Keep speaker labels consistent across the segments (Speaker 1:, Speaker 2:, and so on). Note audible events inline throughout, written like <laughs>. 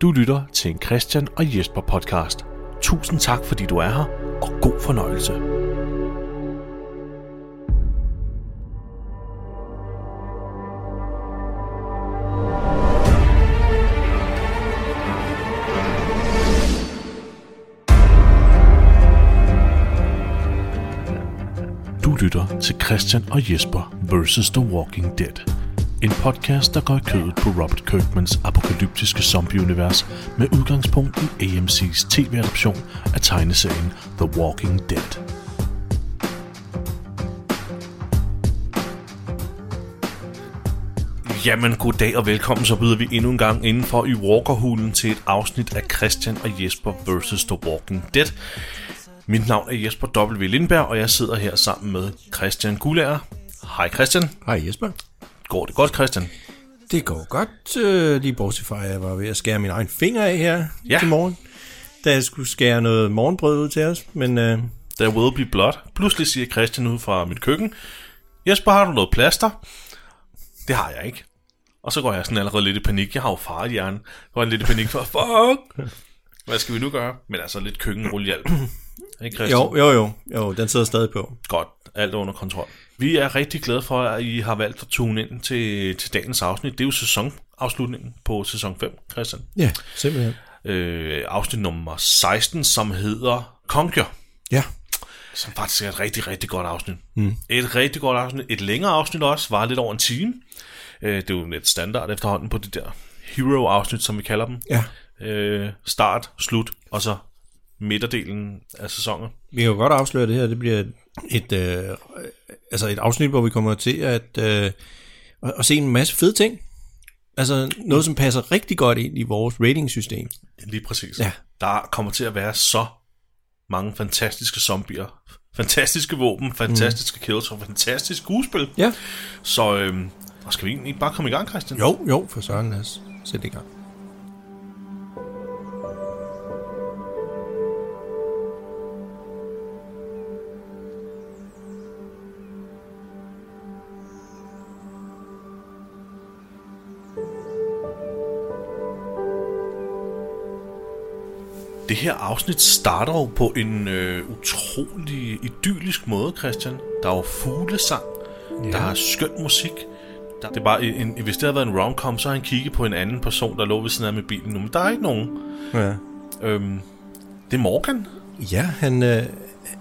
Speaker 1: Du lytter til en Christian og Jesper podcast. Tusind tak, fordi du er her, og god fornøjelse. Du lytter til Christian og Jesper vs. The Walking Dead. En podcast, der går i kødet på Robert Kirkmans apokalyptiske zombieunivers med udgangspunkt i AMC's tv-adoption af tegneserien The Walking Dead. Jamen, goddag og velkommen, så byder vi endnu en gang indenfor i Walkerhulen til et afsnit af Christian og Jesper vs. The Walking Dead. Mit navn er Jesper W. Lindberg, og jeg sidder her sammen med Christian Gulager. Hej Christian.
Speaker 2: Hej Jesper.
Speaker 1: Går det godt, Christian?
Speaker 2: Det går godt, øh, lige bortset fra, at jeg var ved at skære min egen finger af her
Speaker 1: Ja.
Speaker 2: ja. til morgen, da jeg skulle skære noget morgenbrød ud til os, men øh,
Speaker 1: There will be blood. Pludselig siger Christian ud fra mit køkken, Jesper, har du noget plaster? Det har jeg ikke. Og så går jeg sådan allerede lidt i panik. Jeg har jo far i hjernen. Så går jeg lidt i panik for, fuck! Hvad skal vi nu gøre? Men altså lidt køkkenrullehjælp. Ikke, Christian?
Speaker 2: jo, jo, jo, jo, den sidder stadig på.
Speaker 1: Godt, alt er under kontrol. Vi er rigtig glade for, at I har valgt at tune ind til, til dagens afsnit. Det er jo sæsonafslutningen på sæson 5, Christian.
Speaker 2: Ja, simpelthen.
Speaker 1: Øh, afsnit nummer 16, som hedder Conquer,
Speaker 2: Ja,
Speaker 1: som faktisk er et rigtig, rigtig godt afsnit. Mm. Et rigtig godt afsnit. Et længere afsnit også, var lidt over en time. Øh, det er jo lidt standard efterhånden på det der hero-afsnit, som vi kalder dem.
Speaker 2: ja.
Speaker 1: Øh, start, slut, og så midterdelen af sæsonen.
Speaker 2: Vi kan jo godt afsløre at det her, det bliver et, øh, altså et afsnit, hvor vi kommer til at, øh, at, at se en masse fede ting. Altså noget, som passer rigtig godt ind i vores ratingsystem.
Speaker 1: Lige præcis.
Speaker 2: Ja.
Speaker 1: Der kommer til at være så mange fantastiske zombier, fantastiske våben, fantastiske mm. kills og fantastisk skuespil.
Speaker 2: Ja.
Speaker 1: Så øhm, og skal vi egentlig ikke bare komme i gang, Christian?
Speaker 2: Jo, jo, for søren, lad os sætte i gang.
Speaker 1: Det her afsnit starter jo på en øh, utrolig idyllisk måde, Christian. Der er jo fuglesang, ja. der er skøn musik. Der, det er bare, en, en- hvis det havde været en romcom, så har han kigget på en anden person, der lå ved siden af med bilen nu. Men der er ikke nogen.
Speaker 2: Ja.
Speaker 1: Øhm, det er Morgan.
Speaker 2: Ja, han, øh,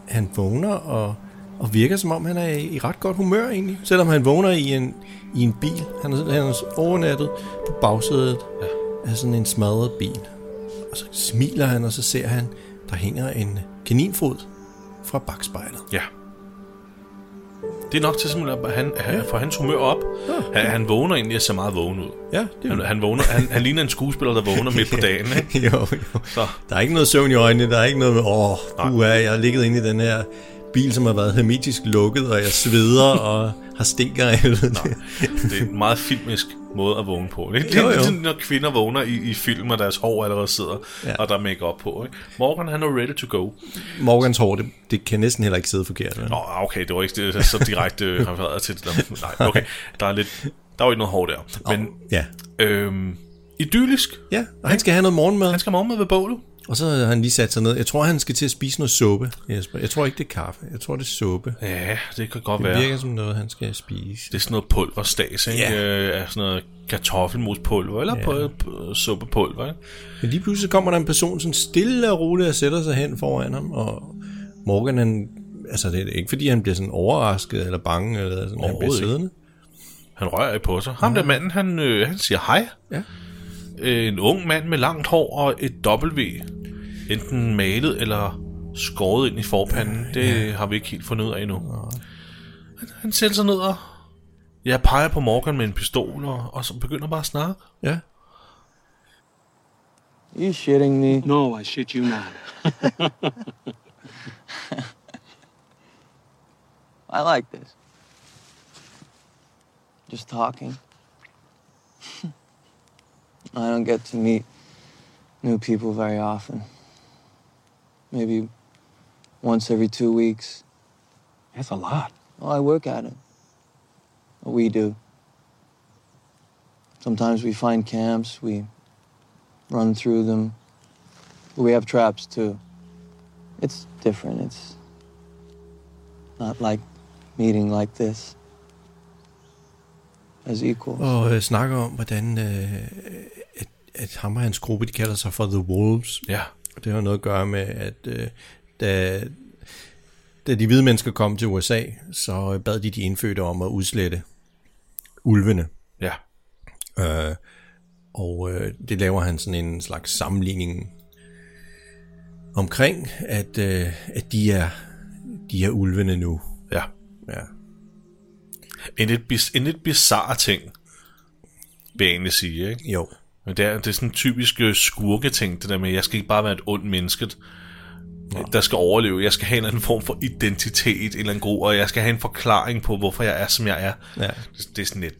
Speaker 2: han vågner og, og virker som om, han er i ret godt humør egentlig. Selvom han vågner i en, i en bil. Han er, han er overnattet på bagsædet
Speaker 1: Ja.
Speaker 2: af sådan en smadret bil. Og så smiler han, og så ser han, der hænger en kaninfod fra bagspejlet.
Speaker 1: Ja. Det er nok til simpelthen, at han, han får hans humør op. Han, han vågner egentlig og ser meget vågen ud.
Speaker 2: Ja, det er
Speaker 1: Han,
Speaker 2: jo...
Speaker 1: han, vågner, han, han ligner en skuespiller, der vågner
Speaker 2: <laughs>
Speaker 1: midt på dagen. Ikke?
Speaker 2: jo, jo.
Speaker 1: Så
Speaker 2: Der er ikke noget søvn i øjnene, der er ikke noget med, åh, oh, uha, jeg har ligget inde i den her bil, som har været hermetisk lukket, og jeg sveder og har stinker af helvede.
Speaker 1: det er en meget filmisk måde at vågne på. Det er
Speaker 2: Jo,
Speaker 1: jo, jo.
Speaker 2: jo.
Speaker 1: sådan, når kvinder vågner i, i film, og deres hår allerede sidder, ja.
Speaker 2: Ja.
Speaker 1: og der er make på. Ikke? Morgan, han er ready to go.
Speaker 2: Morgans hår, det, det kan næsten heller ikke sidde forkert. Vel?
Speaker 1: Nå, okay, det var ikke det, så direkte øh,
Speaker 2: <laughs>
Speaker 1: refereret til det. der. Nej, okay, der er lidt... Der var ikke noget hår der. Men
Speaker 2: Ja.
Speaker 1: øhm, idyllisk.
Speaker 2: Ja, og han skal have noget morgenmad.
Speaker 1: Han skal morgenmad ved bålet.
Speaker 2: Og så har han lige sat sig ned. Jeg tror, han skal til at spise noget suppe, Jesper. Jeg tror ikke, det er kaffe. Jeg tror, det er suppe.
Speaker 1: Ja, det kan godt
Speaker 2: Det
Speaker 1: være.
Speaker 2: virker som noget, han skal spise.
Speaker 1: Det er sådan noget pulverstas, ikke?
Speaker 2: Ja.
Speaker 1: Yeah. Øh, af sådan noget kartoffelmospulver, eller yeah. suppepulver, ikke?
Speaker 2: Men lige pludselig kommer der en person sådan stille og roligt og sætter sig hen foran ham. Og Morgan, han, altså det er ikke fordi, han bliver sådan overrasket eller bange. Eller sådan. Han bliver
Speaker 1: Overhovedet ikke.
Speaker 2: siddende.
Speaker 1: Han rører ikke på sig. Ham der manden, han, øh, han siger hej.
Speaker 2: Ja.
Speaker 1: Øh, en ung mand med langt hår og et W. Enten malet eller skåret ind i forpanden. Det har vi ikke helt fundet ud af endnu. Han, han sætter sig ned og... Jeg peger på Morgan med en pistol, og, og så begynder bare at snakke.
Speaker 2: Ja.
Speaker 3: You shitting me?
Speaker 4: No, I shit you not.
Speaker 3: I like this. Just talking. <laughs> I don't get to meet new people very often. Maybe once every two weeks.
Speaker 4: That's a lot.
Speaker 3: Well, I work at it. We do. Sometimes we find camps, we run through them. We have traps too. It's different. It's not like meeting like this as equals.
Speaker 2: og øh, snakker om, hvordan øh, at, at ham og hans gruppe, de kalder sig for The Wolves.
Speaker 1: Ja.
Speaker 2: Og det har noget at gøre med, at øh, da, da de hvide mennesker kom til USA, så øh, bad de de indfødte om at udslette ulvene.
Speaker 1: Ja.
Speaker 2: Øh, og øh, det laver han sådan en slags sammenligning omkring, at, øh, at de, er, de er ulvene nu.
Speaker 1: Ja.
Speaker 2: Ja.
Speaker 1: En lidt, bis, en lidt bizarre ting, vil jeg egentlig sige, ikke?
Speaker 2: Jo.
Speaker 1: Men det er, det er sådan en typisk øh, skurketing, det der med, at jeg skal ikke bare være et ondt menneske, der skal overleve. Jeg skal have en eller anden form for identitet, en eller anden god, og jeg skal have en forklaring på, hvorfor jeg er, som jeg er.
Speaker 2: Ja.
Speaker 1: Det, det er sådan lidt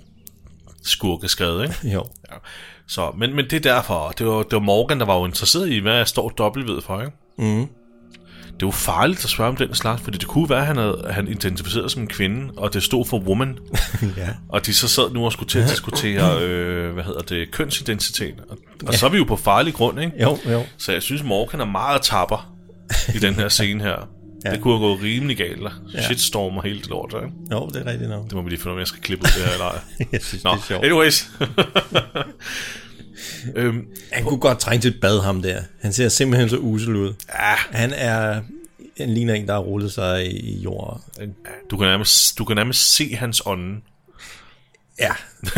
Speaker 1: skurkeskrevet, ikke?
Speaker 2: Jo.
Speaker 1: Ja. Så, men, men det er derfor, det var, det var Morgan, der var jo interesseret i, hvad jeg står W for, ikke? Mm. Det er jo farligt at spørge om den slags, fordi det kunne være, at han, havde, han identificerede som en kvinde, og det stod for woman.
Speaker 2: <laughs> ja.
Speaker 1: Og de så sad nu og skulle til at diskutere, øh, hvad hedder det, kønsidentitet. Og, og så er vi jo på farlig grund, ikke?
Speaker 2: Jo, jo.
Speaker 1: Så jeg synes, Morgan er meget tapper i den her scene
Speaker 2: <laughs>
Speaker 1: her. ja. Det kunne have gået rimelig galt. Ja. Shitstorm og hele det lort, ikke?
Speaker 2: Jo, det er rigtigt nok.
Speaker 1: Det må vi lige finde ud af, om jeg skal klippe ud det her eller
Speaker 2: <laughs>
Speaker 1: ej.
Speaker 2: Jeg synes, det er
Speaker 1: Nå,
Speaker 2: sjovt. <laughs>
Speaker 1: anyways. øhm,
Speaker 2: Han kunne godt trænge til et bad, ham der. Han ser simpelthen så usel ud. Ja. Han er... Han ligner en, der har rullet sig i, i jorden.
Speaker 1: du, kan nærmest, du kan nærmest se hans ånde. <laughs>
Speaker 2: <laughs> Ja.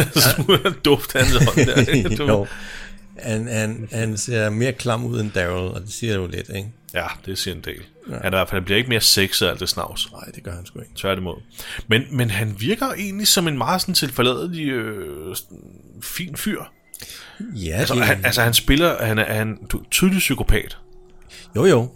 Speaker 1: så duft hans ånde. Der,
Speaker 2: <laughs>
Speaker 1: ikke? du,
Speaker 2: jo. Han, han, han ser mere klam ud end Daryl, og det siger jo lidt, ikke?
Speaker 1: Ja, det siger en del. Ja. Han, er, i hvert fald- han bliver ikke mere sexet af alt det snavs.
Speaker 2: Nej, det gør han sgu ikke.
Speaker 1: Tværtimod. Men, men han virker egentlig som en meget sådan tilforladelig, øh, sådan fin fyr.
Speaker 2: Ja,
Speaker 1: Altså,
Speaker 2: det,
Speaker 1: han, altså han spiller, han er, han du, tydelig psykopat.
Speaker 2: jo jo.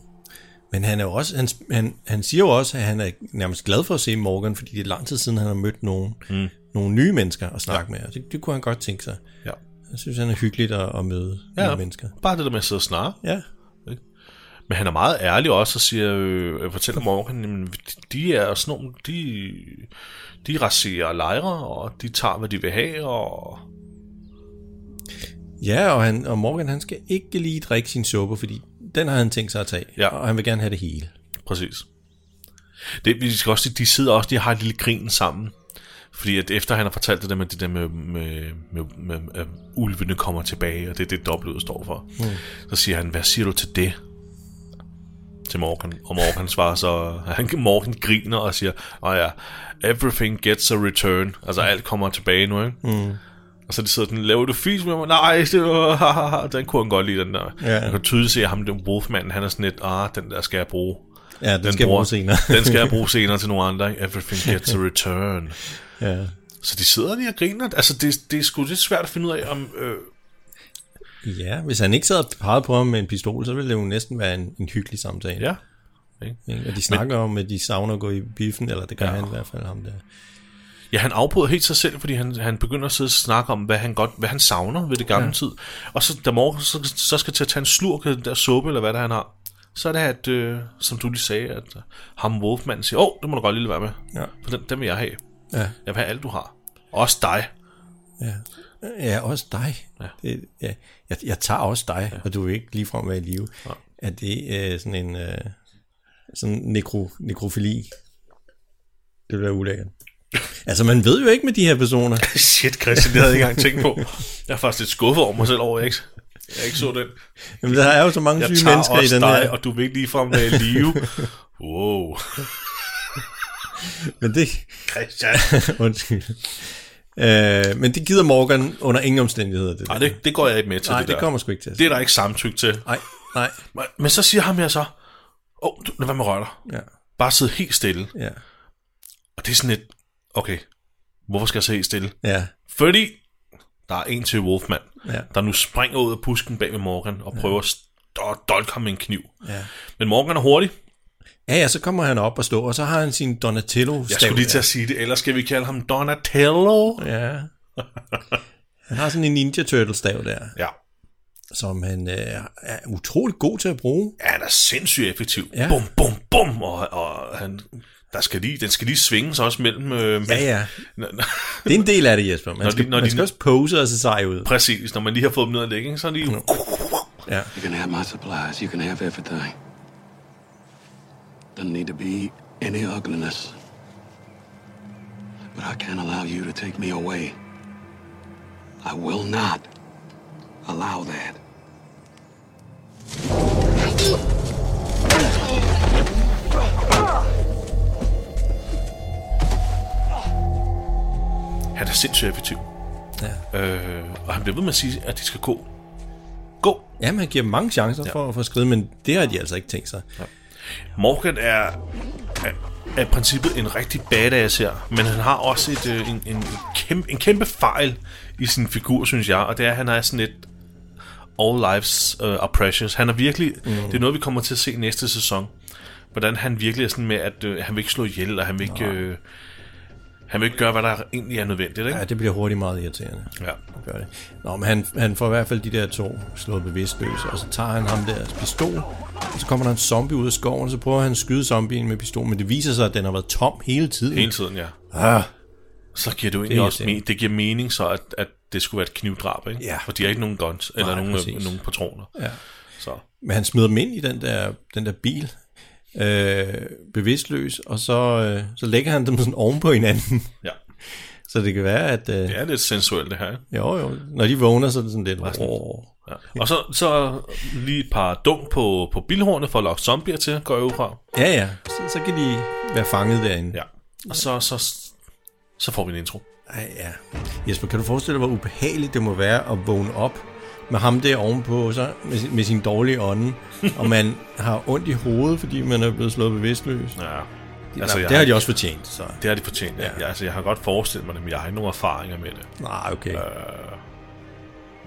Speaker 2: Men han, er jo også, han, han, han siger jo også, at han er nærmest glad for at se Morgan, fordi det er lang tid siden, han har mødt nogen, mm. nogle nye mennesker at snakke ja. med. Og det, det kunne han godt tænke sig.
Speaker 1: Ja.
Speaker 2: Jeg synes, han er hyggeligt at, at møde ja. nye mennesker.
Speaker 1: Bare det der med at sidde og snarre.
Speaker 2: Ja.
Speaker 1: Men han er meget ærlig også og siger, øh, øh, fortæller Morgan, jamen, de er sådan nogle, de, de raserer lejre, og de tager, hvad de vil have, og
Speaker 2: Ja, og, han, og Morgan han skal ikke lige drikke sin suppe, fordi den har han tænkt sig at tage.
Speaker 1: Ja.
Speaker 2: Og han vil gerne have det hele.
Speaker 1: Præcis. Det, vi skal også, sige, de sidder også, de har et lille grin sammen. Fordi at efter han har fortalt det der med, det der med, med, med, med at ulvene kommer tilbage, og det er det, dobbeltet står for. Mm. Så siger han, hvad siger du til det? Til Morgan. Og Morgan svarer så, <laughs> han, Morgan griner og siger, Nå ja, everything gets a return. Altså alt kommer tilbage nu, ikke? Mm. Og så de sidder sådan, laver du fis med mig? Nej, det var, <laughs> den kunne han godt lide, den der.
Speaker 2: Ja.
Speaker 1: Man kan tydeligt se, at ham, den wolfmanden, han er sådan lidt, ah, den der skal jeg bruge.
Speaker 2: Ja, den, den skal jeg bruge senere.
Speaker 1: den skal <laughs> jeg bruge senere til nogle andre. Ikke? Everything gets a return.
Speaker 2: <laughs> ja.
Speaker 1: Så de sidder lige og griner. Altså, det, det er sgu lidt svært at finde ud af, om... Øh,
Speaker 2: ja, hvis han ikke sad og pegede på ham med en pistol, så ville det jo næsten være en, en hyggelig samtale.
Speaker 1: ja.
Speaker 2: Ikke? Og de snakker Men... om, at de savner at gå i biffen, eller det gør ja. han i hvert fald ham der.
Speaker 1: ja, han afbryder helt sig selv, fordi han, han begynder at sidde og snakke om, hvad han, godt, hvad han savner ved det gamle ja. tid. Og så, da Morgan så, så skal til at tage en slurk af den der suppe, eller hvad der han har, så er det, at, øh, som du lige sagde, at øh, ham Wolfman siger, åh, oh, det må du godt lige være med.
Speaker 2: Ja.
Speaker 1: For den, den vil jeg have.
Speaker 2: Ja.
Speaker 1: Jeg vil have alt, du har. Også dig.
Speaker 2: Ja, også dig.
Speaker 1: Ja.
Speaker 2: Det, ja. Jeg, jeg tager også dig, ja. og du vil ikke ligefrem være i live. Ja. Er det øh, sådan en øh, sådan nekro, nekrofili? Det bliver ulækkert. altså, man ved jo ikke med de her personer.
Speaker 1: <laughs> Shit, Christian, det havde jeg ikke engang tænkt på. Jeg er faktisk lidt skuffet over mig selv over, at jeg ikke, jeg ikke så den.
Speaker 2: Jamen, der er jo så mange
Speaker 1: Jeg
Speaker 2: syge
Speaker 1: tager
Speaker 2: mennesker i
Speaker 1: også
Speaker 2: den
Speaker 1: dig,
Speaker 2: her.
Speaker 1: og du vil ikke ligefrem være i <laughs> live. wow.
Speaker 2: Men det, <laughs>
Speaker 1: Christian.
Speaker 2: undskyld. Øh, men det gider Morgan under ingen omstændigheder. Det,
Speaker 1: Nej,
Speaker 2: der.
Speaker 1: det, det går jeg ikke med til,
Speaker 2: Nej,
Speaker 1: det,
Speaker 2: det,
Speaker 1: der.
Speaker 2: kommer sgu ikke til.
Speaker 1: Det er der ikke samtykke til.
Speaker 2: Nej, nej.
Speaker 1: Men- Men så siger ham her så, åh, oh, lad være med at røre dig.
Speaker 2: Ja,
Speaker 1: Bare sidde helt stille.
Speaker 2: ja,
Speaker 1: Og det er sådan lidt, okay, hvorfor skal jeg sidde helt stille?
Speaker 2: ja.
Speaker 1: Fordi der er en til Wolfman,
Speaker 2: Ja.
Speaker 1: der nu springer ud af pusken bag ved Morgan og prøver at st- at dolke ham med en kniv.
Speaker 2: Ja.
Speaker 1: Men Morgan er hurtig.
Speaker 2: Ja, ja, så kommer han op og står, og så har han sin donatello
Speaker 1: Jeg skulle lige til at sige det, ellers skal vi kalde ham Donatello.
Speaker 2: Ja. Han har sådan en Ninja Turtle-stav der,
Speaker 1: Ja,
Speaker 2: som han øh, er utrolig god til at bruge.
Speaker 1: Ja, han er sindssygt effektiv.
Speaker 2: Ja.
Speaker 1: Ja. Bum, bum, bum, og, og han, der der skal lige, den skal lige svinges også mellem... Øh,
Speaker 2: Ja, ja.
Speaker 1: Nå, nå,
Speaker 2: Det er en del af det, Jesper. Man
Speaker 1: Når
Speaker 2: skal,
Speaker 1: de- når
Speaker 2: man
Speaker 1: de-
Speaker 2: skal også pose og se sej ud.
Speaker 1: præcis, når man lige har fået dem ned at ligge, ikke? så er de...
Speaker 2: Ja.
Speaker 4: You can have my supplies. You can have everything. Doesn't need to be any ugliness. But I can't allow you to take me away. I will not allow that.
Speaker 1: Han er sindssygt effektiv.
Speaker 2: ja.
Speaker 1: Øh, og han bliver ved med at sige, at de skal gå. Gå!
Speaker 2: Ja, man giver dem mange chancer ja. for, for at skride, men det har de altså ikke tænkt sig.
Speaker 1: Morgan er, er, er i princippet en rigtig badass her, men han har også et, øh, en, en, kæmpe, en kæmpe fejl i sin figur, synes jeg, og det er, at han er sådan et all lives uh, are precious. Han er virkelig, mm. det er noget, vi kommer til at se næste sæson, hvordan han virkelig er sådan med, at øh, han vil ikke slå ihjel, og han vil ikke, øh, han vil ikke gøre, hvad der egentlig er nødvendigt, ikke?
Speaker 2: Ja, det bliver hurtigt meget irriterende.
Speaker 1: Ja.
Speaker 2: at Gøre det. Nå, men han, han får i hvert fald de der to slået bevidstløse, og så tager han ham deres pistol, og så kommer der en zombie ud af skoven, og så prøver han at skyde zombien med pistolen, men det viser sig, at den har været tom hele tiden.
Speaker 1: Hele tiden, ja.
Speaker 2: Ah,
Speaker 1: Så giver det jo egentlig det også
Speaker 2: irriterende.
Speaker 1: men, det giver mening så, at, at det skulle være et knivdrab, ikke?
Speaker 2: Ja.
Speaker 1: For de har ikke nogen guns, eller
Speaker 2: Nej,
Speaker 1: nogen, øh,
Speaker 2: præcis.
Speaker 1: nogen patroner.
Speaker 2: Ja.
Speaker 1: Så.
Speaker 2: Men han smider dem ind i den der, den der bil, øh, bevidstløs, og så, øh, så lægger han dem sådan oven på hinanden, <laughs>
Speaker 1: Ja,
Speaker 2: så det kan være, at... Øh,
Speaker 1: det
Speaker 2: ja.
Speaker 1: er lidt sensuelt det her. ikke?
Speaker 2: Jo, jo. Når de vågner, så er det sådan lidt... Åh,
Speaker 1: Ja. Og så, så lige et par dunk på, på bilhornet for at lokke zombier til, går jeg ud fra.
Speaker 2: ja, ja. Så, så kan de være fanget derinde.
Speaker 1: Ja. Og så, så, så får vi en intro.
Speaker 2: Ej, ja. Jesper, kan du forestille dig, hvor ubehageligt det må være at vågne op med ham der ovenpå sig, med, sin- med sin
Speaker 1: <laughs>
Speaker 2: dårlige ånde, og man har ondt i hovedet, fordi man er blevet slået bevidstløs?
Speaker 1: Ja.
Speaker 2: Altså,
Speaker 1: Altså,
Speaker 2: Nå,
Speaker 1: jeg
Speaker 2: det har
Speaker 1: har,
Speaker 2: de også fortjent, så...
Speaker 1: det har de fortjent. Ja.
Speaker 2: Ja.
Speaker 1: Jeg, altså, jeg har godt forestillet mig det, men jeg har ikke nogen erfaringer med det.
Speaker 2: Nej, okay.
Speaker 1: Øh.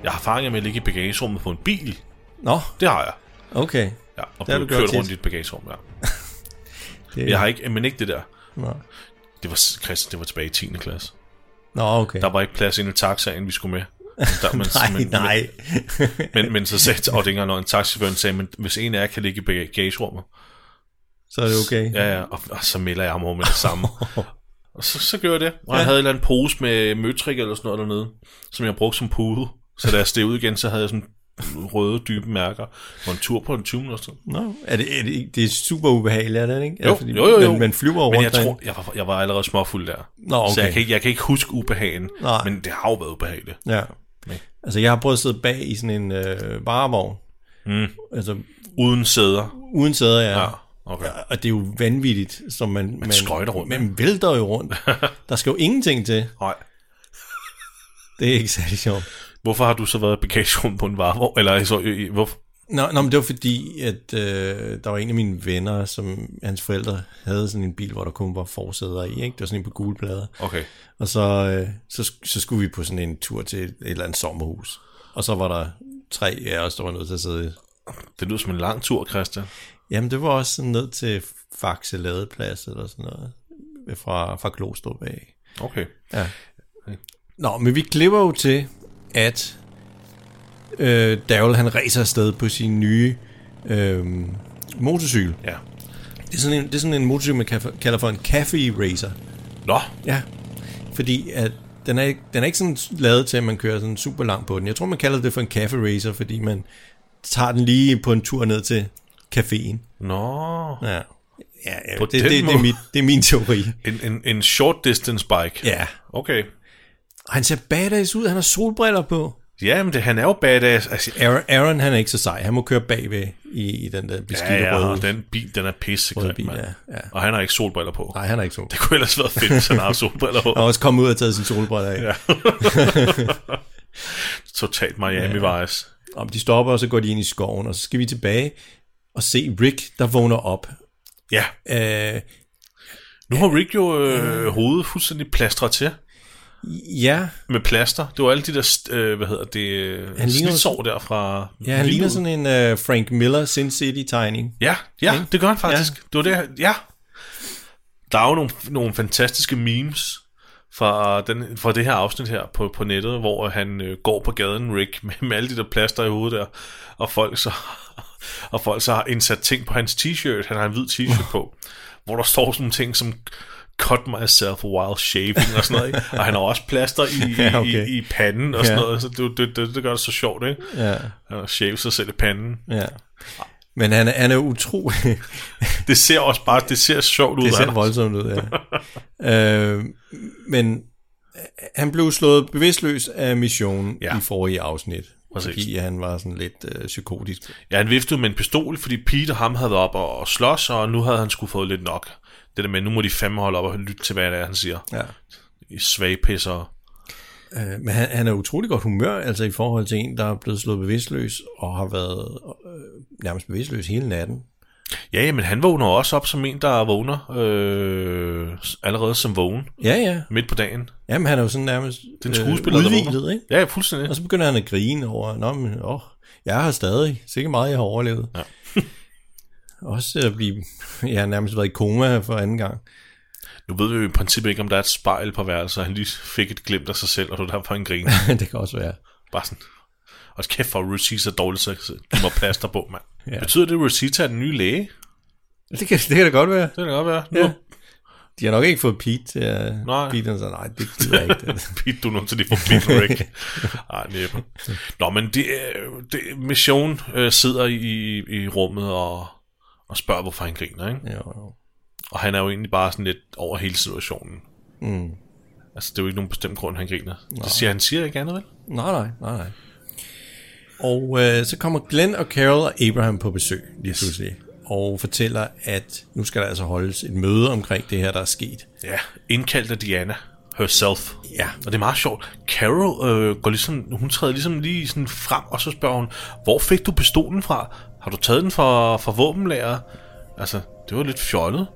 Speaker 1: Jeg har erfaringer med at ligge i bagagerummet på en bil.
Speaker 2: Nå,
Speaker 1: Det har jeg.
Speaker 2: okay.
Speaker 1: Ja, og
Speaker 2: Det
Speaker 1: blive
Speaker 2: har du gjort
Speaker 1: kørt rundt i
Speaker 2: tit.
Speaker 1: et bagagerum, ja.
Speaker 2: Det,
Speaker 1: Jeg har ikke, men ikke det der.
Speaker 2: Nå.
Speaker 1: Det var, Christian, det var tilbage i 10. klasse.
Speaker 2: Nå, okay.
Speaker 1: Der var ikke plads inde i taxaen, vi
Speaker 2: <laughs>
Speaker 1: skulle med. Der, men,
Speaker 2: Nej,
Speaker 1: men-
Speaker 2: nej.
Speaker 1: Men, men så sagde og det ikke engang, når en taxichauffør sagde, men hvis en af jer kan ligge i bagagerummet,
Speaker 2: Så er det okay.
Speaker 1: ja, ja, og, og, så melder jeg ham over med det
Speaker 2: <laughs>
Speaker 1: samme. og så, så gjorde jeg det. Og jeg havde en eller anden pose med møtrik eller sådan noget dernede, som jeg brugte som pude. Så da jeg steg ud igen, så havde jeg sådan røde, dybe mærker. Og en tur på en 20 minutter.
Speaker 2: Nå, er det, er det, ikke- det er super ubehageligt, er det ikke?
Speaker 1: Jo,
Speaker 2: altså,
Speaker 1: jo, jo, jo.
Speaker 2: Man, man flyver rundt
Speaker 1: Men jeg
Speaker 2: derinde.
Speaker 1: tror, jeg var, jeg var allerede småfuld der.
Speaker 2: Nå, okay.
Speaker 1: Så jeg kan, ikke, jeg kan ikke huske ubehagen.
Speaker 2: Nej.
Speaker 1: Men det har jo været ubehageligt.
Speaker 2: Ja. Altså, jeg har prøvet at sidde bag i sådan en øh, varevogn. Mm. Altså,
Speaker 1: Uden sæder.
Speaker 2: uden sæder, ja.
Speaker 1: Ja,
Speaker 2: ja.
Speaker 1: okay.
Speaker 2: Og det er jo vanvittigt, som man... Man, man
Speaker 1: skøjter rundt.
Speaker 2: Man vælter jo
Speaker 1: <laughs>
Speaker 2: rundt. Der skal jo ingenting til.
Speaker 1: Nej.
Speaker 2: Det er ikke særlig sjovt.
Speaker 1: Hvorfor har du så været i bagagerummet på en varevogn? Eller så, i- i- hvorfor?
Speaker 2: Nå, nå, men det var fordi, at øh, der var en af mine venner, som hans forældre havde sådan en bil, hvor der kun var forsæder i. Ikke? Det var sådan en på gule plader.
Speaker 1: Okay.
Speaker 2: Og så, øh, så, så skulle vi på sådan en tur til et eller andet sommerhus. Og så var der tre af os, der var nødt til at sidde.
Speaker 1: Det lyder som en lang tur, Christian.
Speaker 2: Jamen, det var også sådan ned til Faxe Ladeplads eller sådan noget. Fra, fra Glostrup af.
Speaker 1: Okay.
Speaker 2: Nå, men vi klipper jo til, at øh, Daryl han racer afsted på sin nye øh, motorcykel.
Speaker 1: Ja.
Speaker 2: Det er, sådan en, det er sådan en motorcykel, man kaf- kalder for en cafe racer.
Speaker 1: Nå,
Speaker 2: Ja. Fordi at den er, ikke- den er ikke sådan lavet til, at man kører sådan super langt på den. Jeg tror, man kalder det for en cafe racer, fordi man tager den lige på en tur ned til caféen.
Speaker 1: nå.
Speaker 2: Ja. Ja, ja
Speaker 1: På
Speaker 2: det, det,
Speaker 1: den
Speaker 2: det,
Speaker 1: måde.
Speaker 2: er mit, det er min teori.
Speaker 1: En, en, en short distance bike.
Speaker 2: Ja.
Speaker 1: Okay.
Speaker 2: Og han ser badass ud. Han har solbriller på.
Speaker 1: Ja, men det, han er jo badass. Altså,
Speaker 2: Aaron, Aaron han er ikke så sej. Han må køre bagved i, i den der beskidte
Speaker 1: ja, ja,
Speaker 2: røde.
Speaker 1: og den bil, den er pissegrim,
Speaker 2: Røde bil,
Speaker 1: mand.
Speaker 2: ja, ja.
Speaker 1: Og han har ikke solbriller på.
Speaker 2: Nej, han er ikke så.
Speaker 1: <laughs> Det kunne ellers være fedt, hvis han har solbriller på.
Speaker 2: Han har også kommet ud og taget sin solbriller af. Ja.
Speaker 1: Totalt Miami Vice.
Speaker 2: Om de stopper, og så går de ind i skoven, og så skal vi tilbage og se Rick, der vågner op.
Speaker 1: Ja.
Speaker 2: Øh,
Speaker 1: Nu har Rick jo øh, hovedet fuldstændig plastret til.
Speaker 2: ja,
Speaker 1: Med plaster. Det var alle de der, st- øh, hvad hedder det, øh,
Speaker 2: Han ligner-
Speaker 1: snitsår der fra...
Speaker 2: ja, han ligner
Speaker 1: vinduet.
Speaker 2: sådan en øh, Frank Miller Sin City-tegning.
Speaker 1: Ja, ja, det gør han faktisk. Ja. Det var det, han- ja. Der er jo nogle, nogle fantastiske memes fra, den, fra det her afsnit her på, på nettet, hvor han øh, går på gaden, Rick, med, med alle de der plaster i hovedet der, og folk så, <laughs> og folk så har indsat ting på hans t-shirt. Han har en hvid t-shirt på, hvor der står sådan nogle ting som cut myself while shaving og sådan noget, ikke? og han har også plaster i, i,
Speaker 2: <laughs> Ja,
Speaker 1: ja,
Speaker 2: okay.
Speaker 1: okay. i, i panden og sådan
Speaker 2: Ja.
Speaker 1: noget, så det, det, det, det gør det så sjovt, ikke?
Speaker 2: Ja,
Speaker 1: Og shave sig selv i panden.
Speaker 2: ja. Men han, er- han er utro. <laughs>
Speaker 1: Det ser også bare, det ser sjovt ud.
Speaker 2: det ser
Speaker 1: Anders.
Speaker 2: voldsomt ud, ja. øh, men øh, han blev slået bevidstløs af missionen ja.
Speaker 1: Ja.
Speaker 2: i forrige afsnit.
Speaker 1: Præcis.
Speaker 2: Fordi han var sådan lidt øh, psykotisk.
Speaker 1: Ja, han viftede med en pistol, fordi Pete og ham havde været op og, og slås, og nu havde han skulle fået lidt nok. Det der med, nu må de fandme holde op og lytte til, hvad det er, han siger.
Speaker 2: Ja.
Speaker 1: I svage pisser.
Speaker 2: Øh, men han, han er utrolig godt humør, altså i forhold til en, der er blevet slået bevidstløs og har været øh, nærmest bevidstløs hele natten.
Speaker 1: Ja, ja, men han vågner også op som en, der vågner øh, s- allerede som vågen
Speaker 2: Ja, ja.
Speaker 1: midt på dagen.
Speaker 2: Jamen, han er jo sådan nærmest
Speaker 1: Den skuespiller, øh, der
Speaker 2: udviklet,
Speaker 1: vågner.
Speaker 2: ikke?
Speaker 1: Ja, ja, fuldstændig.
Speaker 2: Og så begynder han at grine over, Nå, men, åh, jeg har stadig sikkert meget, jeg har overlevet.
Speaker 1: Ja.
Speaker 2: <laughs> Også at blive, jeg har nærmest været i koma for anden gang. <laughs>
Speaker 1: Nu ved vi jo i princippet ikke, om der er et spejl på værelset, og han lige fik et glimt af sig selv, og det var derfor en
Speaker 2: <laughs>
Speaker 1: grin.
Speaker 2: det kan også være.
Speaker 1: Bare sådan. Og kæft for Rosita er dårligt, så de må plaster på, mand.
Speaker 2: Ja.
Speaker 1: ja. Betyder det, at Rosita er den nye læge?
Speaker 2: Det kan, det kan da godt være.
Speaker 1: Det kan det godt være. Nu, <laughs>
Speaker 2: Ja.
Speaker 1: ja.
Speaker 2: De har nok ikke fået Pete til at...
Speaker 1: Nej.
Speaker 2: Pete han sagde, nej, det
Speaker 1: <laughs>
Speaker 2: gider jeg ikke.
Speaker 1: Pete, du er nødt til lige at få Pete
Speaker 2: <laughs>
Speaker 1: Rick. Ej, næppe. Nå, men det, øh, det, Mission øh, sidder i, i rummet og, og spørger, hvorfor han griner, ikke?
Speaker 2: jo, jo.
Speaker 1: Og han er jo egentlig bare sådan lidt over hele situationen.
Speaker 2: Mm.
Speaker 1: Altså, det er jo ikke nogen bestemt grund, han griner. Det siger han siger ikke andet, vel?
Speaker 2: Nej, nej, nej, nej. Og øh, så kommer Glenn og Carol og Abraham på besøg lige pludselig. Og fortæller, at nu skal der altså holdes et møde omkring det her, der er sket.
Speaker 1: Ja, indkaldt af Diana herself.
Speaker 2: Ja.
Speaker 1: Og det er meget sjovt. Carol øh, går ligesom, hun træder ligesom lige sådan frem, og så spørger hun, hvor fik du pistolen fra? Har du taget den fra, fra våbenlageret? Altså, det var lidt fjollet.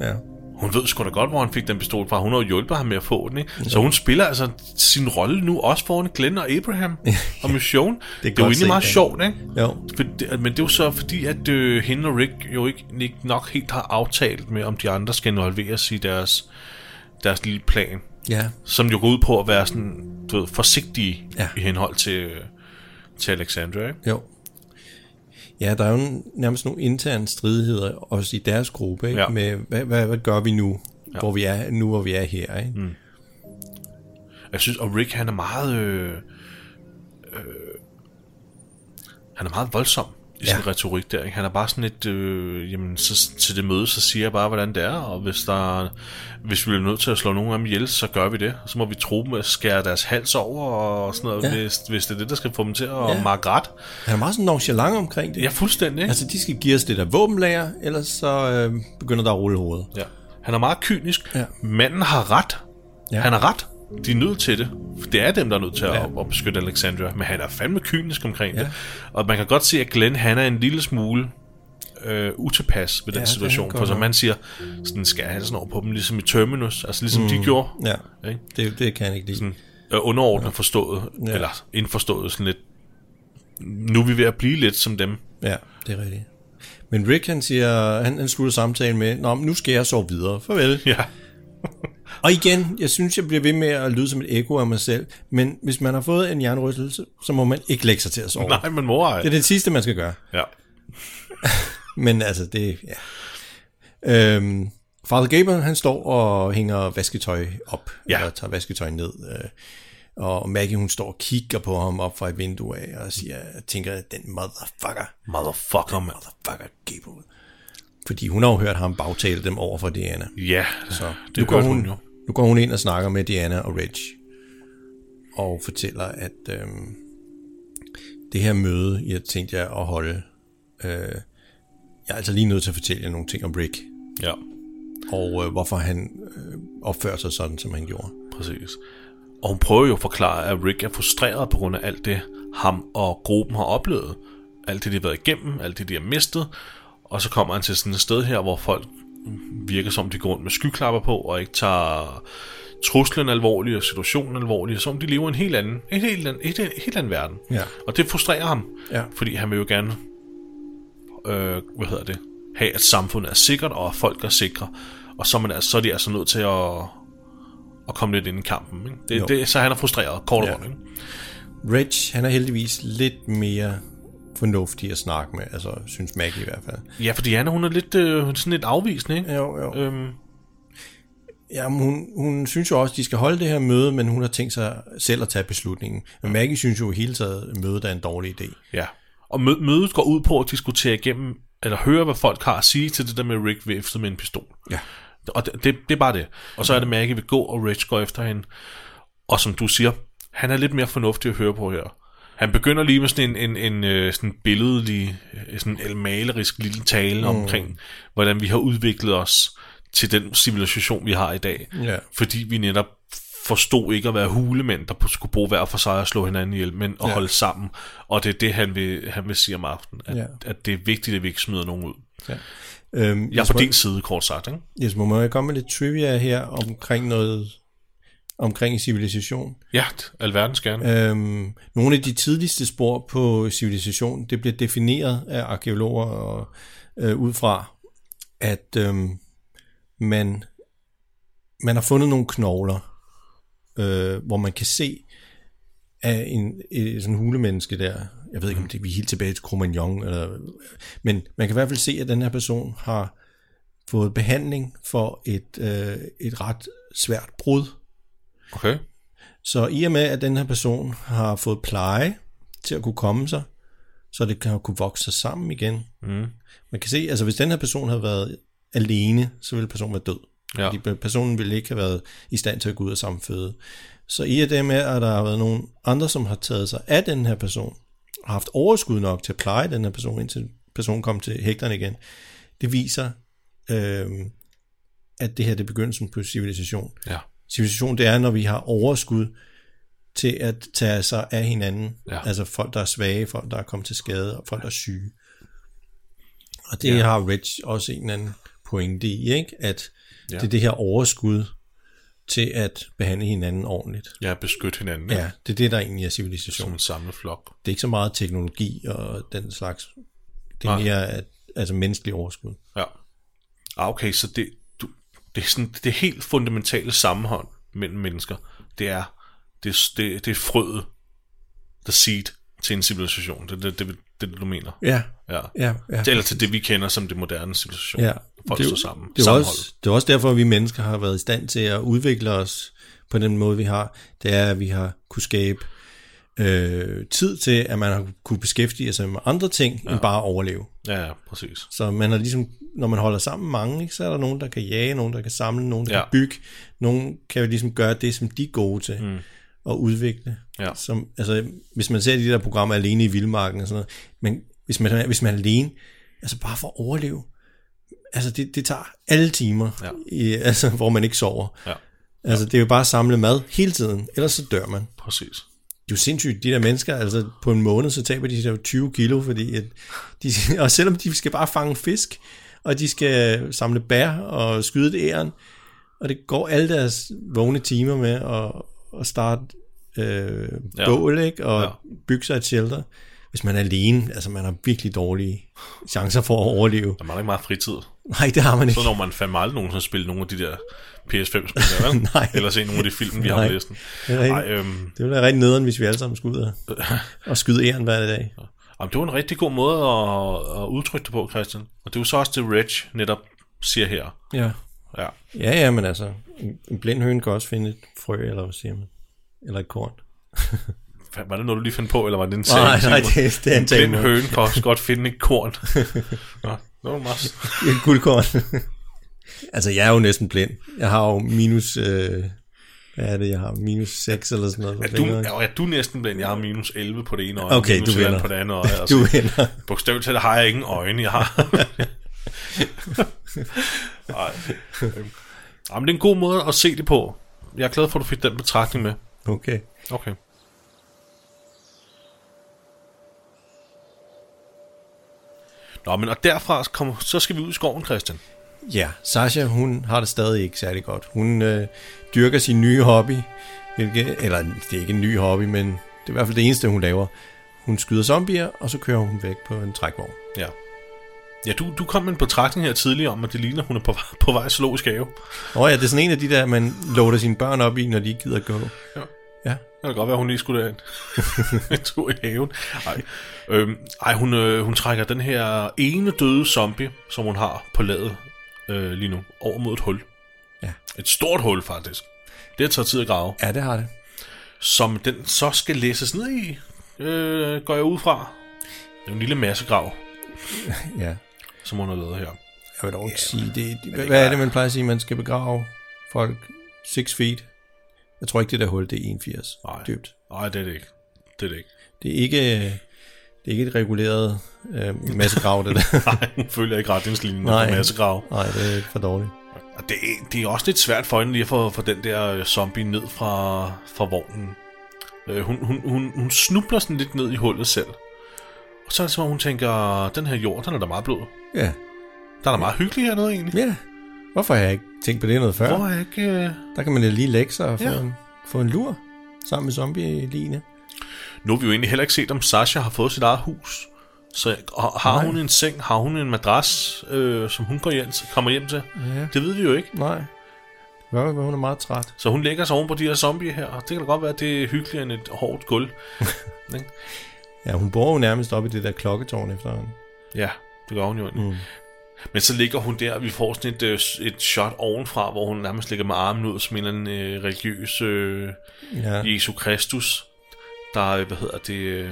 Speaker 2: Ja.
Speaker 1: Hun ved sgu da godt, hvor han fik den pistol fra. Hun har jo hjulpet ham med at få den, ikke? Så hun spiller altså sin rolle nu også foran Glenn og Abraham og
Speaker 2: <laughs>
Speaker 1: Mission. det er,
Speaker 2: godt
Speaker 1: jo egentlig
Speaker 2: set,
Speaker 1: meget
Speaker 2: ja.
Speaker 1: sjovt, ikke?
Speaker 2: Jo,
Speaker 1: For det, men det er jo så fordi, at øh, hende og Rick jo ikke, ikke nok helt har aftalt med, om de andre skal involveres i deres, deres lille plan.
Speaker 2: ja.
Speaker 1: Som jo går ud på at være sådan, du ved, forsigtige
Speaker 2: Ja.
Speaker 1: ja. i henhold til, øh, til Alexandra, ikke?
Speaker 2: Jo. Ja, der er jo n- nærmest nogle interne stridigheder, også i deres gruppe, ikke? Ja.
Speaker 1: Ja.
Speaker 2: med hvad, hvad, hvad gør vi nu, ja. hvor vi er nu, hvor vi er her. Ikke? Mm.
Speaker 1: Jeg synes, og Rick, han er meget... Øh, øh, han er meget voldsom i sin
Speaker 2: Ja.
Speaker 1: ja. retorik der. Ikke? Han er bare sådan et... Øh, jamen, så, til det møde, så siger jeg bare, hvordan det er, og hvis, der, hvis vi bliver nødt til at slå nogen af dem ihjel, så gør vi det. Så må vi tro dem at skære deres hals over og sådan noget,
Speaker 2: Ja.
Speaker 1: ja. hvis, hvis det er det, der skal få dem til at
Speaker 2: Ja.
Speaker 1: ja. markere ret.
Speaker 2: Han er meget sådan nonchalant omkring det.
Speaker 1: Ja, fuldstændig. Ikke?
Speaker 2: Altså, de skal give os det der våbenlager, ellers så øh, begynder der at rulle hovedet.
Speaker 1: Ja. Han er meget kynisk.
Speaker 2: Ja.
Speaker 1: Ja. Manden har ret.
Speaker 2: Ja.
Speaker 1: Ja. Han har ret. De er nødt til det. For det er dem, der er nødt til at, at beskytte Alexandra. Men han er fandme kynisk omkring ja. det. Og man kan godt se, at Glenn han er en lille smule øh, utilpas ved den ja,
Speaker 2: Ja, det er han
Speaker 1: situation.
Speaker 2: godt
Speaker 1: For som
Speaker 2: nok.
Speaker 1: man siger, sådan skal han sådan over på dem, ligesom i Terminus. Altså ligesom mm. de gjorde.
Speaker 2: Ja,
Speaker 1: Ikke?
Speaker 2: det, det kan jeg ikke lide. Sådan.
Speaker 1: Øh, underordnet ja. forstået,
Speaker 2: Ja.
Speaker 1: ja. eller indforstået sådan lidt. Nu er vi ved at blive lidt som dem. <laughs>
Speaker 2: Ja, det er rigtigt. Men Rick, han, siger, han, han slutter samtalen med, Nå, men nu skal jeg så videre. Farvel.
Speaker 1: Ja.
Speaker 2: Og igen, jeg synes, jeg bliver ved med at lyde som et ekko af mig selv, men hvis man har fået en hjernerystelse, så må man ikke lægge sig til at sove.
Speaker 1: Nej, men mor ej.
Speaker 2: Det er det sidste, man skal gøre.
Speaker 1: Ja.
Speaker 2: Men altså, det... Ja. Øhm, Father Gabriel, han står og hænger vasketøj op,
Speaker 1: Ja.
Speaker 2: eller tager vasketøj ned. Øh, og Maggie, hun står og kigger på ham op fra et vindue af, og siger, tænker, den motherfucker,
Speaker 1: Motherfucker, man.
Speaker 2: fucker Gabriel. Fordi hun har jo hørt ham bagtale dem over for Diana.
Speaker 1: Ja,
Speaker 2: Så
Speaker 1: det nu gør hun, hun jo.
Speaker 2: Nu går hun ind og snakker med Diana og Reg. Og fortæller, at øhm, det her møde, jeg tænkte jeg at holde, øh, jeg er altså lige nødt til at fortælle jer nogle ting om Rick.
Speaker 1: Ja,
Speaker 2: Og øh, hvorfor han øh, opfører sig sådan, som han gjorde.
Speaker 1: præcis. Og hun prøver jo at forklare, at Rick er frustreret på grund af alt det, ham og gruppen har oplevet. Alt det, de har været igennem, alt det, de har mistet. Og så kommer han til sådan et sted her, hvor folk virker som, de går rundt med skyklapper på, og ikke tager truslen alvorligt og situationen alvorligt, som om de lever i en helt anden, en helt anden, et, et helt anden verden.
Speaker 2: Ja.
Speaker 1: Og det frustrerer ham,
Speaker 2: Ja.
Speaker 1: fordi han vil jo gerne, øh, hvad hedder det, have, at samfundet er sikkert, og at folk er sikre. Og så er, man, altså- så er de altså nødt til at, at komme lidt ind i kampen. Ikke?
Speaker 2: Jo.
Speaker 1: Det, det, så han er frustreret, kort og
Speaker 2: Ja.
Speaker 1: godt, ikke?
Speaker 2: Rich, han er heldigvis lidt mere fornuftig at snakke med, altså synes Maggie i hvert fald.
Speaker 1: Ja, fordi Anna, hun er lidt, øh, sådan lidt afvisende, ikke?
Speaker 2: Jo, jo.
Speaker 1: Øhm,
Speaker 2: Ja, hun, hun synes jo også, at de skal holde det her møde, men hun har tænkt sig selv at tage beslutningen. Men Maggie synes jo i hele taget, at mødet er en dårlig idé.
Speaker 1: ja. Og mø- mødet går ud på at diskutere igennem, eller høre, hvad folk har at sige til det der med Rick viftet med en pistol.
Speaker 2: Ja.
Speaker 1: Og det, det, det er bare det. Og så er det Maggie vil gå, og Rich går efter hende. Og som du siger, han er lidt mere fornuftig at høre på her. Han begynder lige med sådan en, en, en øh, sådan billedlig, øh, sådan en malerisk lille tale mm. omkring, hvordan vi har udviklet os til den civilisation, vi har i dag.
Speaker 2: Ja.
Speaker 1: Fordi vi netop forstod ikke at være hulemænd, der skulle bruge hver for sig og slå hinanden ihjel, men at ja.
Speaker 2: Ja.
Speaker 1: holde sammen. Og det er det, han vil, han vil sige om aftenen. At, ja.
Speaker 2: Ja.
Speaker 1: at det er vigtigt, at vi ikke smider nogen ud.
Speaker 2: Øhm,
Speaker 1: Jeg er på din side, kort sagt. Ikke?
Speaker 2: Yes, må jeg komme med lidt trivia her omkring noget omkring civilisation.
Speaker 1: Ja, alverdens gerne.
Speaker 2: Øhm, nogle af de tidligste spor på civilisation, det bliver defineret af arkeologer og, øh, ud fra, at øhm, man, man har fundet nogle knogler, øh, hvor man kan se af en, en sådan en hulemenneske der, jeg ved ikke om det vi er helt tilbage til cro eller, men man kan i hvert fald se, at den her person har fået behandling for et, øh, et ret svært brud,
Speaker 1: Okay.
Speaker 2: så i og med, at den her person har fået pleje til at kunne komme sig, så det kan kunne vokse sig sammen igen.
Speaker 1: Mm.
Speaker 2: Man kan se, altså hvis den her person havde været alene, så ville personen være død.
Speaker 1: Ja.
Speaker 2: Fordi personen ville ikke have været i stand til at gå ud og samføde. Så i og det med, at der har været nogen andre, som har taget sig af den her person, og haft overskud nok til at pleje den her person, indtil personen kom til hægterne igen, det viser, øh, at det her det er begyndelsen på civilisation
Speaker 1: Ja,
Speaker 2: civilisation, det er, når vi har overskud til at tage sig af hinanden.
Speaker 1: Ja.
Speaker 2: Altså folk, der er svage, folk, der er kommet til skade, og folk, der er syge. Og det ja. har Rich også en eller anden pointe i, ikke? at
Speaker 1: Ja.
Speaker 2: ja. det er det her overskud til at behandle hinanden ordentligt.
Speaker 1: jeg har beskyttet hinanden
Speaker 2: Ja,
Speaker 1: ja.
Speaker 2: det er det, der egentlig er
Speaker 1: som
Speaker 2: civilisation.
Speaker 1: en samlet flok.
Speaker 2: Det er ikke så meget teknologi og den slags. Det er
Speaker 1: Nej.
Speaker 2: mere at, altså menneskelig overskud.
Speaker 1: Ja. Ah, okay, så det, du, det er sådan, det helt fundamentale sammenhold mellem mennesker, det er, det, det, det er frøet, the seed, til en civilisation. Det er det, det, det, det, du mener.
Speaker 2: Ja,
Speaker 1: Ja.
Speaker 2: ja, ja.
Speaker 1: Eller til det, vi kender som det moderne civilisation.
Speaker 2: Ja,
Speaker 1: Folk
Speaker 2: det, er
Speaker 1: står
Speaker 2: jo-
Speaker 1: sammen.
Speaker 2: Det er,
Speaker 1: Sammenhold.
Speaker 2: også, det er også derfor, at vi mennesker har været i stand til at udvikle os på den måde, vi har. Det er, at vi har kunne skabe øh, tid til, at man har kunne beskæftige sig med andre ting, ja. end bare at overleve.
Speaker 1: Ja, ja, præcis.
Speaker 2: Så man har ligesom, når man holder sammen mange, ikke, så er der nogen, der kan jage, nogen, der kan samle, nogen, der
Speaker 1: Ja.
Speaker 2: ja. kan bygge. Nogen kan jo ligesom gøre det, som de er gode til. Mm og udvikle.
Speaker 1: Ja.
Speaker 2: Som, altså, hvis man ser de der programmer alene i vildmarken og sådan noget, men hvis man, hvis man er alene, altså bare for at overleve, altså det, det tager alle timer,
Speaker 1: Ja.
Speaker 2: i, altså, hvor man ikke sover.
Speaker 1: Ja,
Speaker 2: Altså det er jo bare at samle mad hele tiden, ellers så dør man.
Speaker 1: præcis.
Speaker 2: Det er jo sindssygt, de der mennesker, altså på en måned, så taber de sig jo 20 kilo, fordi at de, <laughs> og selvom de skal bare fange fisk, og de skal samle bær og skyde et æren, og det går alle deres vågne timer med at, at starte øh,
Speaker 1: Ja.
Speaker 2: ja. bål, ikke? og
Speaker 1: Ja.
Speaker 2: ja. bygge sig et shelter. Hvis man er alene, altså man har virkelig dårlige chancer for at overleve.
Speaker 1: Der er ikke meget fritid.
Speaker 2: Nej, det har man ikke.
Speaker 1: Så når man fandme aldrig nogen, som spiller nogle af de der
Speaker 2: <laughs>
Speaker 1: PS5-spil, vel?
Speaker 2: Nej.
Speaker 1: Eller se nogle af de film, vi har
Speaker 2: Nej.
Speaker 1: på listen.
Speaker 2: Det er rigtigt.
Speaker 1: Ej, øhm,
Speaker 2: Det ville være rigtig nederen, hvis vi alle sammen skulle ud <laughs> og, og skyde æren hver dag.
Speaker 1: Jamen, det var en rigtig god måde at, at udtrykke det på, Christian. Og det er jo så også det, Reg netop siger her.
Speaker 2: Ja.
Speaker 1: Ja,
Speaker 2: Ja, ja, men altså, en- en blind høne kan også finde et frø, eller hvad siger man? Eller et korn.
Speaker 1: Fa- var det noget, du lige fandt på, eller var det en sag?
Speaker 2: Nej, nej, det, det er en tale.
Speaker 1: Den høne kan også godt finde et
Speaker 2: <laughs>
Speaker 1: korn. Nå, det var meget... s-
Speaker 2: Et guldkorn. altså, jeg er jo næsten blind. Jeg har jo minus... Øh, hvad er det, jeg har? Minus 6 eller sådan noget. på
Speaker 1: Er du,
Speaker 2: fingeren.
Speaker 1: er, er du næsten blind? Jeg har minus 11 på det ene øje,
Speaker 2: Okay,
Speaker 1: minus
Speaker 2: du
Speaker 1: 11
Speaker 2: vinder.
Speaker 1: på det andet
Speaker 2: <laughs>
Speaker 1: øje.
Speaker 2: Du
Speaker 1: Altså,
Speaker 2: ender.
Speaker 1: bogstaveligt talt har jeg ingen øjne, jeg har. Nej. Øhm. Jamen, det er en god måde at se det på. Jeg er glad for, at du fik den betragtning med.
Speaker 2: Okay.
Speaker 1: Okay. Nå, men og derfra kom, så skal vi ud i skoven, Christian.
Speaker 2: Ja, Sasha, hun har det stadig ikke særlig godt. Hun øh, dyrker sin nye hobby. Hvilket, eller, det er ikke en ny hobby, men det er i hvert fald det eneste, hun laver. Hun skyder zombier, og så kører hun væk på en trækvogn.
Speaker 1: Ja. Ja, du, du kom med en betragtning her tidligere om, at det ligner, at hun er på, vej- på vej til zoologisk have.
Speaker 2: Åh oh, ja, det er sådan en af de der, man loader sine børn op i, når de ikke gider gå.
Speaker 1: Ja.
Speaker 2: Ja.
Speaker 1: Det kan godt være, hun lige skulle derind. en <laughs> tur i haven. Ej, øhm, ej hun, øh, hun trækker den her ene døde zombie, som hun har på ladet øh, lige nu, over mod et hul.
Speaker 2: Ja.
Speaker 1: Et stort hul, faktisk. Det tager tid at grave.
Speaker 2: ja, det har det.
Speaker 1: Som den så skal læses ned i, øh, går jeg ud fra. Det er en lille massegrav,
Speaker 2: Ja.
Speaker 1: som hun har lavet her.
Speaker 2: Jeg vil dog ikke sige, det, det, hvad, hvad er det, man plejer at sige, man skal begrave folk 6 feet? Jeg tror ikke, det der hul, det er 81
Speaker 1: Nej.
Speaker 2: dybt.
Speaker 1: Nej, det er det ikke. Det er det ikke. <laughs>
Speaker 2: Det er ikke, det er ikke et reguleret øh, massegrav, det der.
Speaker 1: Nej, hun følger ikke retningslinjen
Speaker 2: Nej.
Speaker 1: på massegrav.
Speaker 2: <laughs> Nej, det er for dårligt.
Speaker 1: Og det, er- det er også lidt svært for hende lige at få, få den der øh, zombie ned fra, fra vognen. Øh, hun, hun, hun, hun snubler sådan lidt ned i hullet selv. Og så er det som om, hun tænker, den her jord, den er da meget blød.
Speaker 2: Ja.
Speaker 1: Der er da meget hyggelig hernede egentlig.
Speaker 2: ja. Hvorfor har jeg ikke tænkt på det noget før?
Speaker 1: Hvor er jeg ikke... Øh...
Speaker 2: Der kan man da lige lægge sig og få,
Speaker 1: Ja.
Speaker 2: ja. en, få en lur sammen med zombie-line.
Speaker 1: Nu har vi jo egentlig heller ikke set, om Sasha har fået sit eget hus. Så og, har
Speaker 2: Nej.
Speaker 1: hun en seng, har hun en madras, øh, som hun går hjem, til- kommer hjem til?
Speaker 2: Ja.
Speaker 1: Det ved vi jo ikke.
Speaker 2: Nej. Det kan godt være, hun er meget træt.
Speaker 1: Så hun lægger sig oven på de her zombier her, og det kan da godt være, at det er hyggeligere end et hårdt gulv. Ikke?
Speaker 2: Ja, hun bor jo nærmest op i det der klokketårn efterhånden.
Speaker 1: Ja, det gør hun jo egentlig. Mm. Men så ligger hun der, og vi får sådan et, øh, et shot ovenfra, hvor hun nærmest ligger med armen ud som en eller anden øh, religiøs øh,
Speaker 2: Ja.
Speaker 1: Jesu Kristus, der, øh, hvad hedder det, øh,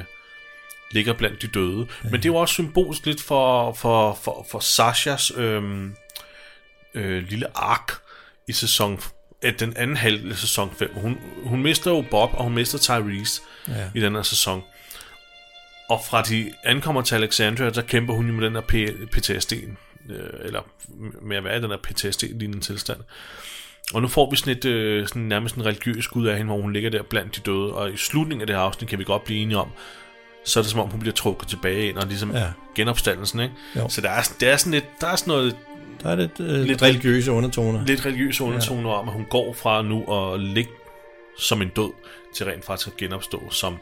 Speaker 1: ligger blandt de døde. Men det er jo også symbolisk lidt for, for, for, for Sashas øh, øh, lille ark i sæson at den anden halvdel af sæson 5. Hun, hun mister jo Bob, og hun mister Tyrese
Speaker 2: Ja.
Speaker 1: i den her sæson. Og fra de ankommer til Alexandria, der kæmper hun jo med den her P- PTSD, øh, eller med at være i den her PTSD-lignende tilstand. Og nu får vi sådan et øh, sådan nærmest en religiøs gud af hende, hvor hun ligger der blandt de døde, og i slutningen af det her afsnit kan vi godt blive enige om, så er det som om, hun bliver trukket tilbage ind, og ligesom ja.
Speaker 2: Ja.
Speaker 1: genopstandelsen, ikke?
Speaker 2: Jo.
Speaker 1: Så der er, sådan- der er sådan lidt, der er sådan noget
Speaker 2: Der er lidt, øh,
Speaker 1: Lidt
Speaker 2: lidt religiøse undertoner.
Speaker 1: lidt religiøse undertoner ja. om, at hun går fra nu at ligge som en død, til rent faktisk at genopstå som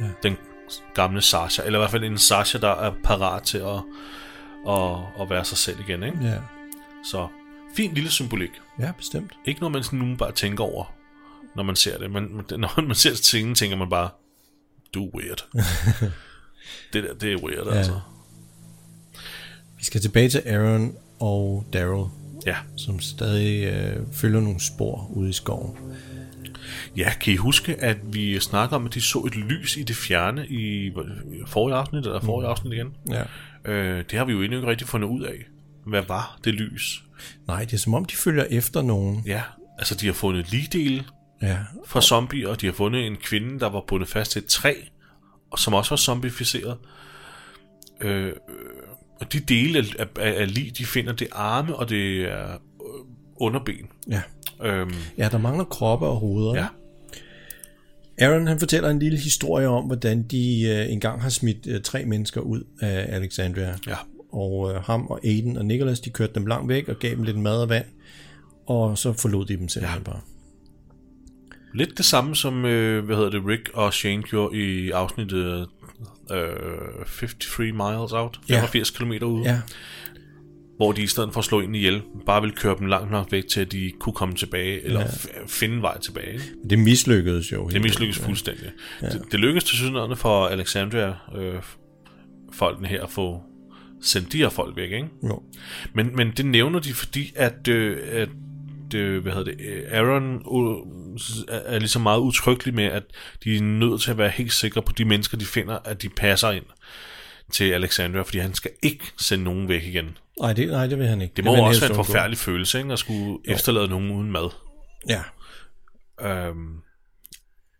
Speaker 1: ja.
Speaker 2: Ja.
Speaker 1: den gamle Sasha, eller i hvert fald en Sasha, der er parat til at, at, at være sig selv igen. Ikke?
Speaker 2: Ja.
Speaker 1: Så fin lille symbolik.
Speaker 2: ja, bestemt.
Speaker 1: Ikke noget, man sådan nu bare tænker over, når man ser det. Man, man- <laughs> når man ser scenen, tænker man bare, du er weird. det der, det er weird, ja. altså.
Speaker 2: Vi skal tilbage til Aaron og Daryl,
Speaker 1: Ja.
Speaker 2: som stadig øh, følger nogle spor ude i skoven.
Speaker 1: Ja, kan I huske, at vi snakker om, at de så et lys i det fjerne i forrige afsnit, eller forrige afsnit igen?
Speaker 2: Ja.
Speaker 1: Øh, det har vi jo endnu ikke rigtig fundet ud af. Hvad var det lys?
Speaker 2: Nej, det er som om, de følger efter nogen.
Speaker 1: Ja, altså de har fundet ligedele
Speaker 2: Ja.
Speaker 1: fra zombier, og de har fundet en kvinde, der var bundet fast til et træ, og som også var zombificeret. Øh, øh, og de dele af, af, af lig, de finder, det er arme, og det er øh, underben.
Speaker 2: ja.
Speaker 1: Øhm,
Speaker 2: Ja, der mangler kroppe og hoveder.
Speaker 1: ja.
Speaker 2: Aaron han fortæller en lille historie om, hvordan de øh, engang har smidt øh, tre mennesker ud af Alexandria.
Speaker 1: Ja.
Speaker 2: Og øh, ham og Aiden og Nicholas, de kørte dem langt væk og gav dem lidt mad og vand. Og så forlod de dem simpelthen ja. bare.
Speaker 1: Lidt det samme som, øh, hvad hedder det, Rick og Shane gjorde i afsnittet øh, 53 Miles Out,
Speaker 2: Ja.
Speaker 1: 85 km ude.
Speaker 2: Ja,
Speaker 1: hvor de i stedet for at slå ind ihjel, bare ville køre dem langt nok væk til, at de kunne komme tilbage, eller f- finde vej tilbage. ikke?
Speaker 2: men det mislykkedes jo.
Speaker 1: Det mislykkedes fuldstændig. Ja. Det, det lykkedes til synligheden for Alexandria-folkene øh, folkene her at få sendt de her folk væk, ikke?
Speaker 2: Jo.
Speaker 1: Men, men det nævner de, fordi at, øh, at øh, hvad hedder det, øh, Aaron øh, s- er- er ligesom meget utryggelig med, at de er nødt til at være helt sikre på de mennesker, de finder, at de passer ind til Alexandria, fordi han skal ikke sende nogen væk igen.
Speaker 2: Nej, det, nej, det vil han ikke.
Speaker 1: Det må
Speaker 2: vil
Speaker 1: jo
Speaker 2: han
Speaker 1: også være
Speaker 2: helst
Speaker 1: en
Speaker 2: undgå.
Speaker 1: forfærdelig følelse, ikke? At skulle jo. efterlade nogen uden mad.
Speaker 2: Ja.
Speaker 1: Øhm,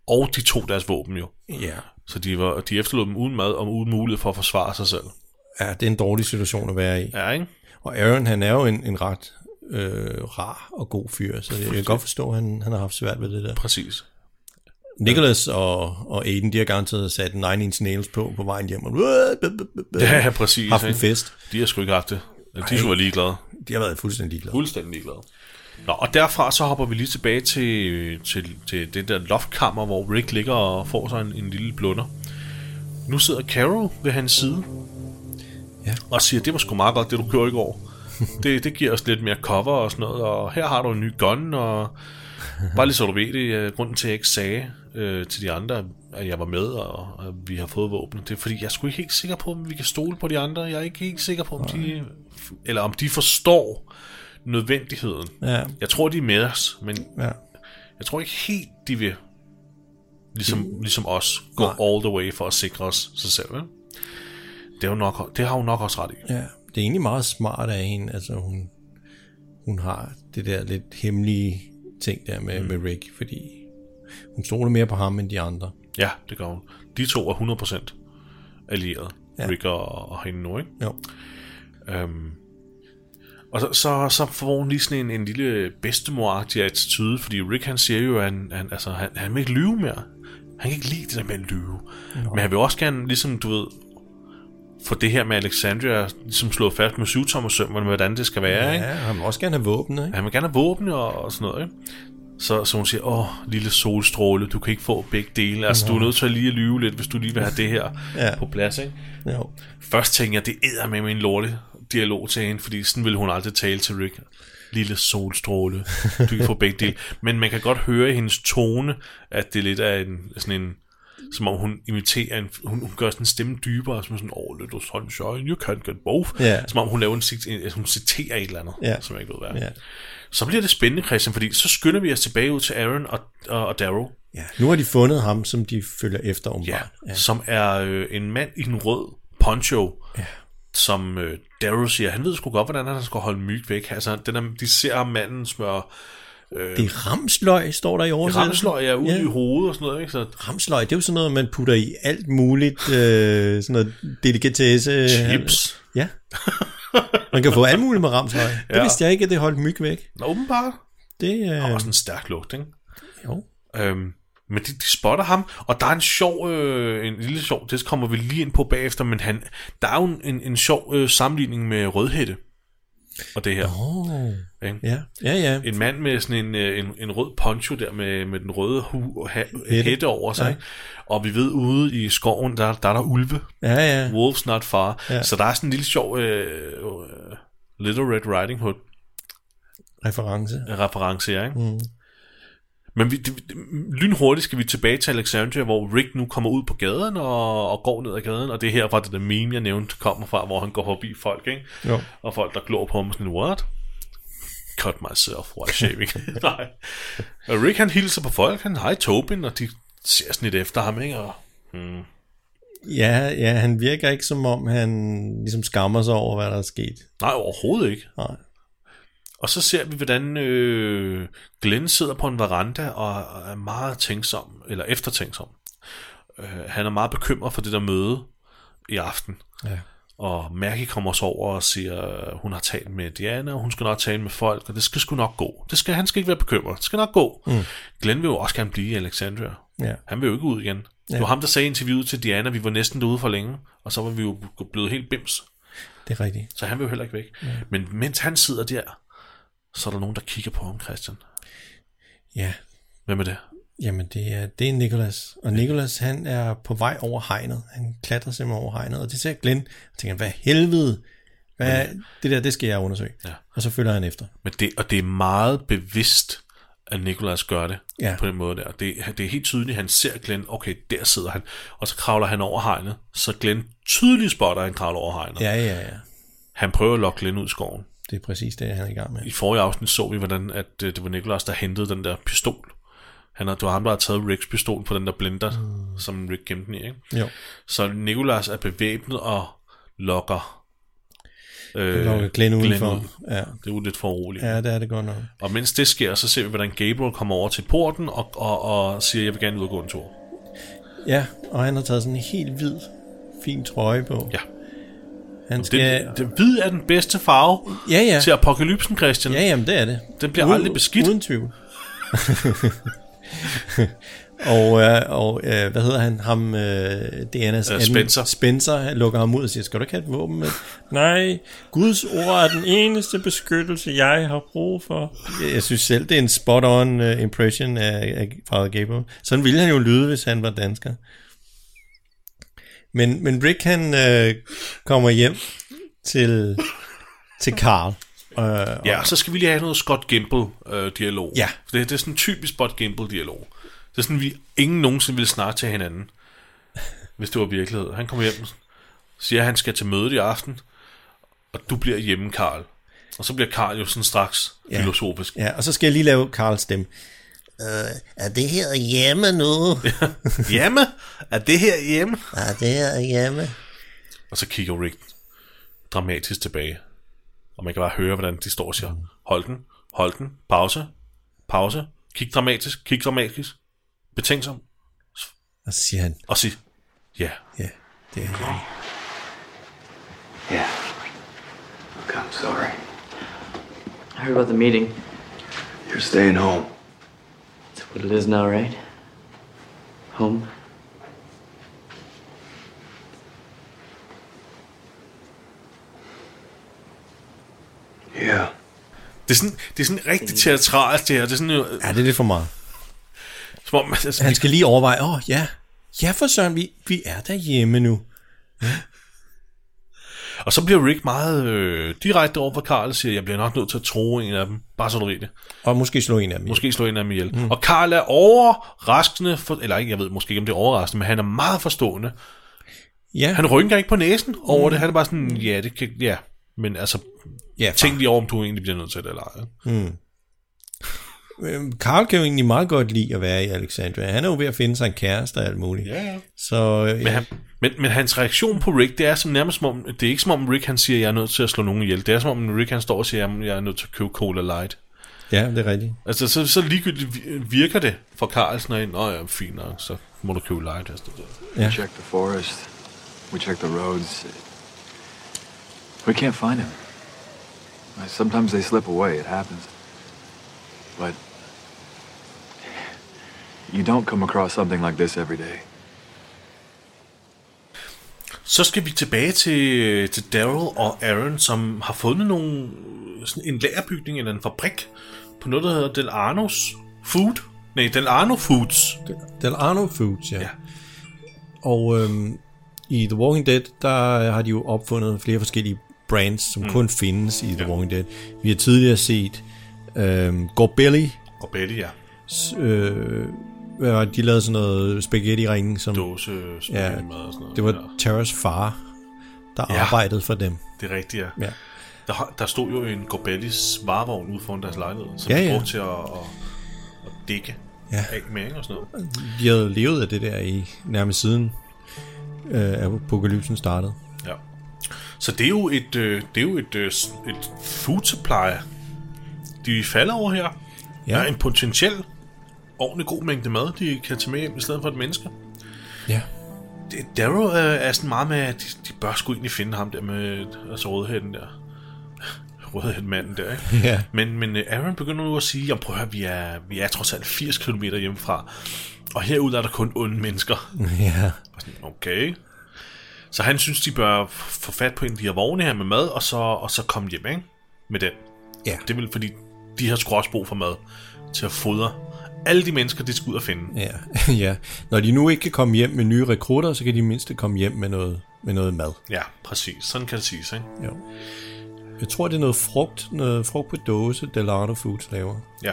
Speaker 1: og de tog deres våben jo.
Speaker 2: ja.
Speaker 1: Så de, var, de efterlod dem uden mad og uden mulighed for at forsvare sig selv.
Speaker 2: Ja, det er en dårlig situation at være i. Ja.
Speaker 1: Ja, ikke?
Speaker 2: Og Aaron, han er jo en, en ret øh, rar og god fyr, så jeg kan godt forstå, at han, han har haft svært ved det der.
Speaker 1: Præcis.
Speaker 2: Nicholas og, og Aiden, de har garanteret sat Nine Inch Nails på på vejen hjem. Og,
Speaker 1: Ja, ja, præcis.
Speaker 2: haft en
Speaker 1: ikke?
Speaker 2: fest.
Speaker 1: De har sgu ikke haft det. De skulle være ligeglade.
Speaker 2: De har været fuldstændig ligeglade.
Speaker 1: Fuldstændig ligeglade. Nå, og derfra så hopper vi lige tilbage til, til, til det der loftkammer, hvor Rick ligger og får sig en, en lille blunder. Nu sidder Carol ved hans side,
Speaker 2: Ja.
Speaker 1: Og siger, det var sgu meget godt, det du gjorde i går. det, det giver os lidt mere cover og sådan noget, og her har du en ny gun, og bare lige så du ved det, øh, grunden til, at jeg ikke sagde øh, til de andre, at jeg var med, og, og vi har fået våben, det er fordi, jeg er sgu ikke helt sikker på, om vi kan stole på de andre. Jeg er ikke helt sikker på, om de, eller om de forstår nødvendigheden.
Speaker 2: Ja.
Speaker 1: Jeg tror, de er med os, men
Speaker 2: Ja.
Speaker 1: jeg tror ikke helt, de vil, ligesom, ligesom os, gå Nej. all the way for at sikre os sig selv. Vel? Det, er jo nok, det har hun nok også ret i.
Speaker 2: ja. Det er egentlig meget smart af hende, altså hun, hun har det der lidt hemmelige ting der med, mm. med Rick, fordi hun stoler mere på ham end de andre.
Speaker 1: Ja, det gør hun. De to er 100% allieret. Ja. Rick og, og hende nu, ikke?
Speaker 2: Jo.
Speaker 1: Øhm. Og så, så, så får hun lige sådan en, en lille bedstemoragtig attitude, fordi Rick han siger jo, at han, han, altså, han, han vil ikke lyve mere. Han kan ikke lide det der med at lyve. Nå. Men han vil også gerne, ligesom du ved, få det her med Alexandria ligesom slået fast med syvtommersømmerne, hvordan det skal være, ikke?
Speaker 2: Ja, han vil også gerne have våben, ikke?
Speaker 1: Han vil gerne have våben og, og sådan noget, ikke? Så, så hun siger, åh, lille solstråle, du kan ikke få begge dele. Altså, du er nødt til at lige at lyve lidt, hvis du lige vil have det her
Speaker 2: Ja.
Speaker 1: på plads, ikke?
Speaker 2: Jo.
Speaker 1: Først tænker jeg, det æder med min lorte dialog til hende, fordi sådan ville hun aldrig tale til Rick. Lille solstråle, du kan få begge dele. Men man kan godt høre i hendes tone, at det lidt er en, sådan en som om hun imiterer en, hun, hun gør sådan en stemme dybere, som sådan, oh, little sunshine, you can't get both.
Speaker 2: Ja.
Speaker 1: Som om hun laver en, cit- en, altså, hun citerer et eller andet,
Speaker 2: Ja.
Speaker 1: som jeg ikke ved, hvad er.
Speaker 2: Ja.
Speaker 1: Så bliver det spændende, Christian, fordi så skynder vi os tilbage ud til Aaron og, og, og Darrow,
Speaker 2: ja. Nu har de fundet ham, som de følger efter,
Speaker 1: ja,
Speaker 2: åbenbart.
Speaker 1: ja. som er øh, en mand i en rød poncho, ja. som øh, Darrow siger, han ved sgu godt, hvordan han skal holde myg væk. Altså, den er, de ser ham manden smøre
Speaker 2: Det er ramsløg, står der i oversættelsen.
Speaker 1: ramsløg ja, ude
Speaker 2: Ja.
Speaker 1: i hovedet og sådan noget, ikke? Så
Speaker 2: Ramsløg, det er jo sådan noget, man putter i alt muligt, øh, sådan noget delikatesse.
Speaker 1: chips.
Speaker 2: Ja. Man kan få alt muligt med ramsløg. Det
Speaker 1: Ja.
Speaker 2: vidste jeg ikke, at det holdt myg væk.
Speaker 1: Nå, åbenbart.
Speaker 2: Det, øh,
Speaker 1: Og sådan en stærk lugt, ikke?
Speaker 2: jo.
Speaker 1: Øhm, men de, de spotter ham, og der er en sjov, øh, en lille sjov, det kommer vi lige ind på bagefter, men han, der er jo en, en, en sjov øh, sammenligning med Rødhætte og det her.
Speaker 2: Oh.
Speaker 1: Ikke?
Speaker 2: Ja, ja, ja.
Speaker 1: en mand med sådan en, øh, en, en rød poncho der med, med den røde hu, ha, hætte.
Speaker 2: Hætte.
Speaker 1: hætte over sig.
Speaker 2: Ja.
Speaker 1: Ja. Og vi ved ude i skoven, der, der er der ulve.
Speaker 2: Ja, ja.
Speaker 1: Wolves not far. Ja.
Speaker 2: Ja.
Speaker 1: Så der er sådan en lille sjov øh, øh, Little Red Riding Hood
Speaker 2: Reference.
Speaker 1: reference her, ikke? Mm. Men vi, det, det- lynhurtigt skal vi tilbage til Alexandria, hvor Rick nu kommer ud på gaden og, og går ned ad gaden, og det er herfra, det der meme, jeg nævnte, kommer fra, hvor han går forbi folk, ikke?
Speaker 2: Jo.
Speaker 1: Og folk, der glor på ham sådan, what? Cut myself while shaving. Nej. Og Rick, han hilser på folk, han, hej Tobin, og de ser sådan lidt efter ham, ikke? Og,
Speaker 2: Ja, ja, han virker ikke som om, han ligesom skammer sig over, hvad der er sket.
Speaker 1: Nej, overhovedet ikke.
Speaker 2: Nej.
Speaker 1: Og så ser vi, hvordan øh, Glenn sidder på en veranda og er meget tænksom, eller eftertænksom. Øh, han er meget bekymret for det der møde i aften.
Speaker 2: Ja.
Speaker 1: Og Maggie kommer også over og siger, at hun har talt med Diana, og hun skal nok tale med folk, og det skal sgu nok gå. Det skal, han skal ikke være bekymret. Det skal nok gå. Mm. Glenn vil jo også gerne blive i Alexandria.
Speaker 2: Ja.
Speaker 1: Han vil jo ikke ud igen. Ja. Det var ham, der sagde i interviewet til Diana, vi var næsten derude for længe, og så var vi jo blevet helt bims.
Speaker 2: Det er rigtigt.
Speaker 1: Så han vil jo heller ikke væk. Ja. Men mens han sidder der, så er der nogen, der kigger på ham, Christian.
Speaker 2: Ja,
Speaker 1: Hvem er det?
Speaker 2: Jamen, det er, det er Nicholas. Og Nicholas, han er på vej over hegnet. Han klatrer simpelthen over hegnet, og det ser Glenn. Og tænker, hvad helvede? Hvad, det der, det skal jeg undersøge.
Speaker 1: Ja.
Speaker 2: Og så følger han efter.
Speaker 1: Men det og det er meget bevidst, at Nicolas gør det
Speaker 2: Ja.
Speaker 1: på den måde der. Det, det er helt tydeligt, han ser Glenn, okay, der sidder han, og så kravler han over hegnet. Så Glenn tydeligt spotter, at han kravler over hegnet.
Speaker 2: Ja, ja, ja.
Speaker 1: Han prøver at lokke Glenn ud i skoven.
Speaker 2: Det er præcis det, han er i gang med.
Speaker 1: I forrige afsnit så vi, hvordan at, øh, det var Nicolas, der hentede den der pistol. Han har, det var ham, der har taget Ricks pistol på den der blender, mm. som Rick gemte den i. Ikke?
Speaker 2: Jo,
Speaker 1: Så Nicolas er bevæbnet og lokker, øh,
Speaker 2: lukker Glenn udenfor.
Speaker 1: ud.
Speaker 2: Ja.
Speaker 1: Det er jo lidt for roligt.
Speaker 2: ja, det er det godt nok.
Speaker 1: Og mens det sker, så ser vi, hvordan Gabriel kommer over til porten og, og, og siger, jeg vil gerne ud og gå en tur.
Speaker 2: Ja, og han har taget sådan en helt hvid, fin trøje på.
Speaker 1: Ja.
Speaker 2: Han
Speaker 1: Det,
Speaker 2: skal...
Speaker 1: ja. det, hvid er den bedste farve
Speaker 2: ja, ja.
Speaker 1: ja. til apokalypsen, Christian.
Speaker 2: Ja, jamen det er det.
Speaker 1: Den bliver aldrig beskidt.
Speaker 2: Uden tvivl. <laughs> og øh, og øh, hvad hedder han? Ham, øh, Dianas
Speaker 1: Øh,
Speaker 2: anden-
Speaker 1: Spencer.
Speaker 2: Spencer han lukker ham ud og siger, skal du ikke have et våben med? <laughs> Nej, Guds ord er den eneste beskyttelse, jeg har brug for. Jeg, jeg synes selv, det er en spot-on uh, impression af, af Father Gabriel. Sådan ville han jo lyde, hvis han var dansker. Men, men Rick, han øh, kommer hjem til, til Carl.
Speaker 1: Ja, og så skal vi lige have noget Scott Gimple-dialog.
Speaker 2: Ja.
Speaker 1: Det, det er sådan en typisk Scott Gimple-dialog. Det er sådan, vi ingen nogensinde ville snakke til hinanden, hvis det var virkelighed. Han kommer hjem siger, at han skal til møde i aften, og du bliver hjemme, Karl. Og så bliver Karl jo sådan straks
Speaker 2: Ja.
Speaker 1: ja. filosofisk.
Speaker 2: Ja, og så skal jeg lige lave Carls stemme.
Speaker 5: Øh, Er det her hjemme nu?
Speaker 1: Hjemme? Er det her hjemme?
Speaker 5: Er det her hjemme?
Speaker 1: Og så kigger Rick dramatisk tilbage. Og man kan bare høre, hvordan de står og siger, hold den, hold den, pause, pause, kig dramatisk, kig dramatisk, betænksom,
Speaker 2: Og så siger han,
Speaker 1: og sig, ja,
Speaker 2: ja, det er hjemme.
Speaker 4: Yeah. Look, I'm sorry.
Speaker 6: I heard about the meeting.
Speaker 4: You're staying home.
Speaker 6: That's what it is now, right? Home.
Speaker 4: Yeah.
Speaker 1: Det er sådan, det er sådan rigtig teatralt, det her. Det er sådan, øh,
Speaker 2: Ja, det er lidt for meget.
Speaker 1: som om, altså,
Speaker 2: Han skal lige overveje, åh oh, ja, ja for søren, vi, vi er derhjemme nu.
Speaker 1: og så bliver Rick meget øh, direkte over for Karl og siger, jeg bliver nok nødt til at tro en af dem, bare så du ved det.
Speaker 2: Og måske slå en af dem. ihjel.
Speaker 1: Måske slå en af dem ihjel. Mm. Og Karl er overraskende, for, eller ikke, jeg ved måske ikke, om det er overraskende, men han er meget forstående.
Speaker 2: Ja,
Speaker 1: Han rynker ikke på næsen over det, han er bare sådan, ja, det kan, ja, men altså,
Speaker 2: ja for,
Speaker 1: tænk lige over, om du egentlig bliver nødt til det eller ej.
Speaker 2: øhm, Carl kan jo egentlig meget godt lide at være i Alexandria. Han er jo ved at finde sig en kæreste og alt muligt.
Speaker 1: Ja, ja.
Speaker 2: Så øh,
Speaker 1: Men, han, men, men hans reaktion på Rick, det er som nærmest som om, det er ikke som om Rick han siger, jeg er nødt til at slå nogen ihjel. Det er som om Rick han står og siger, "Jamen, jeg er nødt til at købe Cola Light.
Speaker 2: ja, det er rigtigt.
Speaker 1: Altså, så, så ligegyldigt vi- virker det for Carlsen og en, Nå ja, fint nok, så må du købe legetøj.
Speaker 2: Yeah.
Speaker 4: We checked the forest. We checked the roads. We can't find him. Like, Sometimes they slip away. It happens. But you don't come across something like this every day.
Speaker 1: Så skal vi tilbage til, til Daryl og Aaron, som har fundet nogle, sådan en lagerbygning eller en fabrik på noget, der hedder Del Arnos Food. Nej, Del Arno Foods.
Speaker 2: Del Arno Foods, ja.
Speaker 1: Ja.
Speaker 2: ja. Og øhm, i The Walking Dead, der har de jo opfundet flere forskellige brands, som mm. kun findes i The ja. Walking Dead. Vi har tidligere set øhm, Gorbelly,
Speaker 1: Og Betty, ja.
Speaker 2: s- øh, hvad var det, de lavede sådan noget spaghetti-ringe, som
Speaker 1: Dåse,
Speaker 2: Ja,
Speaker 1: ja, mad og sådan noget.
Speaker 2: det var
Speaker 1: Ja,
Speaker 2: Terras far, der
Speaker 1: Ja.
Speaker 2: ja. arbejdede for dem.
Speaker 1: det er rigtigt, ja.
Speaker 2: Ja.
Speaker 1: Der, har- der stod jo en Gorbellis varevogn ude foran deres lejlighed, som
Speaker 2: Ja,
Speaker 1: ja,
Speaker 2: ja.
Speaker 1: ja. brugte til at, at, at dække
Speaker 2: Ja.
Speaker 1: ja. af med ikke, og sådan noget.
Speaker 2: De havde levet af det der i nærmest siden øh, apokalypsen startede.
Speaker 1: Ja. Så det er jo et, øh, det er jo et, øh, s- et food supply, de falder over her. Ja. Der er en potentiel ordentlig god mængde mad, de kan tage med hjem i stedet for et menneske.
Speaker 2: ja.
Speaker 1: Det- Darrow øh, er sådan meget med, at de, de bør sgu egentlig finde ham der med altså rødhætten der. <laughs> Rødhætmanden der, ikke?
Speaker 2: Ja.
Speaker 1: Men, men øh, Aaron begynder nu at sige, jamen prøv at høre, vi er, vi er trods alt 80 km hjemmefra, og herude er der kun onde mennesker.
Speaker 2: ja.
Speaker 1: Og sådan, Okay. Så han synes, de bør f- få fat på en af de her vogne her med mad, og så, og så komme hjem, ikke? Med den.
Speaker 2: Ja.
Speaker 1: Det vil fordi, de har sgu også brug for mad til at fodre alle de mennesker, de skal ud og finde.
Speaker 2: Ja, <laughs> ja. Når de nu ikke kan komme hjem med nye rekrutter, så kan de mindst komme hjem med noget, med noget mad.
Speaker 1: Ja, præcis. Sådan kan det siges, ikke?
Speaker 2: Jo. Jeg tror, det er noget frugt, noget frugt på dåse, Delano Foods laver.
Speaker 1: Ja.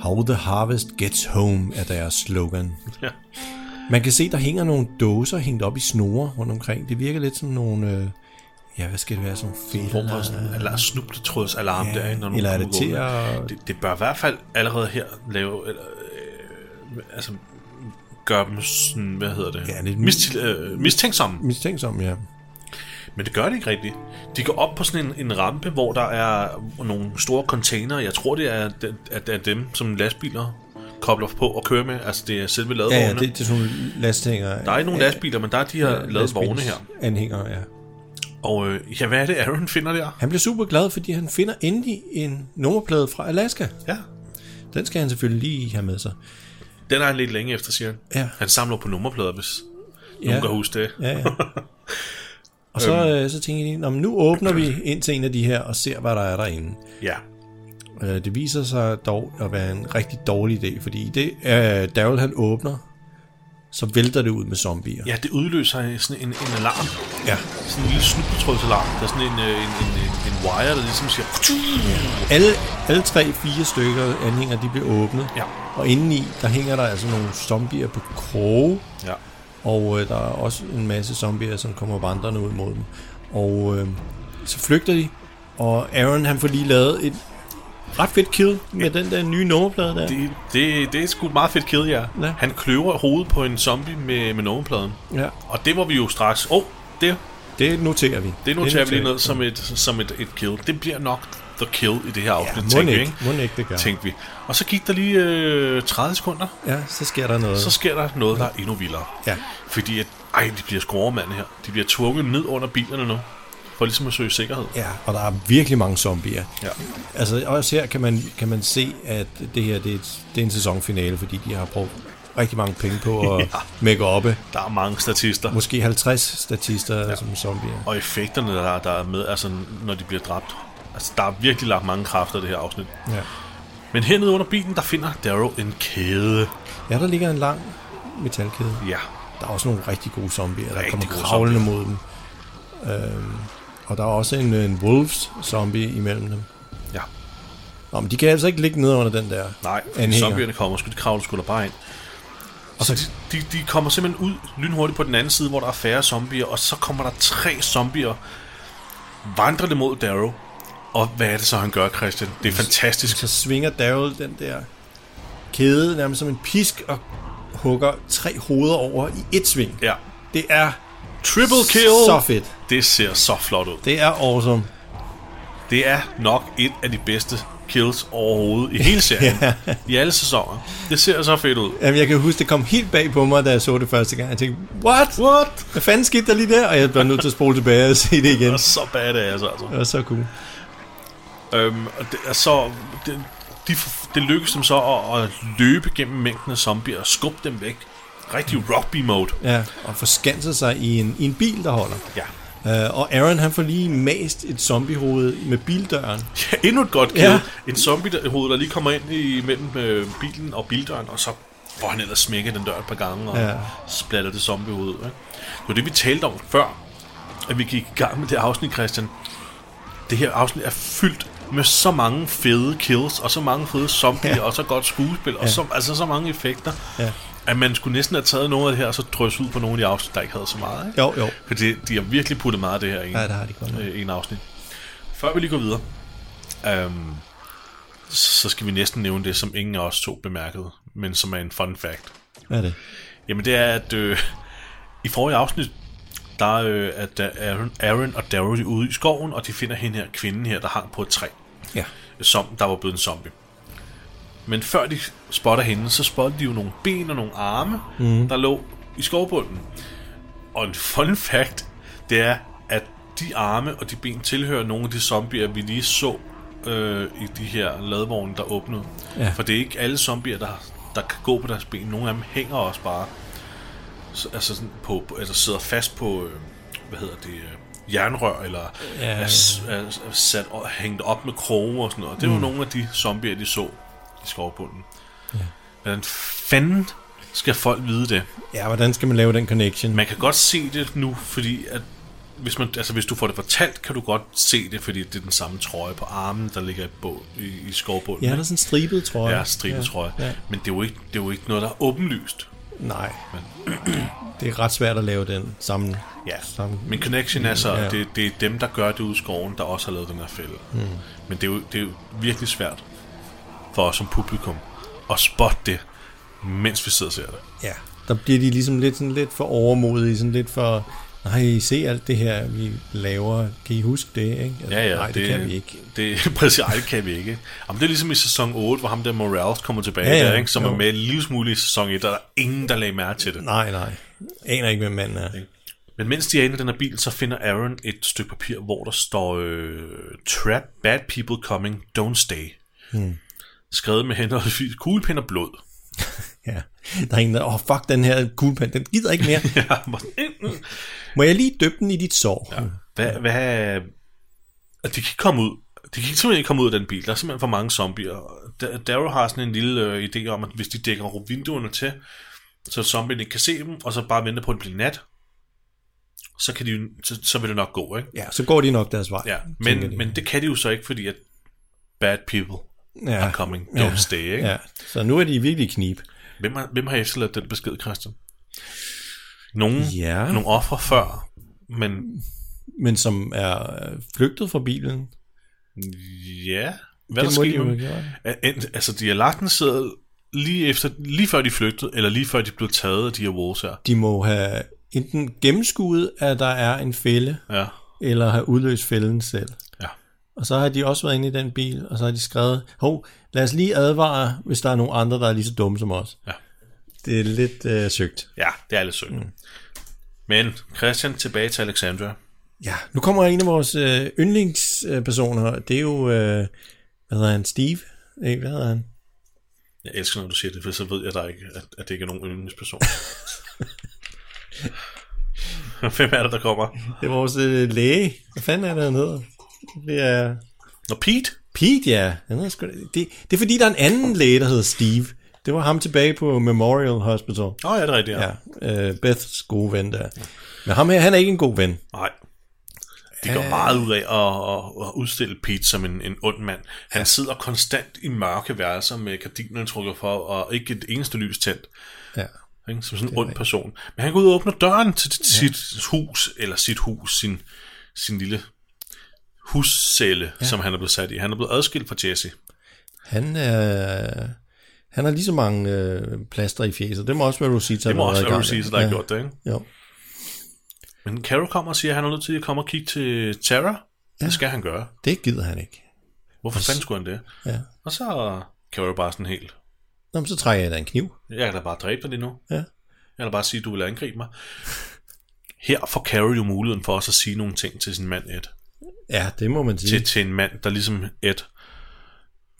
Speaker 2: How the harvest gets home er deres slogan.
Speaker 1: ja.
Speaker 2: Man kan se, der hænger nogle dåser hængt op i snore rundt omkring. Det virker lidt som nogle... Øh, ja, hvad skal det være? Sådan
Speaker 1: Form
Speaker 2: fælder?
Speaker 1: for sådan en alarm, snubletråds alarm
Speaker 2: Ja,
Speaker 1: ja, derinde, når nogen
Speaker 2: eller er
Speaker 1: kommer
Speaker 2: det til
Speaker 1: gående.
Speaker 2: at-
Speaker 1: det, det bør i hvert fald allerede her lave, eller, øh, altså, gøre dem sådan, hvad hedder det?
Speaker 2: Ja, lidt-
Speaker 1: Mistil, øh, mistænksomme.
Speaker 2: Mistænksom, ja.
Speaker 1: Men det gør det ikke rigtigt. De går op på sådan en, en rampe, hvor der er nogle store container. Jeg tror, det er, den- at det er dem, som lastbiler kobler på og kører med. Altså, det er selve
Speaker 2: Ja,
Speaker 1: ladevogne.
Speaker 2: ja, det, det er sådan nogle lasthænger.
Speaker 1: Der er ikke nogen lastbiler, men der er de her ja, ladevogne her.
Speaker 2: Anhænger, ja.
Speaker 1: Og øh, ja, hvad er det, Aaron finder der?
Speaker 2: Han bliver super glad, fordi han finder endelig en nummerplade fra Alaska.
Speaker 1: Ja.
Speaker 2: Den skal han selvfølgelig lige have med sig.
Speaker 1: Den er han lidt længe efter, siger han.
Speaker 2: Ja.
Speaker 1: Han samler på nummerplader, hvis ja.
Speaker 2: Ja.
Speaker 1: nogen kan huske det.
Speaker 2: Ja, ja. Og så,
Speaker 1: Øhm.
Speaker 2: øh, så tænker jeg, "Nå, men nu åbner vi ind til en af de her og ser, hvad der er derinde.
Speaker 1: Ja.
Speaker 2: Øh, det viser sig dog at være en rigtig dårlig idé, fordi det, øh, Daryl han åbner, så vælter det ud med zombier.
Speaker 1: Ja, det udløser sådan en, en alarm.
Speaker 2: ja.
Speaker 1: Sådan en lille snubetrådsalarm. Der er sådan en, øh, en, en, en, en wire, der ligesom siger...
Speaker 2: Alle, alle tre, fire stykker anhænger, de bliver åbnet.
Speaker 1: Ja.
Speaker 2: Og indeni, der hænger der altså nogle zombier på kroge,
Speaker 1: Ja.
Speaker 2: og øh, der er også en masse zombier, som kommer vandrende ud mod dem. Og øh, så flygter de, og Aaron han får lige lavet et ret fedt kill med den der nye nummerplade der.
Speaker 1: Det, det, det er sgu et meget fedt kæde, ja.
Speaker 2: Ja.
Speaker 1: Han kløver hovedet på en zombie med, med nummerpladen.
Speaker 2: Ja,
Speaker 1: Og det var vi jo straks... Åh, oh, det,
Speaker 2: det noterer vi.
Speaker 1: det noterer vi lige ned som et, som et, et kill. Det bliver nok the kill i det her
Speaker 2: Ja,
Speaker 1: afsnit, ja,
Speaker 2: må
Speaker 1: tænkte vi,
Speaker 2: ikke,
Speaker 1: ikke?
Speaker 2: må ikke det gør.
Speaker 1: Tænkte vi. Og så gik der lige øh, 30 sekunder,
Speaker 2: Ja, så sker der noget.
Speaker 1: så sker der noget, der er endnu vildere.
Speaker 2: Ja.
Speaker 1: Fordi at, ej, de bliver skruermande her. De bliver tvunget ned under bilerne nu, for ligesom at søge sikkerhed.
Speaker 2: Ja, og der er virkelig mange zombier.
Speaker 1: Ja.
Speaker 2: Altså også her kan man, kan man se, at det her det er, et, det er en sæsonfinale, fordi de har brugt rigtig mange penge på
Speaker 1: <laughs>
Speaker 2: at
Speaker 1: Ja.
Speaker 2: ja. make oppe.
Speaker 1: Der er mange statister.
Speaker 2: Måske 50 statister ja. som zombier.
Speaker 1: Og effekterne, der, der er med, altså når de bliver dræbt. Altså, der er virkelig lagt mange kræfter i det her afsnit.
Speaker 2: Ja.
Speaker 1: Men hernede under bilen, der finder Daryl en kæde.
Speaker 2: ja, der ligger en lang metalkæde.
Speaker 1: Ja.
Speaker 2: Der er også nogle rigtig gode zombier, der
Speaker 1: Rigtig
Speaker 2: kommer
Speaker 1: gode
Speaker 2: kravlende mod dem. Øhm, og der er også en, øh, en wolves-zombie imellem dem.
Speaker 1: Ja.
Speaker 2: Nå, men de kan altså ikke ligge nede under den der
Speaker 1: Nej,
Speaker 2: anhænger.
Speaker 1: zombierne kommer, skulle de kravle skulle der bare ind. Og så de, de kommer simpelthen ud lynhurtigt på den anden side, hvor der er færre zombier, og så kommer der tre zombier vandrende mod Daryl. Og hvad er det så, han gør, Christian? Det er fantastisk.
Speaker 2: så svinger Daryl den der kæde nærmest som en pisk og hugger tre hoveder over i et sving.
Speaker 1: Ja.
Speaker 2: Det er
Speaker 1: Triple kill!
Speaker 2: så fedt.
Speaker 1: Det ser så flot ud.
Speaker 2: Det er awesome.
Speaker 1: Det er nok et af de bedste kills overhovedet i <laughs> hele serien. I alle sæsoner. Det ser så fedt ud.
Speaker 2: Jamen, jeg kan huske, det kom helt bag på mig, da jeg så det første gang. Jeg tænkte, what? What? Hvad fanden skete der lige der? Og jeg blev nødt til at spole tilbage og se det igen.
Speaker 1: Og så badass, altså.
Speaker 2: Det var så cool.
Speaker 1: Øhm, og det, og så, det, de, det lykkedes dem så at, at løbe gennem mængden af zombier og skubbe dem væk. Rigtig rugby-mode.
Speaker 2: Ja, og forskanse sig i en, i en bil, der holder.
Speaker 1: Ja.
Speaker 2: Uh, og Aaron, han får lige mast et zombiehoved med bildøren.
Speaker 1: ja. <laughs> Endnu et godt kill. Ja.
Speaker 2: Ja.
Speaker 1: En zombie-hoved, der lige kommer ind i, mellem øh, bilen og bildøren, og så får han ellers smækket den dør et par gange og ja.
Speaker 2: Ja.
Speaker 1: splatter det zombie ud. Ikke? Det var det, vi talte om før, at vi gik i gang med det afsnit, Christian. Det her afsnit er fyldt med så mange fede kills, og så mange fede zombier, ja. og så godt skuespil, og ja. så, altså så mange effekter.
Speaker 2: Ja.
Speaker 1: at man skulle næsten have taget noget af det her, og så drøs ud på nogle af de afsnit, der ikke havde så meget. Ikke?
Speaker 2: Jo, jo.
Speaker 1: For det, de har virkelig puttet meget af det her i en,
Speaker 2: Ja, det har de godt nok.
Speaker 1: øh, i en afsnit. Før vi lige går videre, øhm, så skal vi næsten nævne det, som ingen af os to bemærkede, men som er en fun fact.
Speaker 2: Hvad er det?
Speaker 1: Jamen det er, at øh, i forrige afsnit, der øh, er da Aaron, Aaron og Daryl ude i skoven, og de finder hende her, kvinden her, der hang på et træ
Speaker 2: Ja.
Speaker 1: som der var blevet en zombie. Men før de spotter hende, så spotter de jo nogle ben og nogle arme, mm. der lå i skovbunden. Og en fun fact, det er, at de arme og de ben tilhører nogle af de zombier, vi lige så øh, i de her ladvogne, der åbnede. Ja.
Speaker 2: Ja.
Speaker 1: For det er ikke alle zombier, der, der kan gå på deres ben. Nogle af dem hænger også bare. Så, altså, sådan på, på- altså sidder fast på, øh, hvad hedder det, øh, jernrør, eller ja.
Speaker 2: Ja.
Speaker 1: er, s- er, er sat og hængt op med kroge og sådan noget.
Speaker 2: Mm.
Speaker 1: Det var nogle af de zombier, de så i skovbunden. Ja. Hvordan fanden skal folk vide det?
Speaker 2: Ja, hvordan skal man lave den connection?
Speaker 1: Man kan godt se det nu, fordi at hvis, man, altså hvis du får det fortalt, kan du godt se det, fordi det er den samme trøje på armen, der ligger i, bog, i, i skovbunden.
Speaker 2: Ja, der er sådan en stribet trøje.
Speaker 1: ja, stribetrøje. Ja,
Speaker 2: Ja,
Speaker 1: ja.
Speaker 2: ja.
Speaker 1: Men det er, jo ikke, det er jo ikke noget, der er åbenlyst.
Speaker 2: Nej. det er ret svært at lave den sammen.
Speaker 1: Ja,
Speaker 2: sammen.
Speaker 1: men Connection er så, ja.
Speaker 2: Ja.
Speaker 1: det, det er dem, der gør det ude i skoven, der også har lavet den her fælde. Mm. Men det er, jo, det er jo virkelig svært for os som publikum at spotte det, mens vi sidder og ser det.
Speaker 2: Ja. Der bliver de ligesom lidt, sådan lidt for overmodige, sådan lidt for... Nej, se alt det her, vi laver. Kan I huske det, ikke? Altså,
Speaker 1: Ja, ja,
Speaker 2: Nej, det, det kan vi ikke.
Speaker 1: Det, <laughs> præcis, ej, det kan vi ikke. Jamen, det er ligesom i sæson 8, hvor ham der Morales kommer tilbage, ja,
Speaker 2: Ja,
Speaker 1: ja,
Speaker 2: ja,
Speaker 1: der, ikke, som jo.
Speaker 2: jo.
Speaker 1: er med en lille smule i sæson 1, og der er ingen, der lagde mærke til det.
Speaker 2: Nej, nej. Aner ikke, hvem manden er.
Speaker 1: Men mens de er inde i den her bil, så finder Aaron et stykke papir, hvor der står øh, Trap, bad people coming, don't stay. Hmm. Skrevet med henholdsvis kuglepen og <laughs> blod.
Speaker 2: Ja. Der er en, der... Åh, oh, fuck den her kuglepen. Den gider ikke mere.
Speaker 1: Ja, hvor sådan, mm, mm.
Speaker 2: Må jeg lige døbe den i dit sår? Ja.
Speaker 1: hvad, hvad... Og de kan ikke komme ud. De kan simpelthen ikke komme ud af den bil. Der er simpelthen for mange zombier. Da- Daryl har sådan en lille øh, idé om, at hvis de dækker vinduerne til, så zombien ikke kan se dem, og så bare vente på, at det bliver nat, så, kan de, jo- så, så vil det nok gå, ikke?
Speaker 2: Ja, så går de nok deres vej.
Speaker 1: Ja,
Speaker 2: tænker de.
Speaker 1: men, men det kan de jo så ikke, fordi at bad people
Speaker 2: ja.
Speaker 1: are coming, don't stay, ikke?
Speaker 2: Ja, så nu er de virkelig i knib.
Speaker 1: Hvem har, hvem har efterladt den besked, Christian? Nogle,
Speaker 2: Ja.
Speaker 1: nogle offer før, men
Speaker 2: Men som er øh, flygtet fra bilen.
Speaker 1: ja, hvad er der
Speaker 2: det må de
Speaker 1: sket
Speaker 2: jo
Speaker 1: med
Speaker 2: have gjort.
Speaker 1: Er- ent- Altså, de har lagt en seddel lige, efter, lige før de flygtede, eller lige før de blev taget af de her wolves her.
Speaker 2: De må have enten gennemskuet, at der er en fælde,
Speaker 1: Ja,
Speaker 2: eller have udløst fælden selv.
Speaker 1: ja.
Speaker 2: Og så har de også været inde i den bil, og så har de skrevet, hov, lad os lige advare, hvis der er nogen andre, der er lige så dumme som os.
Speaker 1: Ja.
Speaker 2: Det er lidt øh, søgt.
Speaker 1: Ja, det er lidt synd. Mm. Men Christian tilbage til Alexandra.
Speaker 2: Ja, nu kommer en af vores øh, yndlingspersoner, det er jo, øh, hvad hedder han, Steve? Nej, hvad hedder han?
Speaker 1: Jeg elsker, når du siger det, for så ved jeg der ikke, at, at det ikke er nogen <laughs> yndlingsperson. Hvem er det, der kommer?
Speaker 2: Det er vores øh, læge. Hvad fanden er det, han hedder? Det er
Speaker 1: Nå, Pete?
Speaker 2: Pete, ja. Han hedder sgu da- det, det er fordi, der er en anden læge, der hedder Steve. Det var ham tilbage på Memorial Hospital.
Speaker 1: Nå, ja, det er rigtigt, ja.
Speaker 2: Ja,
Speaker 1: ja.
Speaker 2: øh, Beths gode ven der. Men ham her, han er ikke en god ven.
Speaker 1: Nej. De går meget ud af at, at, at udstille Pete som en, en ond mand. Han ja. sidder konstant i mørke værelser med gardinerne trukket for, og ikke et eneste lys tændt.
Speaker 2: Ja.
Speaker 1: Ikke? Som sådan en ond person. Men han går ud og åbner døren til ja. sit hus, eller sit hus, sin, sin lille huscelle, ja. som han er blevet sat i. Han er blevet adskilt fra Jesse.
Speaker 2: Han er... Han har lige så mange øh, plaster i fjeset. Det må også være Rosita.
Speaker 1: Det må
Speaker 2: der har
Speaker 1: også
Speaker 2: været i
Speaker 1: være
Speaker 2: gang.
Speaker 1: Rosita, der har gjort det, ikke?
Speaker 2: Jo.
Speaker 1: Men Carol kommer og siger, at han er nødt til at komme og kigge til Tara. Ja. Det skal han gøre.
Speaker 2: Det gider han ikke.
Speaker 1: Hvorfor fanden skulle han det?
Speaker 2: Ja.
Speaker 1: Og så Carol bare sådan helt,
Speaker 2: Nå, men så trækker jeg da en kniv.
Speaker 1: jeg kan da bare dræbe dig lige nu.
Speaker 2: Ja.
Speaker 1: Jeg kan da bare sige, at du vil angribe mig. Her får Carol jo muligheden for også at sige nogle ting til sin mand Ed.
Speaker 2: Ja, det må man sige.
Speaker 1: Til, til en mand, der ligesom Ed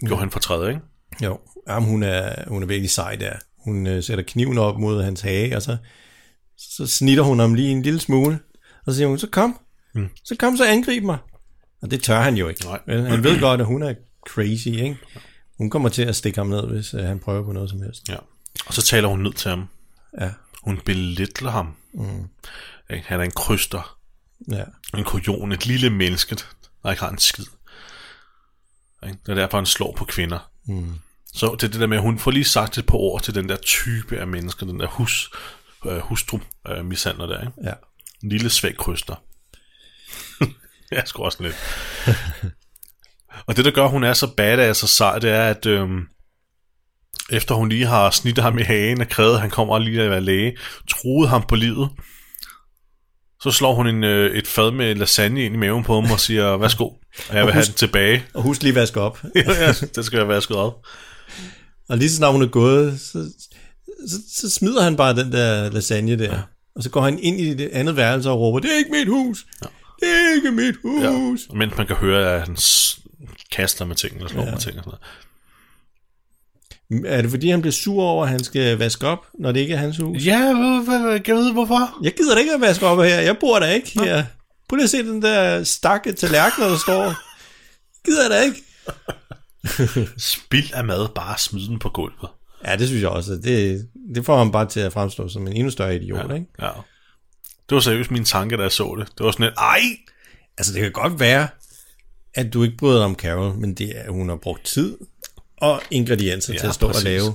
Speaker 1: gjorde han fortræd, ikke?
Speaker 2: Jo. Jamen, hun er, hun er virkelig sej der. Hun øh, sætter kniven op mod hans hage, og så, så snitter hun ham lige en lille smule. Og så siger hun, så kom. Mm. Så kom, så angrib mig. Og det tør han jo ikke.
Speaker 1: Nej.
Speaker 2: Vel, Han ved godt, at hun er crazy, ikke? Hun kommer til at stikke ham ned, hvis øh, han prøver på noget som helst.
Speaker 1: Ja. Og så taler hun ned til ham.
Speaker 2: Ja.
Speaker 1: Hun belittler ham. Mm. Han er en kryster.
Speaker 2: Ja.
Speaker 1: En kujon. Et lille menneske, der ikke har en skid. Ikke? Det er derfor, han slår på kvinder. Mm. Så det er det der med, at hun får lige sagt et par ord til den der type af mennesker, den der hus, øh, hustru øh, mishandler der, ikke?
Speaker 2: ja.
Speaker 1: En lille svag kryster. <laughs> jeg er sgu også <laughs> lidt. og det, der gør, at hun er så badass og sej, det er, at øhm, efter hun lige har snittet ham i hagen og krævet, at han kommer lige at være læge, truet ham på livet, så slår hun en, øh, et fad med lasagne ind i maven på ham og siger, værsgo, og jeg vil have den tilbage.
Speaker 2: Og husk lige at vaske op.
Speaker 1: <laughs> ja, det skal jeg vaske op.
Speaker 2: Og lige så snart hun er gået, så, så, så smider han bare den der lasagne der. Ja. Og så går han ind i det andet værelse og råber, det er ikke mit hus! Ja. Det er ikke mit hus!
Speaker 1: Ja. Mens man kan høre, at han s- kaster med ting, eller slår ja. med ting og sådan noget.
Speaker 2: Ja. Er det fordi, han bliver sur over, at han skal vaske op, når det ikke er hans hus?
Speaker 1: Ja, hvad, hvad, hvad, jeg ved hvorfor.
Speaker 2: Jeg gider da ikke at vaske op her. Jeg bor der ikke her. Prøv lige at se den der stakke tallerkener, der står. gider jeg da ikke.
Speaker 1: Spild af mad, bare smid den på gulvet.
Speaker 2: Ja, det synes jeg også. Det, det får ham bare til at fremstå som en endnu større idiot, ja. ikke?
Speaker 1: Ja. Det var seriøst min tanke, da jeg så det. Det var sådan et, ej!
Speaker 2: Altså, det kan godt være, at du ikke bryder dig om Carol, men det er, at hun har brugt tid og ingredienser ja,
Speaker 1: Ja,
Speaker 2: til at stå præcis.
Speaker 1: præcis.
Speaker 2: og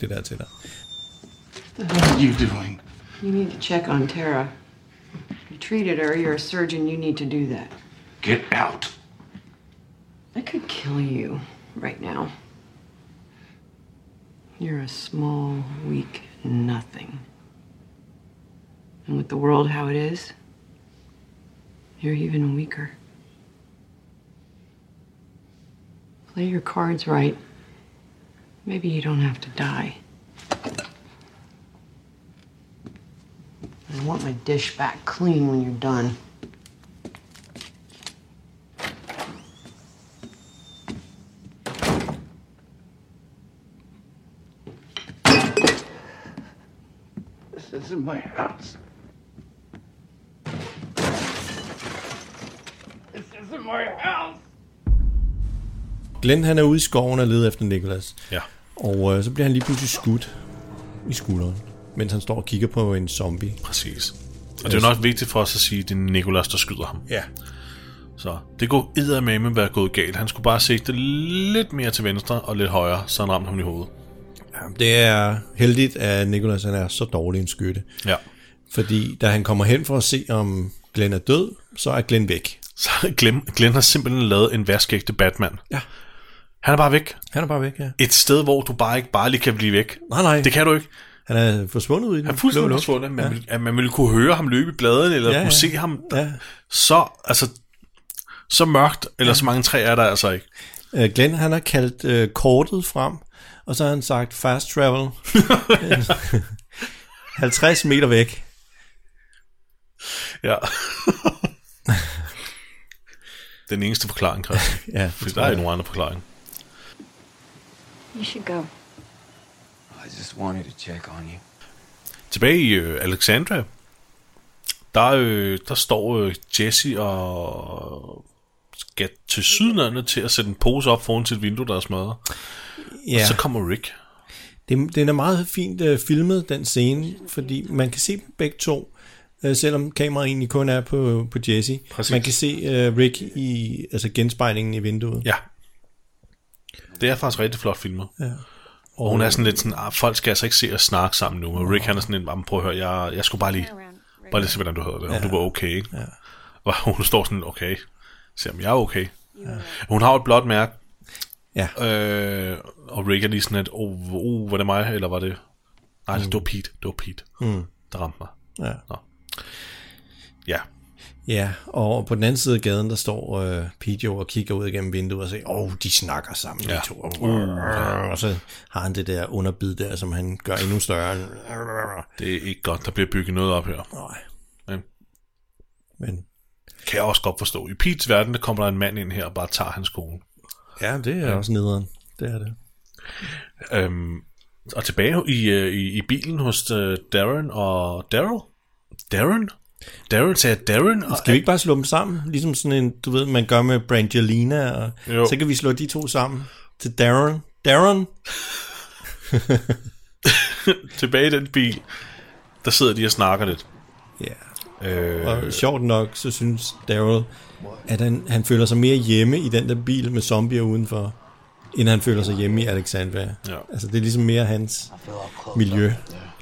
Speaker 2: lave det der til dig.
Speaker 7: What are you doing?
Speaker 8: You need to check on Tara. You treated her, you're a surgeon, you need to do that.
Speaker 7: Get out.
Speaker 8: I could kill you right now. You're a small, weak nothing. And with the world how it is, you're even weaker. Play your cards right. Maybe you don't have to die. I want my dish back clean when you're done.
Speaker 7: This isn't my house. This isn't my house.
Speaker 2: Glenn, han er ude i skoven og leder efter Nicholas,
Speaker 1: Ja.
Speaker 2: og øh, så bliver han lige pludselig skudt i skulderen. mens han står og kigger på en zombie.
Speaker 1: Præcis. Og det er jo nok vigtigt for os at sige, at det er Nikolas, der skyder ham.
Speaker 2: Ja.
Speaker 1: Så det kunne eddermame være gået galt. Han skulle bare sigte lidt mere til venstre og lidt højre, så han ramte ham i hovedet.
Speaker 2: Jamen, det er heldigt, at Nicholas han er så dårlig en skytte.
Speaker 1: Ja.
Speaker 2: Fordi da han kommer hen for at se, om Glenn er død, så er Glenn væk.
Speaker 1: Så <laughs> Glenn, Glenn har simpelthen lavet en værskægte Batman.
Speaker 2: Ja.
Speaker 1: Han er bare væk.
Speaker 2: Han er bare væk, ja.
Speaker 1: Et sted, hvor du bare ikke bare lige kan blive væk.
Speaker 2: Nej, nej.
Speaker 1: Det kan du ikke.
Speaker 2: Han er forsvundet ud i den
Speaker 1: Han er
Speaker 2: blå
Speaker 1: fuldstændig
Speaker 2: luft.
Speaker 1: forsvundet. Man, ja. ville, at man ville kunne høre ham løbe i bladene, eller
Speaker 2: Ja,
Speaker 1: ja, kunne
Speaker 2: ja.
Speaker 1: se ham.
Speaker 2: Ja.
Speaker 1: Så, altså, så mørkt, eller så mange træer er der altså ikke.
Speaker 2: Øh, Glenn, han har kaldt øh, kortet frem, og så har han sagt fast
Speaker 1: <laughs>
Speaker 2: travel. <laughs> 50 meter væk.
Speaker 1: Ja. Den eneste forklaring, Christian.
Speaker 2: Ja, det
Speaker 1: Fordi
Speaker 2: tror
Speaker 1: der er
Speaker 2: jeg.
Speaker 1: ikke nogen anden forklaring.
Speaker 9: You should go.
Speaker 4: I just wanted to check on you.
Speaker 1: Tilbage i øh, Alexandria, der, øh, der står øh, Jesse og skal til sydlandet til at sætte en pose op foran sit vindue, der er smadret. Ja.
Speaker 2: Ja,
Speaker 1: Så kommer Rick.
Speaker 2: det, den er meget fint øh, filmet, den scene, fordi man kan se dem begge to, øh, selvom kameraet egentlig kun er på, på Jesse.
Speaker 1: Præcis.
Speaker 2: Man kan se øh, Rick i altså genspejlingen i vinduet.
Speaker 1: Ja. Det er faktisk rigtig flot filmet. Ja. Og hun er sådan lidt sådan, "Ah, folk skal altså ikke se og snakke sammen nu. Og Rick han er sådan lidt, "Jamen, prøv at høre, jeg, jeg skulle bare lige, bare lige se, hvordan du havde det. Om du var okay, ikke? Ja. Og <laughs> hun står sådan, okay. Se om jeg er okay. Ja. Hun har jo et blåt mærke.
Speaker 2: Ja.
Speaker 1: Øh, og Rick er lige sådan lidt, oh, oh, var det mig, eller var det... Nej, mm. det var Pete, det var Pete, mm. der ramte mig.
Speaker 2: Ja.
Speaker 1: Nå. Ja,
Speaker 2: ja, og på den anden side af gaden, der står øh, Pete jo og kigger ud igennem vinduet og siger, åh, oh, de snakker sammen, ja.
Speaker 1: Ja.
Speaker 2: de to. Og så har han det der underbid der, som han gør endnu større.
Speaker 1: det er ikke godt, der bliver bygget noget op her.
Speaker 2: Nej,
Speaker 1: Men
Speaker 2: men
Speaker 1: kan jeg også godt forstå. I Pete's verden, der kommer der en mand ind her og bare tager hans kone.
Speaker 2: ja, det er også nederen. Det er det.
Speaker 1: Øhm, og tilbage i, øh, i, i bilen hos øh, Darren og Daryl. Darren? Darren sagde jeg Darren. Og,
Speaker 2: Skal vi ikke bare slå dem sammen? Ligesom sådan en, du ved, man gør med Brangelina, og
Speaker 1: Jo.
Speaker 2: så kan vi slå de to sammen til Darren. Darren?
Speaker 1: Tilbage i den bil, der sidder de og snakker lidt.
Speaker 2: Ja.
Speaker 1: Øh,
Speaker 2: Og sjovt nok, så synes Daryl, at han, han føler sig mere hjemme i den der bil med zombier udenfor, end han føler sig hjemme i Alexandria.
Speaker 1: Ja.
Speaker 2: Altså, det er ligesom mere hans miljø.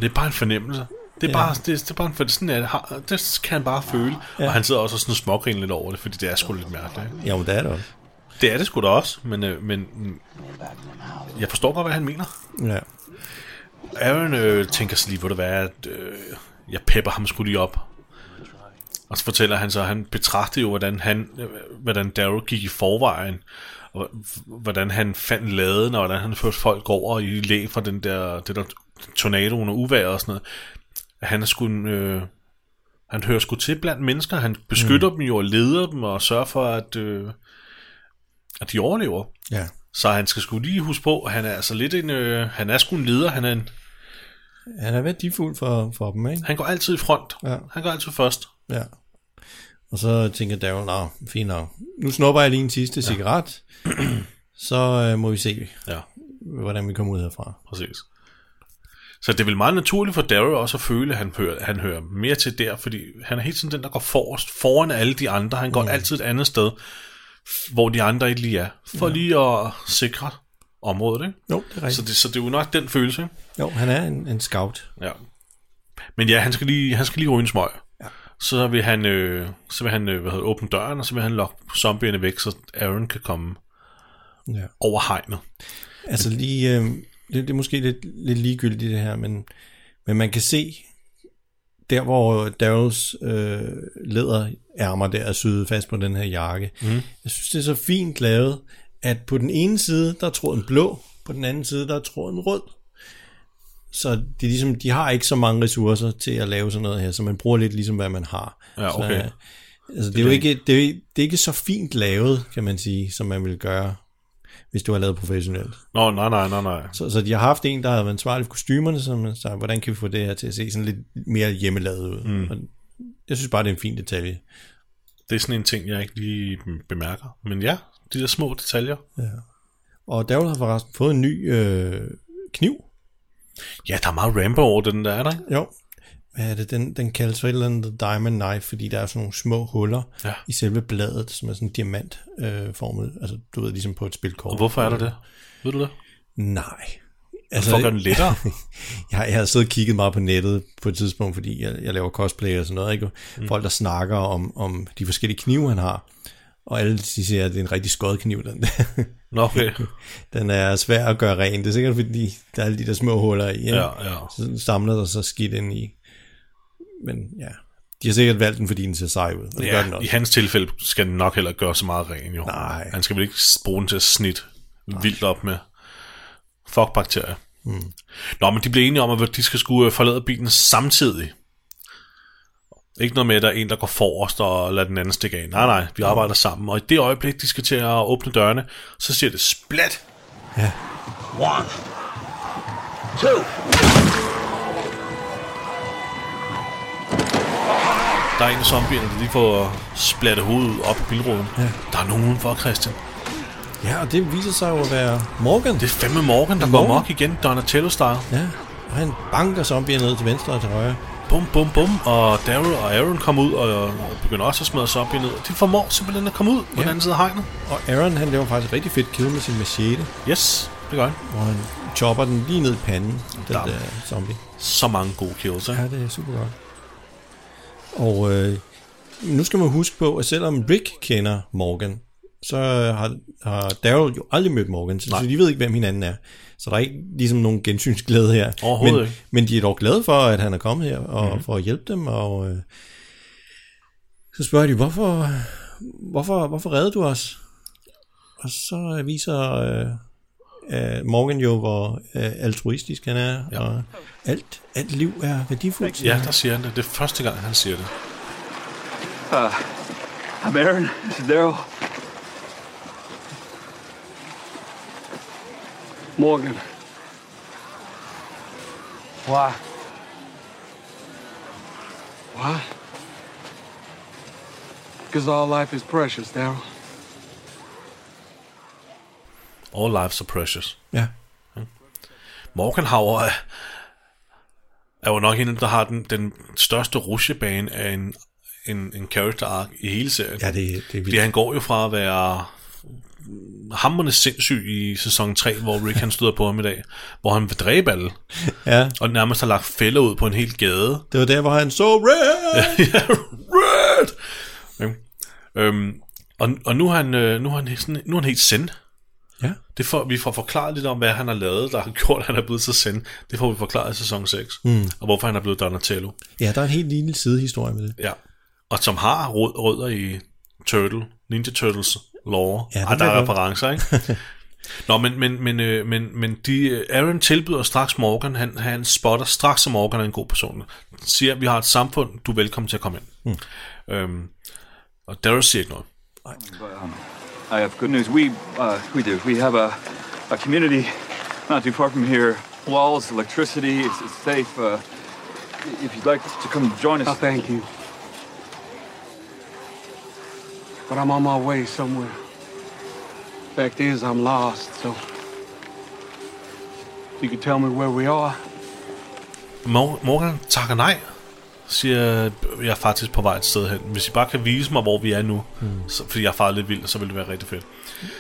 Speaker 1: det er bare en fornemmelse. Det er,
Speaker 2: Ja.
Speaker 1: bare, det, det er bare en fornemmelse. Sådan, at har, det kan han bare føle. Ja. Og han sidder også og sådan smågriner lidt over det, fordi det er sgu lidt mærkeligt. ikke?
Speaker 2: Jo, det er det også.
Speaker 1: Det er det sgu da også, men, øh, men mm, jeg forstår godt, hvad han mener.
Speaker 2: Ja.
Speaker 1: Aaron øh, tænker sig lige, hvor det være, at øh, jeg pepper ham skulle lige op. Og så fortæller han så, at han betragtede jo, hvordan, han, øh, hvordan Daryl gik i forvejen, og h- hvordan han fandt laden, og hvordan han førte folk over i læ fra den der, det der tornadoen og uvejr og sådan noget. At han er sgu en, øh, han hører sgu til blandt mennesker, han beskytter mm. dem jo og leder dem og sørger for, at, øh, at de overlever.
Speaker 2: Ja.
Speaker 1: Så han skal sgu lige huske på, at han er altså lidt en, øh, han er sgu en leder, han er en,
Speaker 2: Han er værdifuld for, for dem, ikke?
Speaker 1: Han går altid i front.
Speaker 2: Ja.
Speaker 1: Ja. Han går altid først.
Speaker 2: Ja. Og så tænker Daryl, nå, fint nok. Nu snupper jeg lige en sidste cigaret, <clears throat> så øh, må vi se,
Speaker 1: Ja,
Speaker 2: hvordan vi kommer ud herfra.
Speaker 1: præcis. Så det er vel meget naturligt for Daryl også at føle, at han hører, han hører mere til der, fordi han er helt sådan den, der går forrest, foran alle de andre. Han går mm. altid et andet sted, hvor de andre ikke lige er, for ja. lige at sikre området. Ikke?
Speaker 2: Jo, det er
Speaker 1: Så,
Speaker 2: rigtigt.
Speaker 1: det, så det er jo nok den følelse. Ikke?
Speaker 2: Jo, han er en, en scout.
Speaker 1: Ja. Men ja, han skal lige, han skal lige ryge en smøg. Ja. Så vil han, øh, så vil han øh, hvad hedder, det, åbne døren, og så vil han lokke zombierne væk, så Aaron kan komme
Speaker 2: Ja.
Speaker 1: over hegnet.
Speaker 2: Altså lige, øh, det, det er måske lidt, lidt ligegyldigt det her, men, men man kan se, der hvor Daryls øh, læderærmer der er syet fast på den her jakke, mm. jeg synes det er så fint lavet, at på den ene side, der er tråden blå, på den anden side, der er tråden rød. Så det er ligesom, de har ikke så mange ressourcer til at lave sådan noget her, så man bruger lidt ligesom, hvad man har.
Speaker 1: Ja, okay.
Speaker 2: Så, altså, det, er jo ikke, det, er, det er ikke så fint lavet, kan man sige, som man ville gøre, hvis du har lavet professionelt.
Speaker 1: Nå, nej, nej, nej, nej.
Speaker 2: Så, så de har haft en, der har været ansvarlig for kostymerne, som sagde, hvordan kan vi få det her til at se sådan lidt mere hjemmelavet ud? Mm. Og jeg synes bare, det er en fin detalje.
Speaker 1: Det er sådan en ting, jeg ikke lige mm, bemærker. Men ja, de der små detaljer.
Speaker 2: Og Daryl har forresten fået en ny øh, kniv.
Speaker 1: Ja, der er meget Rambo over den der, er der ikke?
Speaker 2: Jo. Hvad er det? Den, den kaldes for et eller andet The Diamond Knife, fordi der er sådan nogle små huller
Speaker 1: Ja.
Speaker 2: ja. i selve bladet, som er sådan diamantformet. Øh, formet. altså, du ved, ligesom på et spilkort.
Speaker 1: Og hvorfor er der det? Ved du det?
Speaker 2: Nej.
Speaker 1: Altså, for at gøre den lettere.
Speaker 2: jeg, jeg har siddet og kigget meget på nettet på et tidspunkt, fordi jeg, jeg laver cosplay og sådan noget. Ikke? Mm. Folk, der snakker om, om de forskellige knive, han har. Og alle de siger, at det er en rigtig skød kniv, den der. <laughs>
Speaker 1: Nå, okay.
Speaker 2: Den er svær at gøre ren. Det er sikkert, fordi der er alle de der små huller i. ikke?
Speaker 1: Ja, ja.
Speaker 2: Så den samler der så skidt ind i. Men ja, de har sikkert valgt den, fordi den ser sej ud. Og det ja, gør den
Speaker 1: Ja, i
Speaker 2: også.
Speaker 1: hans tilfælde skal den nok heller ikke gøre så meget ren, jo.
Speaker 2: Nej.
Speaker 1: Han skal vel ikke bruge den til at snit vildt op med fuck bakterier. Mm. Nå, men de blev enige om, at de skal skulle øh, forlade bilen samtidig. Ikke noget med, at der er en, der går forrest og lader den anden stikke af. Nej, nej, vi arbejder sammen. Og i det øjeblik, de skal til at åbne dørene, så siger det splat.
Speaker 7: One, two.
Speaker 1: Der er en af zombierne, der lige får splattet hovedet ud op i bilruden. Ja. Der er nogen udenfor, Christian.
Speaker 2: Ja, og det viser sig jo at være Morgan.
Speaker 1: Det er fandme Morgan, der går
Speaker 2: Morgan?
Speaker 1: mok igen, Donatello-style.
Speaker 2: Ja, og han banker zombier ned til venstre og til højre.
Speaker 1: Bum, bum, bum, og Daryl og Aaron kommer ud og, og begynder også at smadre zombie ned. De formår simpelthen at komme ud på ja. den anden side af hegnet.
Speaker 2: Og Aaron, han laver faktisk et rigtig fedt kill med sin machete,
Speaker 1: Yes, det gør han.
Speaker 2: hvor han chopper den lige ned i panden, den
Speaker 1: Dam.
Speaker 2: der zombie.
Speaker 1: Så mange gode kills, ikke?
Speaker 2: Ja, det er super godt. Og øh, nu skal man huske på, at selvom Rick kender Morgan, så øh, har, har Daryl jo aldrig mødt Morgan, så,
Speaker 1: Nej.
Speaker 2: så de ved ikke, hvem hinanden er. Så der er ikke ligesom nogen gensynsglæde her.
Speaker 1: Overhovedet
Speaker 2: men,
Speaker 1: ikke.
Speaker 2: Men de er dog glade for, at han er kommet her og mm-hmm. for at hjælpe dem. Og øh, så spørger de, hvorfor, hvorfor, hvorfor redder du os? Og så viser øh, øh, Morgan jo, hvor øh, altruistisk han er. Ja. Og alt, alt liv er værdifuldt. siger
Speaker 1: Ja,
Speaker 2: han.
Speaker 1: der siger han det. Det er første gang, han siger det.
Speaker 4: I'm Aaron. This is Daryl.
Speaker 7: Morgan. Why?
Speaker 4: Why? Because all life is precious, Daryl.
Speaker 1: All lives are precious.
Speaker 2: ja.
Speaker 1: Morgan har jo, øh, er jo nok en, af dem, der har den, den største rusjebane af en, en, en character arc i hele serien.
Speaker 2: Ja, det, det er
Speaker 1: Fordi
Speaker 2: vildt.
Speaker 1: han går jo fra at være hammerne sindssyg i sæson 3, hvor Rick han støder på ham i dag, hvor han vil dræbe alle.
Speaker 2: Ja,
Speaker 1: og nærmest har lagt fælder ud på en hel gade. <laughs>
Speaker 2: det var der, hvor han så red!
Speaker 1: ja, red! Okay. Øhm, og, og nu er han, øh, nu er han, sådan, nu er han helt send.
Speaker 2: Ja.
Speaker 1: Det får, vi får forklaret lidt om, hvad han har lavet, der har gjort, at han er blevet så send. Det får vi forklaret i sæson 6. Mm. Og hvorfor han er blevet Donatello.
Speaker 2: ja, der er en helt lille sidehistorie med det.
Speaker 1: Ja. Og som har rød, rødder i Turtle, Ninja Turtles lore.
Speaker 2: Ja,
Speaker 1: Ja,
Speaker 2: det
Speaker 1: ah, der
Speaker 2: kan
Speaker 1: er
Speaker 2: jeg godt.
Speaker 1: referencer, ikke?
Speaker 2: <laughs>
Speaker 1: Nå, men, men, men, øh, men, men de, øh, Aaron tilbyder straks Morgan, han, han spotter straks, at Morgan er en god person. Siger, vi har et samfund, du er velkommen til at komme ind. Mm. Øhm, og Daryl siger ikke noget.
Speaker 4: I have good news. We uh, we do. We have a, a community not too far from here. Walls, electricity. It's, it's safe. Uh, if you'd like to come join us,
Speaker 7: No, thank you. But I'm on my way somewhere. Fact is, I'm lost, so. If you could tell me where we are,
Speaker 1: Mor- Morgan takker nej. Siger, jeg er faktisk på vej et sted hen. Hvis I bare kan vise mig, hvor vi er nu, mm. så, fordi jeg er faret lidt vild, så vil det være rigtig fedt.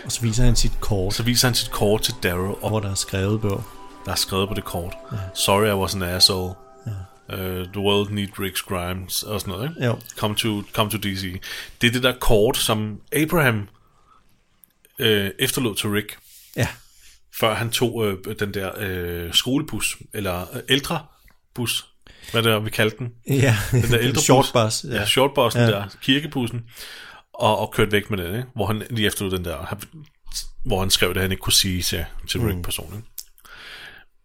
Speaker 2: Og så viser han sit kort,
Speaker 1: Så viser han sit kort til Daryl, og
Speaker 2: hvor der er skrevet på.
Speaker 1: der er skrevet på det kort. Ja. Sorry, I was an asshole. Ja. Uh, the world need Rick's Grimes og sådan noget, ikke?
Speaker 2: Jo.
Speaker 1: Come to, come to DC. Det er det der kort, som Abraham øh, efterlod til Rick,
Speaker 2: Ja,
Speaker 1: før han tog øh, den der øh, skolebus, eller øh, ældrebus, hvad det er, vi kaldte den.
Speaker 2: ja.
Speaker 1: Den der
Speaker 2: <laughs>
Speaker 1: ældrebus.
Speaker 2: short bus.
Speaker 1: Ja,
Speaker 2: Ja.
Speaker 1: shortbussen ja.
Speaker 2: Ja.
Speaker 1: der, kirkebussen, og, og kørte væk med den, ikke? Hvor han lige efterlod den der, han, hvor han skrev, at han ikke kunne sige til, til Rick personen.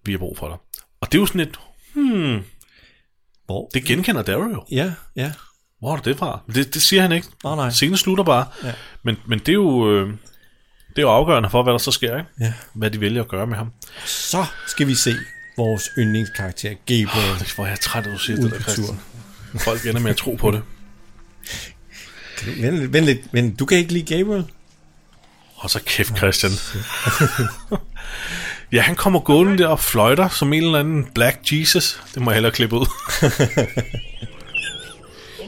Speaker 1: Vi har brug for dig. Og det er jo sådan et,
Speaker 2: Hvor?
Speaker 1: det genkender Daryl jo.
Speaker 2: Ja, ja.
Speaker 1: Hvor er det det fra? Det, det siger han ikke.
Speaker 2: Nej, nej.
Speaker 1: Scenen slutter bare. Ja. Men, men det er jo... Øh, det er jo afgørende for, hvad der så sker, ikke?
Speaker 2: Ja.
Speaker 1: Hvad de vælger at gøre med ham.
Speaker 2: Så skal vi se vores yndlingskarakter, Gabriel.
Speaker 1: Hvor er jeg træt, at du siger
Speaker 2: Ude
Speaker 1: det der,
Speaker 2: på tur.
Speaker 1: Christian. Folk ender med at tro på det.
Speaker 2: Vent, lidt, vent lidt, vent. Du kan ikke lide Gabriel?
Speaker 1: Og så kæft, Christian. <laughs> Ja, han kommer gående der og fløjter som en eller anden Black Jesus. Det må jeg hellere klippe ud.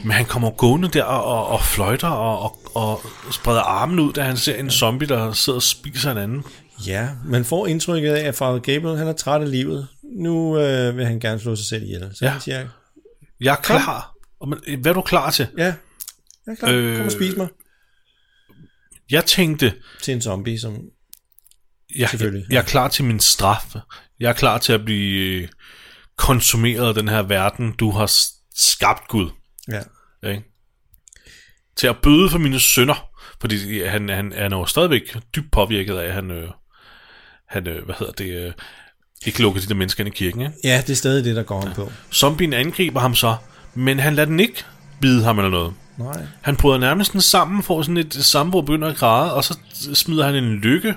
Speaker 1: Men han kommer gående der og, og, og fløjter og, og, og spreder armen ud, da han ser en zombie, der sidder og spiser en anden.
Speaker 2: Ja, man får indtrykket af, at Father Gabriel han er træt af livet. Nu øh, vil han gerne slå sig selv ihjel. Så
Speaker 1: Ja.
Speaker 2: ja. han siger,
Speaker 1: Jeg er klar. Og men, øh, Hvad er du klar til?
Speaker 2: ja, jeg er klar, øh... kom og spis mig.
Speaker 1: Jeg tænkte,
Speaker 2: Til en zombie, som...
Speaker 1: jeg,
Speaker 2: Selvfølgelig.
Speaker 1: jeg er klar til min straf. Jeg er klar til at blive øh, konsumeret af den her verden, du har s- skabt, Gud.
Speaker 2: Ja.
Speaker 1: Ikke? Til at bøde for mine sønder. Fordi han, han, han er jo stadigvæk dybt påvirket af, at han, øh, han øh, hvad hedder det, øh, ikke lukker de der mennesker ind i kirken. Ikke?
Speaker 2: ja, det er stadig det, der går ham på.
Speaker 1: Zombien angriber ham så, men han lader den ikke bide ham eller noget.
Speaker 2: Nej.
Speaker 1: Han bryder nærmest den sammen, får sådan et sambrud, begynder at græde, og så smider han en lykke.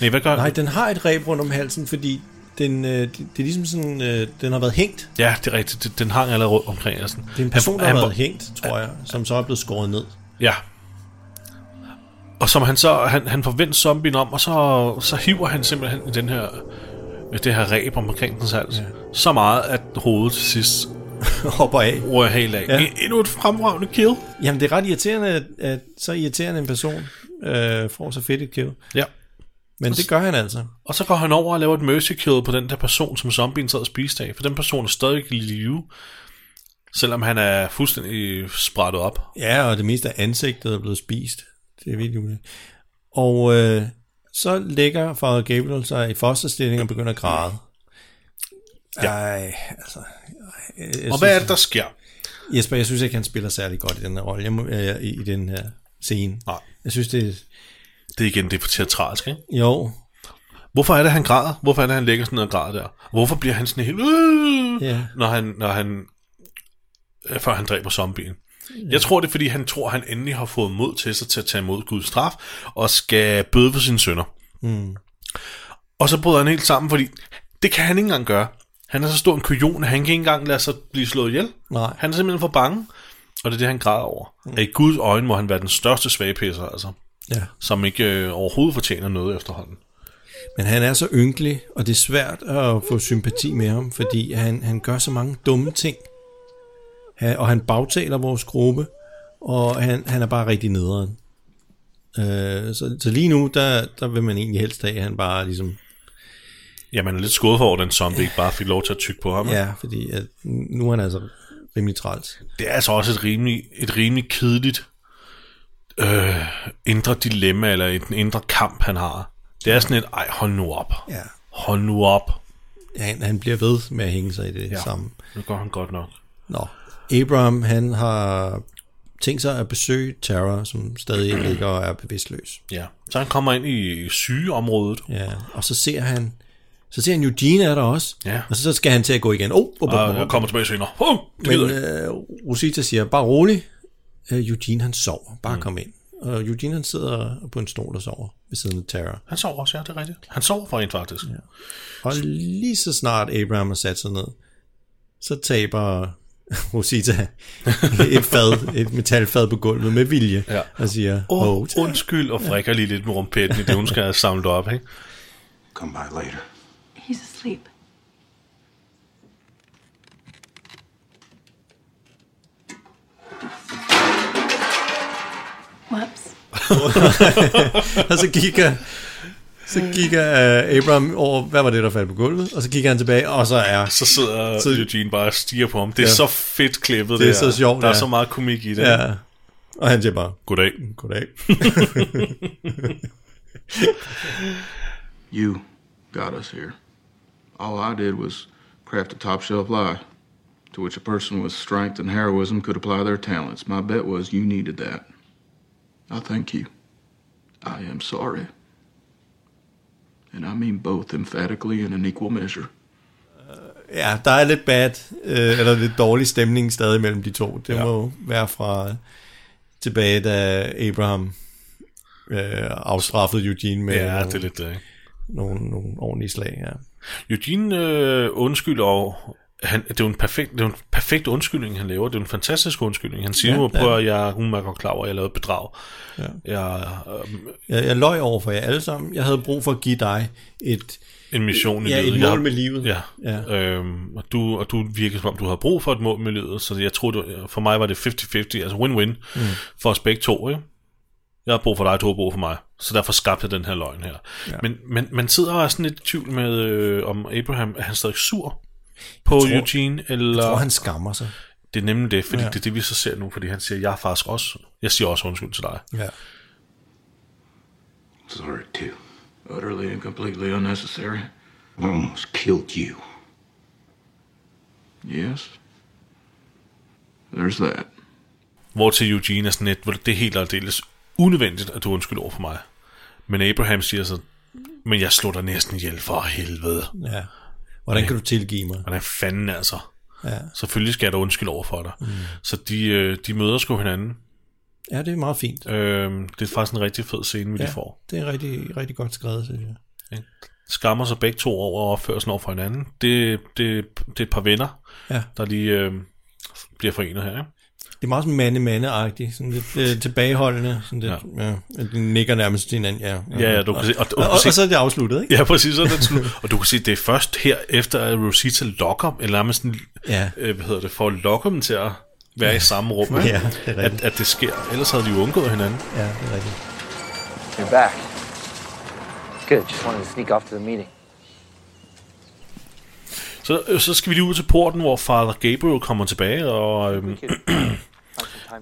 Speaker 1: Nej, hvad gør
Speaker 2: Nej,
Speaker 1: han?
Speaker 2: den har et reb rundt om halsen, fordi den, øh, det, det er ligesom sådan, øh, den har været hængt.
Speaker 1: Ja, det er rigtigt. Den- Den hang allerede rundt omkring. Altså.
Speaker 2: Det er en person, der har været hængt, tror jeg, som så er blevet skåret ned.
Speaker 1: Ja. Og som han så, han, han forventer zombien om, og så, så hiver han simpelthen i den her, det her ræb omkring den hals. Ja. Så meget, at hovedet til sidst
Speaker 2: <laughs> Hopper af.
Speaker 1: rører helt af. Ja.
Speaker 2: Ja.
Speaker 1: Endnu et fremragende kill.
Speaker 2: Jamen, det er ret irriterende, at, at så irriterende en person øh, får så fedt et kill.
Speaker 1: Ja.
Speaker 2: Men det gør han altså.
Speaker 1: Og så går han over og laver et mercy kill på den der person, som zombien sad og spiste af. For den person er stadig i live, selvom han er fuldstændig sprættet op.
Speaker 2: Ja, og det meste af ansigtet er blevet spist. Det er virkelig ulækkert. Og øh, så lægger Father Gabriel sig i fosterstilling og begynder at græde. Ja. Ej, altså... ej, Jeg, jeg
Speaker 1: Og hvad er
Speaker 2: synes,
Speaker 1: det, der sker?
Speaker 2: Jesper, jeg synes ikke, han spiller særlig godt i den her rolle, jeg må, øh, i, i den her scene.
Speaker 1: Nej.
Speaker 2: Jeg synes, det er...
Speaker 1: Det er igen, det er for teatralsk, ikke?
Speaker 2: Jo,
Speaker 1: Hvorfor er det, han græder? Hvorfor er det, han ligger sådan og græder der? Hvorfor bliver han sådan helt... Øh,
Speaker 2: Ja.
Speaker 1: når han, når han øh, før han dræber zombien. Jeg tror, det er, fordi han tror, han endelig har fået mod til sig til at tage imod Guds straf, og skal bøde for sine sønder. Mm. Og så bryder han helt sammen, fordi det kan han ikke engang gøre. Han er så stor en kujon, at han kan ikke engang lade sig blive slået ihjel.
Speaker 2: Nej.
Speaker 1: Han er simpelthen for bange, og det er det, han græder over. Mm. I Guds øjne må han være den største svagepisser, altså,
Speaker 2: ja.
Speaker 1: som ikke øh, overhovedet fortjener noget efterhånden.
Speaker 2: Men han er så ynkelig, og det er svært at få sympati med ham, fordi han, han gør så mange dumme ting. Han, og han bagtaler vores gruppe, og han, han er bare rigtig nederen. Øh, så, så lige nu, der, der vil man egentlig helst have, at han bare ligesom...
Speaker 1: Ja, man er lidt skuffet over, at den zombie ikke bare fik lov til at tykke på ham.
Speaker 2: Ja, fordi at nu er han altså rimelig træls.
Speaker 1: Det er altså også et rimelig, et rimelig kedeligt øh, indre dilemma, eller en indre kamp, han har. Det er sådan et, ej, hold nu op.
Speaker 2: Ja.
Speaker 1: Hold nu op.
Speaker 2: Han, han bliver ved med at hænge sig i det ja.
Speaker 1: Ja.
Speaker 2: samme.
Speaker 1: Nu går han godt nok.
Speaker 2: Nå, Abraham, han har tænkt sig at besøge Tara, som stadig ligger og er bevidstløs.
Speaker 1: Ja. Så han kommer ind i sygeområdet.
Speaker 2: Ja, og så ser han, så ser han Eugene er der også,
Speaker 1: Ja.
Speaker 2: og så skal han til at gå igen. Oh, oh,
Speaker 1: Og
Speaker 2: oh,
Speaker 1: jeg
Speaker 2: oh.
Speaker 1: kommer tilbage senere. Oh, det
Speaker 2: Men
Speaker 1: gider jeg ikke.
Speaker 2: øh, Rosita siger, bare rolig, øh, Eugene han sover, bare mm. kom ind. Og Eugene han sidder på en stol og sover ved siden af Tara.
Speaker 1: Han sover også, ja, det er rigtigt. Han sover for en faktisk. Ja.
Speaker 2: Og lige så snart Abraham har sat sig ned, så taber <laughs> Rosita <laughs> et fad, et metalfad på gulvet med vilje,
Speaker 1: Ja.
Speaker 2: og siger,
Speaker 1: Oh,
Speaker 2: oh,
Speaker 1: undskyld, og frikker lige lidt med rumpetten i det, hun skal have samlet op. Ikke?
Speaker 4: Come by later.
Speaker 9: He's asleep. Whoops.
Speaker 2: Og så kigger, så kigger uh, Abraham over, hvad var det, der faldt på gulvet? Og så kigger han tilbage, og så er...
Speaker 1: Så sidder
Speaker 2: Så-
Speaker 1: Eugene bare og stiger på ham. Det er
Speaker 2: Ja.
Speaker 1: så fedt klippet,
Speaker 2: Det er
Speaker 1: der.
Speaker 2: så sjovt,
Speaker 1: Der er
Speaker 2: ja.
Speaker 1: så meget komik i det.
Speaker 2: Ja. Og han siger bare,
Speaker 1: Goddag.
Speaker 2: goddag.
Speaker 10: You got us here. All I did was craft a top shelf lie to which a person with strength and heroism could apply their talents. My bet was you needed that. I thank you. I am sorry. And I mean both emphatically and in equal measure.
Speaker 2: <laughs> Ja, der er lidt bad, øh, eller lidt dårlig stemning stadig mellem de to. Det
Speaker 1: Ja.
Speaker 2: ja. må være fra tilbage, da Abraham øh, afstraffede Eugene med
Speaker 1: Ja,
Speaker 2: nogle,
Speaker 1: det er lidt det, ikke?
Speaker 2: nogle, nogle ordentlige slag. Ja.
Speaker 1: Eugene øh, undskylder og han, det, er jo en perfekt, det er jo en perfekt undskyldning, han laver. Det er jo en fantastisk undskyldning. Han siger
Speaker 2: Ja,
Speaker 1: jo,
Speaker 2: ja.
Speaker 1: prøv at jeg, hun er godt klar over, at jeg lavede et bedrag. Ja. Jeg, øh,
Speaker 2: Jeg, jeg løj over for jer alle sammen. Jeg havde brug for at give dig et,
Speaker 1: en mission i
Speaker 2: Ja, et
Speaker 1: livet.
Speaker 2: mål
Speaker 1: Jeg har-
Speaker 2: med livet.
Speaker 1: Ja.
Speaker 2: Ja.
Speaker 1: ja. Øhm, og, du, og du virkede som om, du havde brug for et mål med livet, så jeg tror, du, for mig var det 50-50, altså win-win mm. for os begge to, ikke? Jeg har brug for dig, du har brug for mig. Så derfor skabte jeg den her løgn her. Ja. Men, men man sidder og er sådan lidt i tvivl med, øh, om Abraham, er han stadig sur på
Speaker 2: Jeg tror-
Speaker 1: Eugene? Eller...
Speaker 2: Jeg tror, han skammer sig.
Speaker 1: Det er nemlig det, fordi
Speaker 2: Ja.
Speaker 1: ja. det er det, vi så ser nu, fordi han siger, jeg er faktisk også, jeg siger også undskyld til dig.
Speaker 2: Ja.
Speaker 10: Sorry, too. Utterly and completely unnecessary. I almost killed you. Yes. There's that.
Speaker 1: Hvor til Eugene er sådan lidt, hvor det er helt og aldeles unødvendigt, at du undskylder over for mig. Men Abraham siger så, men jeg slog dig næsten ihjel for helvede.
Speaker 2: ja. Hvordan kan du tilgive mig?
Speaker 1: Hvordan fanden altså?
Speaker 2: Ja.
Speaker 1: Selvfølgelig skal jeg da undskylde over for dig. Mm. Så de, øh, de møder sgu hinanden.
Speaker 2: Ja, det er meget fint.
Speaker 1: Øhm, det er faktisk en rigtig fed scene, vi ja.
Speaker 2: Ja,
Speaker 1: lige får.
Speaker 2: det er rigtig, rigtig godt skrevet, synes jeg.
Speaker 1: ikke? Skammer sig begge to over opførelsen over for hinanden. Det, det, det er et par venner,
Speaker 2: Ja.
Speaker 1: der lige øh, bliver forenet her. Ikke?
Speaker 2: Det er meget sådan mande-mande-agtigt, sådan lidt øh, tilbageholdende, sådan lidt, ja. ja. at de nikker nærmest til hinanden, ja.
Speaker 1: Ja, ja, du kan se- og-
Speaker 2: Og, og,
Speaker 1: og-
Speaker 2: og, og, så er det afsluttet,
Speaker 1: <laughs>
Speaker 2: ikke?
Speaker 1: Ja, præcis. Så er den slut. og du kan se, det er først her, efter at Rosita lokker, eller nærmest sådan,
Speaker 2: Ja.
Speaker 1: ja. øh, hvad hedder det, for at lokke dem til at være i samme rum, ikke?
Speaker 2: Ja, det er rigtigt.
Speaker 1: at, at det sker. Ellers havde de jo undgået hinanden.
Speaker 2: Ja, det er rigtigt.
Speaker 11: You're back. Good. Just wanted to sneak off to the meeting.
Speaker 1: Så, øh, så skal vi lige ud til porten, hvor Father Gabriel kommer tilbage og øhm,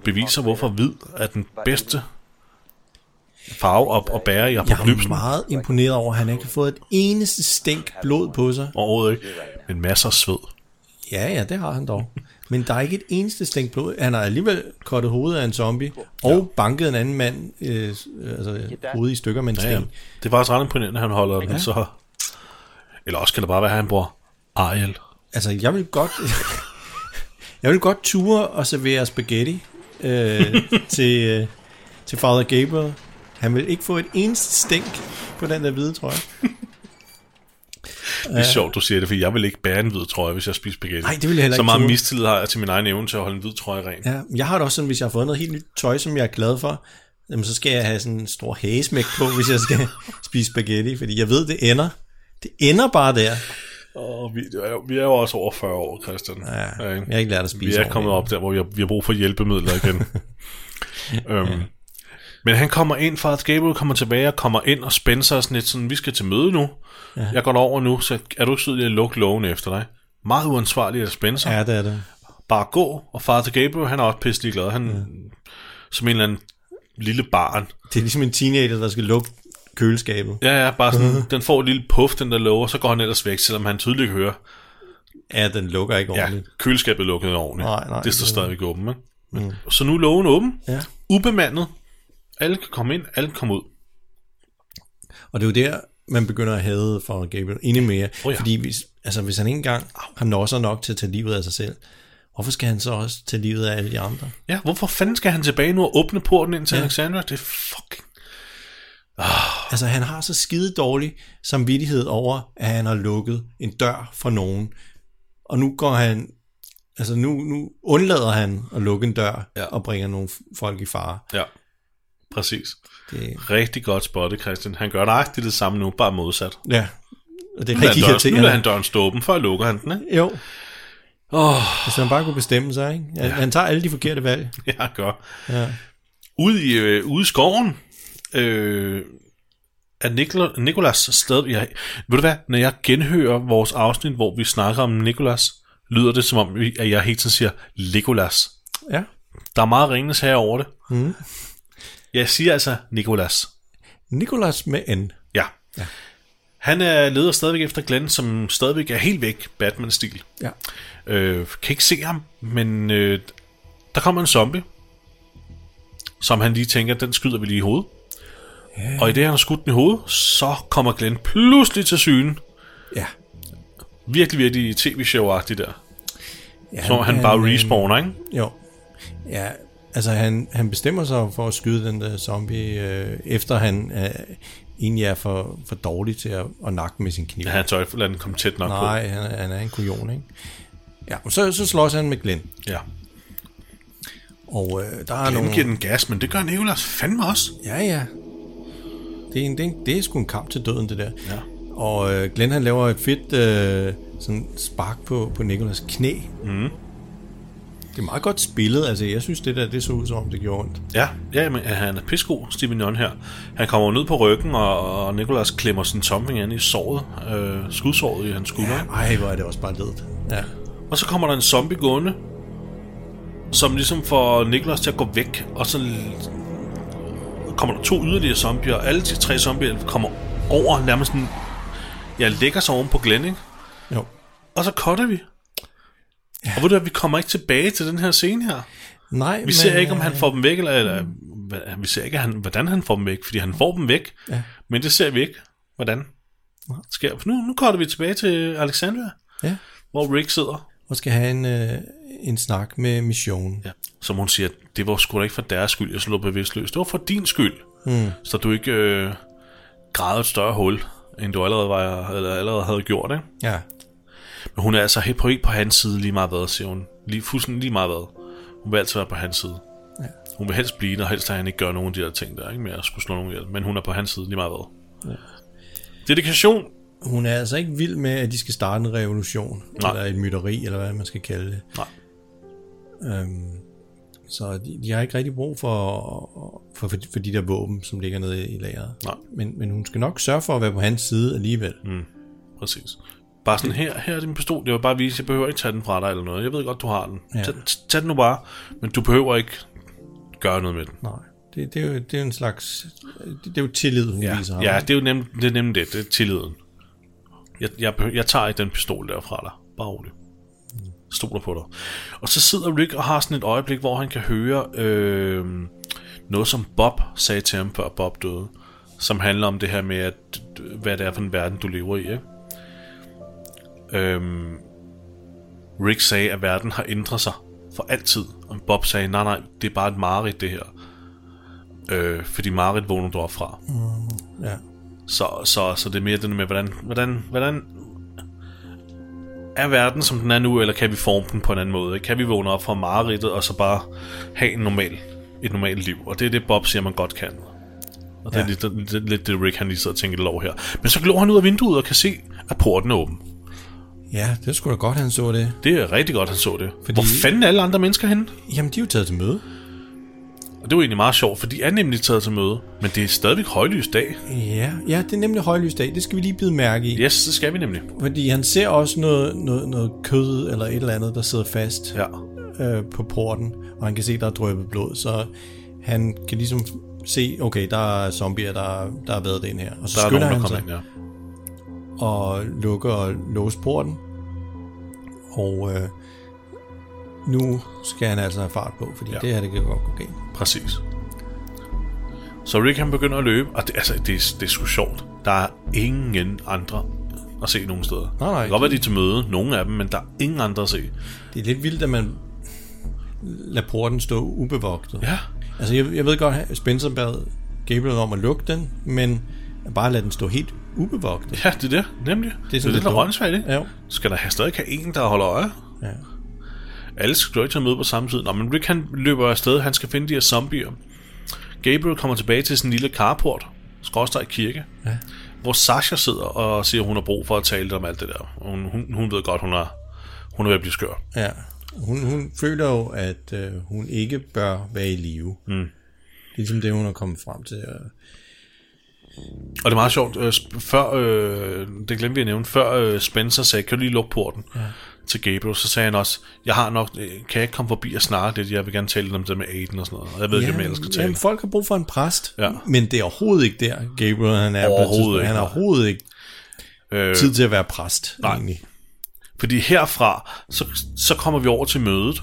Speaker 1: beviser, hvorfor hvid er den bedste farve at, at bære i
Speaker 2: Jeg er
Speaker 1: apokalypsen.
Speaker 2: meget imponeret over, at han ikke har fået et eneste stænk blod på sig.
Speaker 1: Overhovedet ikke. Men masser af sved.
Speaker 2: Ja, ja, det har han dog. Men der er ikke et eneste stænk blod. Han har alligevel kottet hovedet af en zombie, og banket en anden mand, øh, s- øh, altså hovedet i stykker med en
Speaker 1: Ja, ja.
Speaker 2: sten.
Speaker 1: Det er faktisk ret imponerende, at han holder den
Speaker 2: Ja.
Speaker 1: så... Eller også kan det bare være, at han bruger Ariel.
Speaker 2: Altså, jeg vil godt... <laughs> jeg vil godt ture og servere spaghetti
Speaker 1: <laughs>
Speaker 2: øh, til, øh, til Father Gabriel. Han vil ikke få et eneste stænk på den der hvide trøje.
Speaker 1: Det er sjovt, du siger det, for jeg vil ikke bære en hvid trøje, hvis jeg spiser spaghetti.
Speaker 2: Nej, det vil jeg heller
Speaker 1: Så
Speaker 2: ikke
Speaker 1: meget
Speaker 2: tro.
Speaker 1: mistillid har jeg til min egen evne til at holde en hvid trøje ren.
Speaker 2: Ja, jeg har det også sådan, hvis jeg har fået noget helt nyt tøj, som jeg er glad for, jamen, så skal jeg have sådan en stor hagesmæk på, hvis jeg
Speaker 1: <laughs>
Speaker 2: skal spise spaghetti, fordi jeg ved, det ender. Det ender bare der.
Speaker 1: Og vi, er jo- vi er jo også over 40 år, Christian. Ja, jeg
Speaker 2: har ikke lært at spise
Speaker 1: Vi er
Speaker 2: ordentligt.
Speaker 1: kommet op der, hvor vi har, vi har brug for hjælpemidler
Speaker 2: <laughs>
Speaker 1: igen. øhm, Men han kommer ind, Father Gabriel kommer tilbage og kommer ind, og Spencer er sådan lidt sådan, vi skal til møde nu.
Speaker 2: Ja.
Speaker 1: Ja. Jeg går over nu, så er du ikke sød lige at lukke lågen efter dig. Meget uansvarligt af Spencer.
Speaker 2: Ja, det er det.
Speaker 1: Bare gå, og Father Gabriel, han er også pisselig glad. Han, ja. Som en eller anden lille barn,
Speaker 2: Det er ligesom en teenager, der skal lukke køleskabet.
Speaker 1: Ja, ja, bare sådan,
Speaker 2: Mhm.
Speaker 1: den får et lille puff, den der lover, så går han ellers væk, selvom han tydeligt kan høre.
Speaker 2: Ja, den lukker ikke ordentligt.
Speaker 1: Ja, køleskabet lukkede ordentligt.
Speaker 2: Nej, nej,
Speaker 1: det står
Speaker 2: det-
Speaker 1: stadigvæk åben, ikke? Mm. Så nu er lågen åben,
Speaker 2: Ja.
Speaker 1: ubemandet. Alle kan komme ind, alle kan komme ud.
Speaker 2: Og det er jo der, man begynder at hade for Gabriel endnu mere.
Speaker 1: Oh ja.
Speaker 2: Fordi hvis, altså, hvis han ikke engang har nosser nok til at tage livet af sig selv, hvorfor skal han så også tage livet af alle de andre?
Speaker 1: Ja, hvorfor fanden skal han tilbage nu og åbne porten ind til
Speaker 2: Ja.
Speaker 1: ja. Alexandra? Det er fucking...
Speaker 2: Altså, han har så skide dårlig samvittighed over, at han har lukket en dør for nogen. Og nu går han... Altså, nu, nu undlader han at lukke en dør ja. og bringer nogle f- folk i fare.
Speaker 1: Ja, præcis.
Speaker 2: Det-
Speaker 1: Rigtig godt spottet, Christian. Han gør nøjagtigt det samme nu, bare modsat.
Speaker 2: Ja, og det er
Speaker 1: Nu lader
Speaker 2: rigtig
Speaker 1: døren- Nu
Speaker 2: irriterende.
Speaker 1: lader han døren stå åben, før lukker han den, ikke?
Speaker 2: Jo.
Speaker 1: Åh.
Speaker 2: Hvis han bare kunne bestemme sig, ikke? Han, ja. han tager alle de forkerte valg.
Speaker 1: <laughs> Ja, han gør.
Speaker 2: Ja.
Speaker 1: Ude i, øh, ude i skoven øh, er Nikol- Nikolas stadig... Jeg, ved du hvad, når jeg genhører vores afsnit, hvor vi snakker om Nikolas, lyder det som om, vi- at jeg hele tiden siger Legolas.
Speaker 2: Ja.
Speaker 1: Der er meget ringes her over det.
Speaker 2: Mm.
Speaker 1: Jeg siger altså Nikolas.
Speaker 2: Nikolas med N.
Speaker 1: Ja. ja. Han er leder stadigvæk efter Glenn, som stadigvæk er helt væk Batman-stil.
Speaker 2: Ja.
Speaker 1: Øh, kan ikke se ham, men øh, der kommer en zombie, som han lige tænker, den skyder vi lige i hovedet. Ja. Og i det, han har skudt den i hovedet, så kommer Glenn pludselig til syne.
Speaker 2: Ja.
Speaker 1: Virkelig, virkelig tv-show-agtigt der.
Speaker 2: Ja,
Speaker 1: Ja, så han,
Speaker 2: han-
Speaker 1: han bare
Speaker 2: han, øh,
Speaker 1: respawner, ikke?
Speaker 2: Jo. Ja, altså han, han bestemmer sig for at skyde den der zombie, øh, efter han øh, egentlig er for, for dårlig til at, at nakke med sin kniv.
Speaker 1: Ja, han tør ikke lade den komme tæt nok
Speaker 2: Nej, han, er- han er en kujon, ikke? Ja, og så, så slås han med Glenn.
Speaker 1: på. Ja.
Speaker 2: Og øh, der er
Speaker 1: Glenn
Speaker 2: nogle...
Speaker 1: giver den gas, men det gør Nikolas fandme også.
Speaker 2: Ja, ja. Det er, en, det, er en, det er sgu en kamp til døden, det der.
Speaker 1: Ja.
Speaker 2: Og øh, Glenn han laver et fedt øh, sådan spark på, på Nikolas knæ.
Speaker 1: Mm.
Speaker 2: Det er meget godt spillet. Altså, jeg synes, det der det så ud som om, det gjorde ondt.
Speaker 1: Ja, ja men han er pissegod, Steven Yeun her. Han kommer jo ned på ryggen, og, og Nikolas klemmer sin tomfing ind i såret, øh, skudsåret i hans skulder. Ja,
Speaker 2: ej, hvor er det også bare ledet. Ja.
Speaker 1: Og så kommer der en zombie gående, som ligesom får Nikolas til at gå væk, og så kommer der to yderligere zombier, og alle de tre zombier kommer over, nærmest sådan, ja, lægger sig oven på Glenn, ikke?
Speaker 2: Jo.
Speaker 1: Og så cutter vi. Ja. Og ved du hvad, vi kommer ikke tilbage til den her scene her.
Speaker 2: Nej,
Speaker 1: Vi ser ikke, om
Speaker 2: øh,
Speaker 1: han får dem væk, eller, eller hva- vi ser ikke, han, hvordan han får dem væk, fordi han får dem væk,
Speaker 2: Ja.
Speaker 1: men det ser vi ikke, hvordan det sker. For nu, nu kommer vi tilbage til Alexandria,
Speaker 2: Ja.
Speaker 1: hvor Rick sidder,
Speaker 2: Og skal have en, øh, en snak med Mission.
Speaker 1: ja. som hun siger, det var sgu da ikke for deres skyld, jeg slog bevidstløs. Det var for din skyld,
Speaker 2: Mm.
Speaker 1: så du ikke øh, græd et større hul, end du allerede, var, eller allerede havde gjort. Ikke?
Speaker 2: Ja.
Speaker 1: Men hun er altså helt på, helt på hans side lige meget hvad, siger hun. Lige, fuldstændig lige meget hvad. Hun vil altid være på hans side.
Speaker 2: Ja.
Speaker 1: Hun vil helst blive, når helst at han ikke gør nogen af de der ting der, ikke med at skulle slå nogen ihjel. Men hun er på hans side lige meget hvad.
Speaker 2: Ja.
Speaker 1: Dedikation.
Speaker 2: Hun er altså ikke vild med, at de skal starte en revolution,
Speaker 1: Nej.
Speaker 2: Nej. eller et mytteri, eller hvad man skal kalde det.
Speaker 1: Nej.
Speaker 2: Øhm, så de, de har ikke rigtig brug for, for, for, for de der våben, som ligger nede i lageret.
Speaker 1: Nej.
Speaker 2: Men, men hun skal nok sørge for at være på hans side alligevel.
Speaker 1: Mm, præcis. Bare sådan, her, her er din pistol. Jeg vil bare vise, jeg behøver ikke tage den fra dig eller noget. Jeg ved godt, du har den.
Speaker 2: Ja.
Speaker 1: Tag, tag den nu bare, men du behøver ikke gøre noget med den.
Speaker 2: Nej. Det, det, er jo, det er jo en slags... Det, det er jo tillid, hun ja. viser ham.
Speaker 1: Ja, det er jo nemt, det, er nemt det. Det er tilliden. Jeg, jeg, behøver, jeg tager ikke den pistol der fra dig. Bare rolig. Stoler på dig. Og så sidder Rick og har sådan et øjeblik, hvor han kan høre øh, noget, som Bob sagde til ham, før Bob døde. Som handler om det her med, at, hvad det er for en verden, du lever i. Ikke? Øhm, Rick sagde, at verden har ændret sig for altid. Og Bob sagde, nej, nej, det er bare et mareridt, det her. Øh, fordi mareridt vågner du op fra.
Speaker 2: Mm, ja.
Speaker 1: Så, så, så det er mere det der med, hvordan, hvordan, hvordan er verden, som den er nu, eller kan vi forme den på en anden måde? ikke? Kan vi vågne op fra mareridtet, og så bare have en normal, et normalt liv? Og det er det, Bob siger, man godt kan. Og det er
Speaker 2: Ja.
Speaker 1: lidt, lidt, lidt det, Rick han lige sidder og tænker lidt over her. Men så glor han ud af vinduet og kan se, at porten er åben.
Speaker 2: ja, det skulle da godt, han så det.
Speaker 1: Det er rigtig godt, han så det. Fordi... Hvor fanden er alle andre mennesker henne?
Speaker 2: Jamen, de er jo taget til møde.
Speaker 1: Og det var egentlig meget sjovt, for de er nemlig taget til møde, men det er stadigvæk højlys dag.
Speaker 2: Ja, ja det er nemlig højlysdag. Det skal vi lige bide mærke i.
Speaker 1: Yes, det skal vi nemlig.
Speaker 2: Fordi han ser også noget, noget, noget kød eller et eller andet, der sidder fast
Speaker 1: Ja.
Speaker 2: øh, på porten, og han kan se, der er drøbet blod, så han kan ligesom se, okay, der er zombier, der, der har været ind her. Og så
Speaker 1: Der er
Speaker 2: skynder
Speaker 1: nogen, der
Speaker 2: han
Speaker 1: kommer
Speaker 2: sig
Speaker 1: ind, ja.
Speaker 2: og lukker og låser porten, og øh, nu skal han altså have fart på, fordi
Speaker 1: Ja.
Speaker 2: ja. det her, det kan godt gå galt.
Speaker 1: Præcis. Så Rick han begynder at løbe, og det, altså, det, er- det er sgu sjovt. Der er ingen andre at se nogen steder.
Speaker 2: Nej, nej.
Speaker 1: det kan godt være, de er til møde, nogle af dem, men der er ingen andre at se.
Speaker 2: Det er lidt vildt, at man lader porten stå ubevogtet.
Speaker 1: Ja.
Speaker 2: Altså, jeg, jeg ved godt, at Spencer bad Gabriel om at lukke den, men at bare lade den stå helt ubevogtet.
Speaker 1: Ja, det er det, nemlig. Det er, det, er lidt
Speaker 2: dumt.
Speaker 1: åndssvagt, ikke?
Speaker 2: Ja, jo.
Speaker 1: Skal der have stadig have en, der holder øje?
Speaker 2: Ja.
Speaker 1: Alle skal jo ikke tage møde på samme tid. Nå, men Rick han løber afsted, han skal finde de her zombier. Gabriel kommer tilbage til sin lille carport, skråstrej kirke,
Speaker 2: Ja.
Speaker 1: hvor Sasha sidder og siger, at hun har brug for at tale om alt det der. Hun, hun, hun ved godt, hun er, hun er ved at blive skør.
Speaker 2: ja. Hun, hun føler jo, at øh, hun ikke bør være i live.
Speaker 1: Mm.
Speaker 2: Det er ligesom det, hun er kommet frem til. Og,
Speaker 1: Og det er meget sjovt, øh, sp- før, øh, det glemte vi at nævne, før øh, Spencer sagde, kan du lige lukke porten ja. til Gabriel, så sagde han også, jeg har nok, øh, kan jeg ikke komme forbi og snakke lidt, jeg vil gerne tale lidt om det med Aiden og sådan noget, og jeg ved ikke, om jeg ellers skal tale.
Speaker 2: jamen, folk har brug for en præst,
Speaker 1: Ja.
Speaker 2: men det er overhovedet ikke der, Gabriel han er. på et
Speaker 1: Overhovedet
Speaker 2: tidspunkt.
Speaker 1: ikke,
Speaker 2: Han har
Speaker 1: nej.
Speaker 2: overhovedet ikke
Speaker 1: Øh,
Speaker 2: tid til at være præst,
Speaker 1: nej.
Speaker 2: egentlig.
Speaker 1: Fordi herfra, så, så kommer vi over til mødet,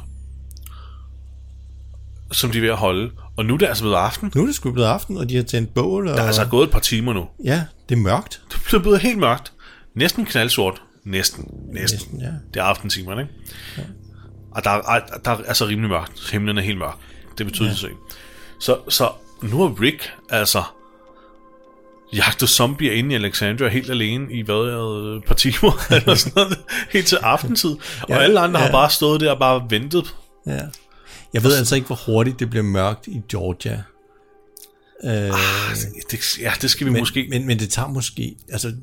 Speaker 1: som de er ved at holde, og nu er det altså blevet aften.
Speaker 2: Nu er det sgu blevet aften, og de har tændt bål. Og...
Speaker 1: Der er altså gået et par timer nu.
Speaker 2: Ja, det er mørkt.
Speaker 1: Det er blevet helt mørkt. Næsten knaldsort. Næsten. Næsten.
Speaker 2: Næsten, ja.
Speaker 1: Det er aftentimerne, ikke? Ja. Og der, er- er, der er altså rimelig mørkt. Himlen er helt mørk. Det betyder ja. det så. Så nu har Rick altså jagtet zombier inde i Alexandria helt alene i hvad, øh, et par timer <laughs> eller sådan noget, helt til aftentid. Og
Speaker 2: Ja,
Speaker 1: alle andre ja. har
Speaker 2: ja.
Speaker 1: bare stået der og bare ventet.
Speaker 2: Ja. Jeg ved altså ikke, hvor hurtigt det bliver mørkt i Georgia. Øh,
Speaker 1: Ah, Det, ja, det skal vi
Speaker 2: men,
Speaker 1: måske...
Speaker 2: Men, men det tager måske... Altså,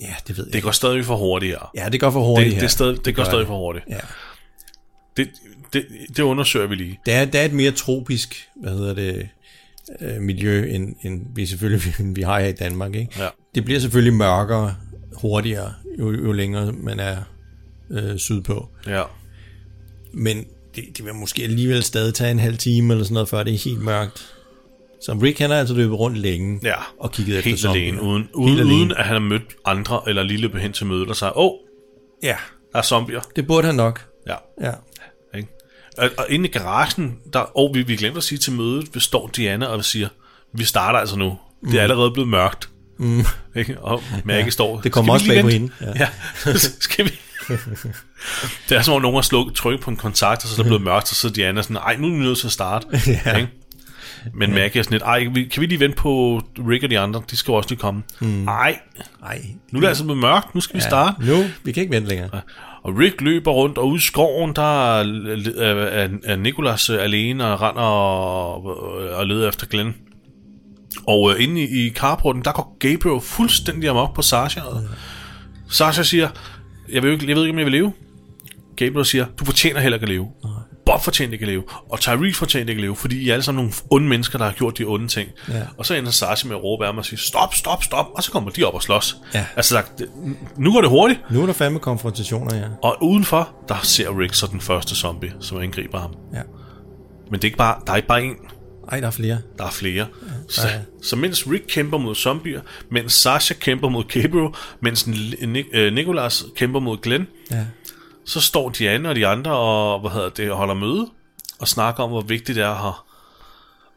Speaker 2: Ja, det ved jeg
Speaker 1: Det går stadig for hurtigere.
Speaker 2: Ja, det går for hurtigt
Speaker 1: Det,
Speaker 2: her.
Speaker 1: det, stadig, det,
Speaker 2: Det
Speaker 1: går
Speaker 2: gør
Speaker 1: stadig
Speaker 2: det.
Speaker 1: for hurtigt.
Speaker 2: Ja.
Speaker 1: Det, det, det undersøger vi lige.
Speaker 2: Der er, der er et mere tropisk, hvad hedder det, øh, miljø, end, end vi selvfølgelig <laughs> end vi har her i Danmark. Ikke?
Speaker 1: Ja.
Speaker 2: Det bliver selvfølgelig mørkere, hurtigere, jo, jo længere man er øh, sydpå.
Speaker 1: Ja.
Speaker 2: Men det, det vil måske alligevel stadig tage en halv time eller sådan noget, før det er helt mørkt. Så Rick han har altså løbet rundt længe
Speaker 1: Ja,
Speaker 2: og kigget efter
Speaker 1: Helt alene,
Speaker 2: zombier.
Speaker 1: uden, uden,
Speaker 2: Helt
Speaker 1: uden at han har mødt andre, eller lige løbet hen til mødet og sagt, åh, oh,
Speaker 2: Ja,
Speaker 1: der er zombier.
Speaker 2: det burde han nok.
Speaker 1: Ja.
Speaker 2: Ja.
Speaker 1: Ikke? Og, og inde i garagen, der, og vi, vi glemte at sige til mødet, består Diana og siger, vi starter altså nu. Det er
Speaker 2: Mm.
Speaker 1: allerede blevet mørkt.
Speaker 2: Mm.
Speaker 1: Ikke? Og Mærke
Speaker 2: Ja,
Speaker 1: står...
Speaker 2: det kommer
Speaker 1: "Skal vi
Speaker 2: også
Speaker 1: lige
Speaker 2: bag på
Speaker 1: vente?"
Speaker 2: hende,
Speaker 1: <laughs> Ja. ja. skal vi... det er som om nogen har slukket tryk på en kontakt, og så er det blevet mørkt, og så er Diana sådan, ej, nu er vi nødt til at starte.
Speaker 2: Ja.
Speaker 1: Ikke? Men Maggie er sådan lidt, ej, vi- kan vi lige vente på Rick og de andre? De skal jo også lige komme. Nej,
Speaker 2: Nej.
Speaker 1: nu er det altså blevet mørkt, nu skal vi starte.
Speaker 2: Nu, vi kan ikke vente længere.
Speaker 1: Og Rick løber rundt, og ude i skoven, der er, er, er Nicholas øh, alene og render og, øh, og leder efter Glenn. Og øh, inde i, i carporten, der går Gabriel fuldstændig amok på Sasha. Og Sasha siger, jeg, vil jo ikke, jeg ved ikke, om jeg vil leve. Gabriel siger, du fortjener heller ikke at leve. Bob fortjener ikke at leve, og Tyrese fortjener ikke at leve, fordi I er alle sammen nogle onde mennesker, der har gjort de onde ting.
Speaker 2: Ja.
Speaker 1: Og så ender Sasha med at råbe af mig og sige, stop, stop, stop, og så kommer de op og slås.
Speaker 2: Ja.
Speaker 1: Altså, der, det- nu går det hurtigt,
Speaker 2: Nu er der fandme konfrontationer, ja.
Speaker 1: og udenfor, der ser Rick så den første zombie, som angriber ham.
Speaker 2: Ja.
Speaker 1: Men det er ikke bare, der er ikke bare én,
Speaker 2: Ej, der er flere.
Speaker 1: der er flere. så,
Speaker 2: der er-
Speaker 1: så mens Rick kæmper mod zombier, mens Sasha kæmper mod Gabriel, mens Ni- øh, Nicholas kæmper mod Glenn,
Speaker 2: Ja.
Speaker 1: så står Diana og de andre og hvad hedder det, holder møde og snakker om, hvor vigtigt det er at,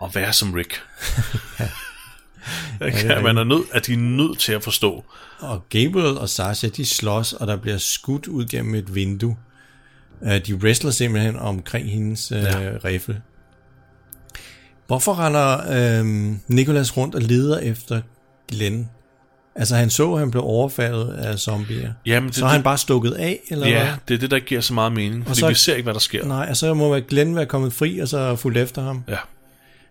Speaker 1: at være som
Speaker 2: <laughs>
Speaker 1: Rick. <laughs>
Speaker 2: det
Speaker 1: ja,
Speaker 2: er
Speaker 1: man er nødt, at de er nødt til at forstå.
Speaker 2: Og Gabriel og Sasha, de slås, og der bliver skudt ud gennem et vindue. Øh, De wrestler simpelthen omkring hendes øh,
Speaker 1: Ja.
Speaker 2: ja. rifle. Hvorfor render øh, Nicholas rundt og leder efter Glenn? Altså han så, at han blev overfaldet af zombier.
Speaker 1: Jamen, det-
Speaker 2: så har han
Speaker 1: det-
Speaker 2: bare stukket af, eller
Speaker 1: ja,
Speaker 2: hvad?
Speaker 1: det er det, der giver så meget mening, fordi
Speaker 2: så-
Speaker 1: vi ser ikke, hvad der sker.
Speaker 2: Nej, og så må være Glenn være kommet fri, og så er fulgt efter ham.
Speaker 1: Ja.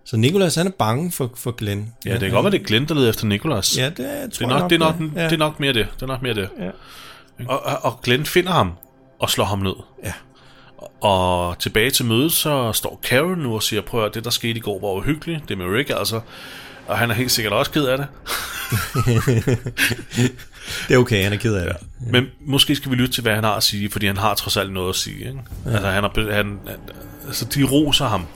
Speaker 2: Så Nicholas, han er bange for, for Glenn.
Speaker 1: Ja, det kan godt være, det er Glenn, der leder efter Nikolas.
Speaker 2: Ja, det tror
Speaker 1: det er
Speaker 2: jeg
Speaker 1: nok,
Speaker 2: nok,
Speaker 1: det, er nok,
Speaker 2: det
Speaker 1: det,
Speaker 2: er. Ja.
Speaker 1: det er nok mere det. Det er nok mere det.
Speaker 2: Ja.
Speaker 1: Og, og, og Glenn finder ham og slår ham ned.
Speaker 2: Ja.
Speaker 1: Og tilbage til mødet, så står Karen nu og siger, prøv at høre, det der skete i går var uhyggeligt. Det med Rick altså. Og han er helt sikkert også ked af det.
Speaker 2: Det er okay, han er ked af det.
Speaker 1: Men måske skal vi lytte til, hvad han har at sige, fordi han har trods alt noget at sige. Ikke? Ja. Altså, han er, be- han, han, altså, de roser ham.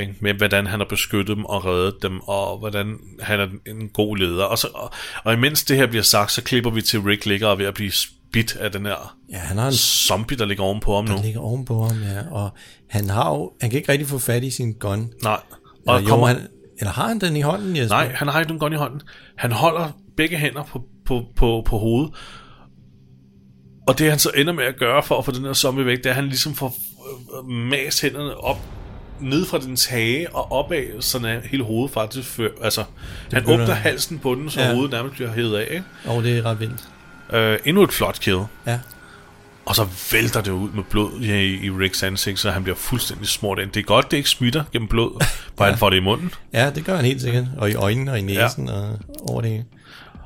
Speaker 1: Ikke? Med hvordan han har beskyttet dem og reddet dem, og hvordan han er en god leder. Og, så, og, og imens det her bliver sagt, så klipper vi til Rick ligger og er ved at blive spidt af den her
Speaker 2: Ja, han har en
Speaker 1: zombie, der ligger ovenpå ham nu.
Speaker 2: Han ligger ovenpå ham, ja. Og han har jo, han kan ikke rigtig få fat i sin gun.
Speaker 1: Nej.
Speaker 2: Og
Speaker 1: Og
Speaker 2: eller,
Speaker 1: kommer-
Speaker 2: kommer... jo, han, eller har han den i hånden, Jesper?
Speaker 1: Nej, han har ikke nogen gun i hånden. Han holder begge hænder på, på, på, på hovedet. Og det han så ender med at gøre for at få den her zombie væk, det er, at han ligesom får øh, mast hænderne op ned fra dens hage og opad, sådan at hele hovedet faktisk før, altså, han
Speaker 2: begynder-
Speaker 1: åbner halsen på den, så
Speaker 2: Ja.
Speaker 1: ja. hovedet nærmest bliver hævet af. Ikke?
Speaker 2: Og det er ret vildt.
Speaker 1: Øh, endnu et flot kill.
Speaker 2: Ja.
Speaker 1: Og så vælter det ud med blod ja, i, i Ricks ansigt, så han bliver fuldstændig smurt ind. Det er godt, det ikke smitter gennem blod, <laughs> hvor han får det i munden.
Speaker 2: Ja, det gør han helt sikkert. Og i øjnene og i næsen ja. og over det hele.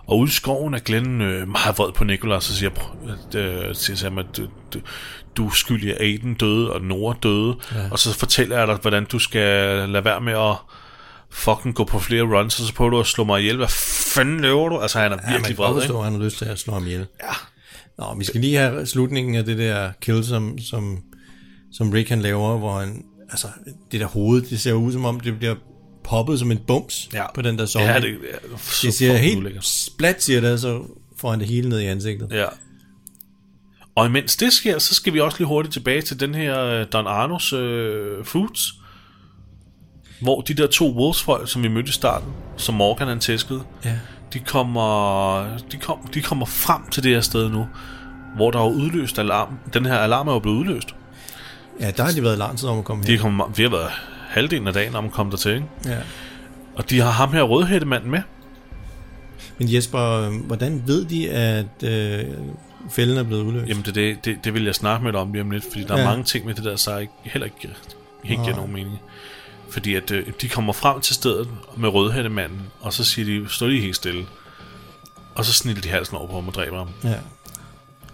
Speaker 1: Og ude i skoven er Glenn øh, meget vred på Nicholas og siger, "Prøv, at, øh, siger til ham, at du, du, du er skyldig, at Aiden døde, og Nora døde. Ja. Og så fortæller jeg dig, hvordan du skal lade være med at fucking gå på flere runs, og så prøver du at slå mig ihjel. Hvad fanden løber du? Altså, han er
Speaker 2: Ja, man kan
Speaker 1: virkelig
Speaker 2: godt
Speaker 1: vred,
Speaker 2: forstå,
Speaker 1: ikke?
Speaker 2: at han har lyst til at slå ham ihjel. Ja. Nå, vi skal lige have slutningen af det der kill, som, som, som Rick han laver, hvor han, altså, det der hoved, det ser ud som om, det bliver poppet som en bums
Speaker 1: Ja.
Speaker 2: på den der zombie.
Speaker 1: Ja, det- ja, så
Speaker 2: det ser
Speaker 1: fucking
Speaker 2: helt
Speaker 1: ulækkert.
Speaker 2: splat, siger det, så får han det hele ned i ansigtet.
Speaker 1: Ja. Og imens det sker, så skal vi også lige hurtigt tilbage til den her øh, Don Arnos øh, Foods, hvor de der to wolvesfolk, som vi mødte i starten, som Morgan han tæskede,
Speaker 2: Ja.
Speaker 1: de kommer, de, kom, de kommer frem til det her sted nu, hvor der er jo udløst alarm. Den her alarm er jo blevet udløst.
Speaker 2: Ja, der har de været lang tid om at komme
Speaker 1: De
Speaker 2: her.
Speaker 1: kommer, vi har været halvdelen af dagen om at komme dertil, ikke?
Speaker 2: Ja.
Speaker 1: Og de har ham her rødhættemanden med.
Speaker 2: Men Jesper, øh, hvordan ved de, at øh, fælden er blevet udløst?
Speaker 1: Jamen det, det, det, det vil jeg snakke med dig om lige om lidt, fordi der ja.
Speaker 2: Ja.
Speaker 1: er mange ting med det der, så ikke, heller ikke helt giver
Speaker 2: Nej.
Speaker 1: nogen mening. Fordi at øh, de kommer frem til stedet med rødhættemanden, og så siger de, stå lige helt stille. Og så snitter de halsen over på ham og dræber ham.
Speaker 2: Ja.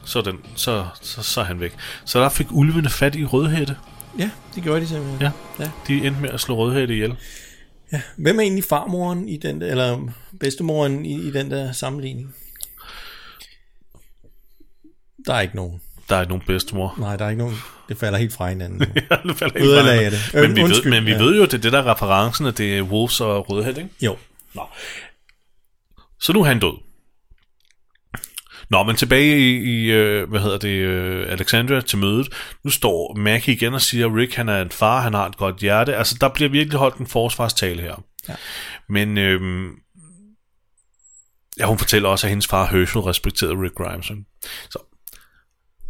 Speaker 1: Så, er den, så, så, så er han væk. Så der fik ulvene fat i Rødhætte.
Speaker 2: Ja, det gjorde de simpelthen.
Speaker 1: Ja.
Speaker 2: ja.
Speaker 1: De endte med at slå Rødhætte ihjel.
Speaker 2: Ja. Hvem er egentlig farmoren i den der, eller bedstemoren i, i den der sammenligning? Der er ikke nogen.
Speaker 1: Der er ikke nogen bedstemor. <laughs>
Speaker 2: Nej, der er ikke nogen. Det falder helt fra hinanden. nu.
Speaker 1: Ja, det falder ikke
Speaker 2: Ødelagde
Speaker 1: fra
Speaker 2: jeg det.
Speaker 1: hinanden.
Speaker 2: Øh,
Speaker 1: Men vi,
Speaker 2: undskyld,
Speaker 1: ved, men vi
Speaker 2: ja.
Speaker 1: ved jo, at det er det, der er referencen, at det er Wolves og Rødhæt, ikke?
Speaker 2: Jo.
Speaker 1: Nå. Så nu er han død. Nå, men tilbage i, i øh, hvad hedder det, øh, Alexandria til mødet. Nu står Mackie igen og siger, at Rick han er en far, han har et godt hjerte. Altså, der bliver virkelig holdt en forsvarstale her.
Speaker 2: Ja.
Speaker 1: Men øh, ja, hun fortæller også, at hendes far Herschel respekterede Rick Grimes. ikke? Så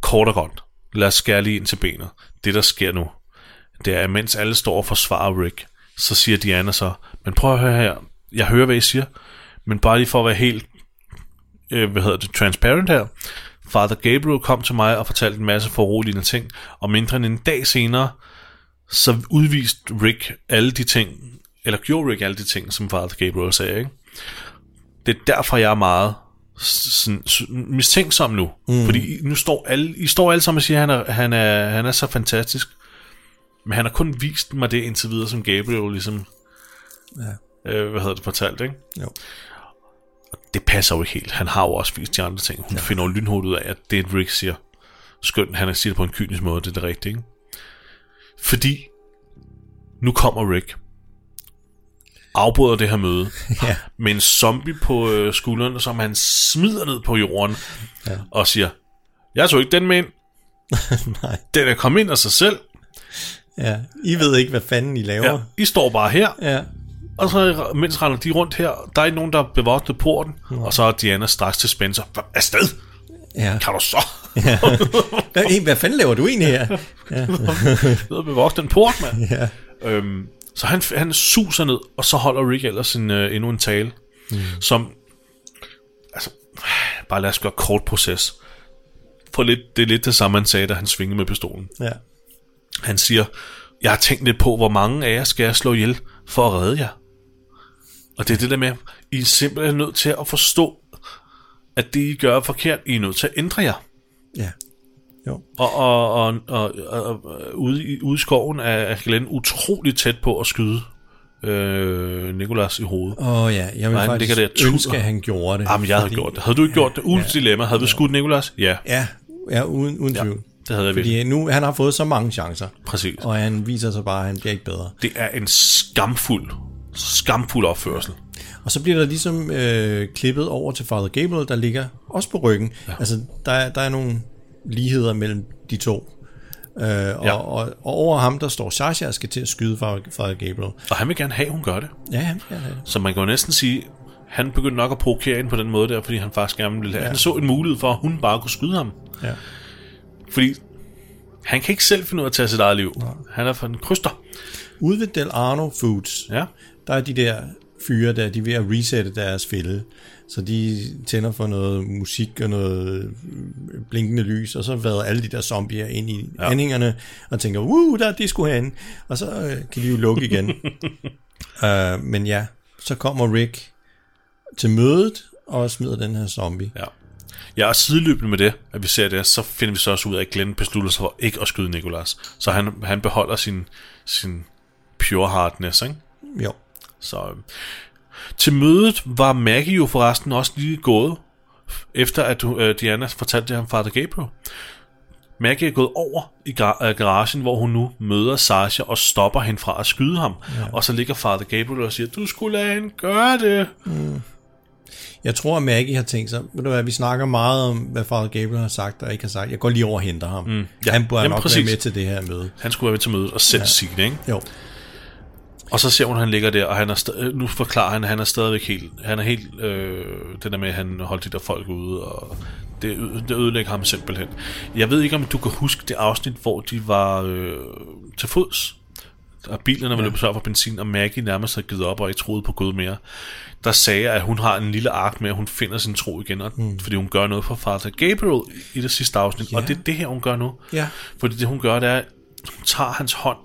Speaker 1: kort og godt, lad os skære lige ind til benet. Det, der sker nu, det er, at mens alle står og forsvarer Rick, så siger Diana så, men prøv at høre her, jeg hører, hvad I siger, men bare lige for at være helt, øh, hvad hedder det, transparent her, Father Gabriel kom til mig og fortalte en masse foruroligende ting, og mindre end en dag senere, så udviste Rick alle de ting, eller gjorde Rick alle de ting, som Father Gabriel sagde, ikke? Det er derfor, jeg er meget s- sådan, s- mistænksom nu. Mm. Fordi I- nu står alle, I står alle sammen og siger, at han er, han, er, han er så fantastisk. Men han har kun vist mig det indtil videre, som Gabriel ligesom, ja. øh, hvad hedder det, fortalt, ikke?
Speaker 2: Jo.
Speaker 1: Og det passer jo ikke helt. Han har jo også vist de andre ting. Hun ja. finder jo lynhurtigt ud af, at det Rick siger. Skønt, han siger det på en kynisk måde, det er det rigtige, ikke? Fordi nu kommer Rick. Afbryder det her møde.
Speaker 2: <laughs> Ja.
Speaker 1: Med en zombie på øh, skulderen, som han smider ned på jorden. Ja. Og siger, jeg tog ikke den med ind.
Speaker 2: <laughs> Nej.
Speaker 1: Den er kommet ind af sig selv.
Speaker 2: Ja. I ved ikke, hvad fanden I laver.
Speaker 1: Ja, I står bare her.
Speaker 2: Ja.
Speaker 1: Og så mens render de rundt her, der er ikke nogen, der bevogter porten, og så er Diana straks til Spencer. "Hva- Afsted!
Speaker 2: Ja.
Speaker 1: Kan du så? <laughs>
Speaker 2: ja. Hvad, hey, hvad fanden laver du egentlig her? Ja.
Speaker 1: Ved at bevogte den port, mand.
Speaker 2: Ja.
Speaker 1: Øhm, så han, han suser ned, og så holder Rick ellers en, øh, endnu en tale, mm. som, altså, bare lad os gøre kort proces. For lidt, det er lidt det samme, han sagde, da han svingede med pistolen.
Speaker 2: ja.
Speaker 1: Han siger, jeg har tænkt lidt på, hvor mange af jer skal jeg slå ihjel for at redde jer. Og det er det der med, I er simpelthen nødt til at forstå, at det I gør er forkert, I er nødt til at ændre jer.
Speaker 2: Ja. Jo.
Speaker 1: Og, og, og, og, og, og ude, i, ude i skoven er, er Glenn utrolig tæt på at skyde øh, Nikolas i hovedet.
Speaker 2: Åh oh, ja, jeg vil
Speaker 1: Og han
Speaker 2: faktisk
Speaker 1: ligger der og tudder.
Speaker 2: ønske, at han gjorde det.
Speaker 1: Jamen, jeg havde gjort det. Havde du ikke gjort det? Ulens ja, dilemma. Havde vi skudt Nikolas? Ja,
Speaker 2: Ja, ja uden, uden ja, tvivl.
Speaker 1: det havde jeg virkelig.
Speaker 2: Fordi nu, han har fået så mange chancer,
Speaker 1: Præcis.
Speaker 2: og han viser sig bare, at han bliver ikke bedre.
Speaker 1: Det er en skamfuld, skamfuld opførsel.
Speaker 2: Og så bliver der ligesom øh, klippet over til Father Gabriel, der ligger også på ryggen. Ja. Altså, der er, der er nogle ligheder mellem de to. Øh, og, ja. og, og over ham, der står Sasha og skal til at skyde Father, Father Gabriel.
Speaker 1: Og han vil gerne have, at hun gør det.
Speaker 2: Ja, ja, ja, ja.
Speaker 1: Så man kan jo næsten sige, han begyndte nok at provokere hende på den måde der, fordi han faktisk gerne ville have. Ja. Han så en mulighed for, at hun bare kunne skyde ham.
Speaker 2: Ja.
Speaker 1: Fordi han kan ikke selv finde ud af at tage sit eget liv. Nej. Han er for en kryster.
Speaker 2: Ude ved Del Arno Foods,
Speaker 1: Ja.
Speaker 2: der er de der fyre der, de er ved at resette deres fælde. Så de tænder for noget musik og noget øh, blinkende lys, og så vader alle de der zombier ind i ja. andingerne, og tænker, uh, der er disco herinde. Og så øh, kan de jo lukke
Speaker 1: <laughs>
Speaker 2: igen. uh, men ja, så kommer Rick til mødet, og smider den her zombie.
Speaker 1: ja. Jeg er sideløbende med det, at vi ser det, så finder vi så også ud af, at Glenn beslutter sig for ikke at skyde Nikolas. Så han, han beholder sin, sin pure hardness, ikke?
Speaker 2: Jo.
Speaker 1: Så øh. til mødet var Maggie jo forresten også lige gået, efter at øh, Diana fortalte det ham Father Gabriel. Maggie er gået over i gar- øh, garagen, hvor hun nu møder Sasha og stopper hende fra at skyde ham. Ja. Og så ligger Father Gabriel og siger, du skulle lade hende gøre det.
Speaker 2: Jeg tror, at Maggie har tænkt sig, ved du hvad, vi snakker meget om, hvad Father Gabriel har sagt og ikke har sagt. Jeg går lige over og henter ham. Mm,
Speaker 1: ja.
Speaker 2: Han burde
Speaker 1: Jamen,
Speaker 2: nok
Speaker 1: præcis.
Speaker 2: være med til det her møde.
Speaker 1: Han skulle være med til mødet og selv ja. sige det, ikke?
Speaker 2: Jo.
Speaker 1: Og så ser hun, at han ligger der, og han er sta- øh, nu forklarer han, at han er stadigvæk helt... Han er helt... Øh, den der med, at han holdt de der folk ude, og det, ø- det ødelægger ham simpelthen. Jeg ved ikke, om du kan huske det afsnit, hvor de var øh, til fods, og bilerne var løbet tør for benzin, og Maggie nærmest havde givet op og ikke troede på Gud mere. Der sagde, jeg, at hun har en lille ark med, at hun finder sin tro igen, og, mm. fordi hun gør noget for Father Gabriel i det sidste afsnit, ja. og det er det her, hun gør nu.
Speaker 2: Ja.
Speaker 1: Fordi det hun gør, det er, at hun tager hans hånd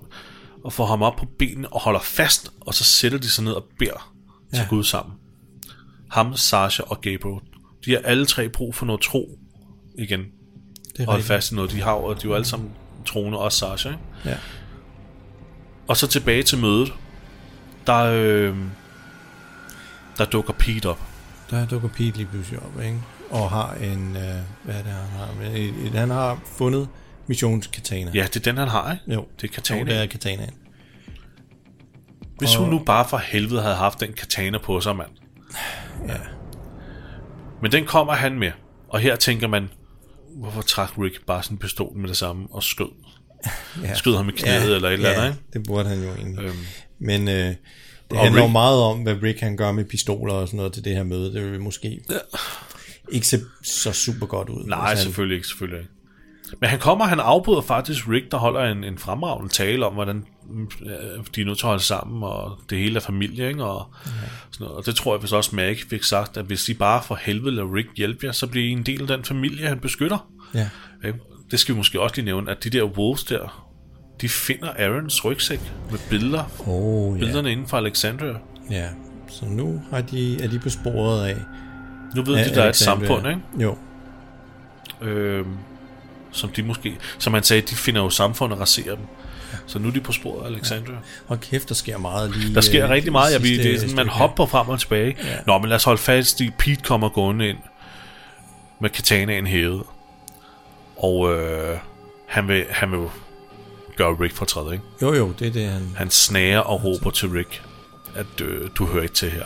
Speaker 1: og får ham op på benene og holder fast, og så sætter de sig ned og beder ja. til
Speaker 2: Ja.
Speaker 1: Gud sammen. Ham, Sasha og Gabriel. de har alle tre brug for noget tro igen.
Speaker 2: er
Speaker 1: Det og holde
Speaker 2: rigtigt.
Speaker 1: fast i noget, de har, og de er jo alle sammen troende, også Sasha. Ikke?
Speaker 2: Ja.
Speaker 1: Og så tilbage til mødet, der, øh, der dukker Pete op.
Speaker 2: Der dukker Pete lige pludselig op, ikke? Og har en... Øh, hvad er det, han har? Men et- et- Han har fundet missionskatana.
Speaker 1: Ja, det er den, han har, ikke?
Speaker 2: Jo.
Speaker 1: Det er katanaen.
Speaker 2: Jo, det er katanaen.
Speaker 1: Hvis
Speaker 2: Og-
Speaker 1: hun nu bare for helvede havde haft den katana på sig, mand.
Speaker 2: Ja.
Speaker 1: Men den kommer han med. Og her tænker man, hvorfor trak Rick bare sin pistol med det samme og skød? Ja. Skød ham i knæet ja. eller et eller andet, ikke?
Speaker 2: det burde han jo egentlig.
Speaker 1: Øhm.
Speaker 2: Øhm. Men øh, det
Speaker 1: Og
Speaker 2: handler jo
Speaker 1: Rick-
Speaker 2: meget om, hvad Rick han gør med pistoler og sådan noget til det her møde. Det vil måske ja. ikke se så super godt ud.
Speaker 1: Nej,
Speaker 2: hvis han-
Speaker 1: selvfølgelig ikke, selvfølgelig ikke. Men han kommer, han afbryder faktisk Rick, der holder en, en fremragende tale om, hvordan mm, øh, de er nødt til at holde sammen, og det hele er familie, ikke? Og, sådan noget. og det tror jeg vist også, Maggie fik sagt, at hvis I bare for helvede lader Rick hjælpe jer, så bliver I en del af den familie, han beskytter.
Speaker 2: Ja.
Speaker 1: Øh, Det skal vi måske også lige nævne, at de der wolves der, de finder Aarons rygsæk med billeder.
Speaker 2: Åh, ja.
Speaker 1: Billederne inden for Alexandria.
Speaker 2: Ja, så nu har de, er de på sporet af...
Speaker 1: Nu ved
Speaker 2: af
Speaker 1: de, der er et
Speaker 2: Alexandria.
Speaker 1: samfund, ikke?
Speaker 2: Jo,
Speaker 1: øh, som de måske, som han sagde, de finder jo samfundet og raserer dem. Så nu er de på sporet af Alexandria. Ja.
Speaker 2: og kæft, der sker meget lige...
Speaker 1: Der sker
Speaker 2: øh,
Speaker 1: rigtig meget. Jeg,
Speaker 2: sidste
Speaker 1: det er sådan, man
Speaker 2: stykke.
Speaker 1: hopper frem og tilbage.
Speaker 2: Ja.
Speaker 1: Ja. Nå, men lad os holde fast i, Pete kommer gående ind med katanaen hævet. Og øh, han, vil, han vil gøre Rick fortræd, ikke?
Speaker 2: Jo, jo, det er det, han...
Speaker 1: Han snager og råber til Rick, at øh, du hører ikke til her.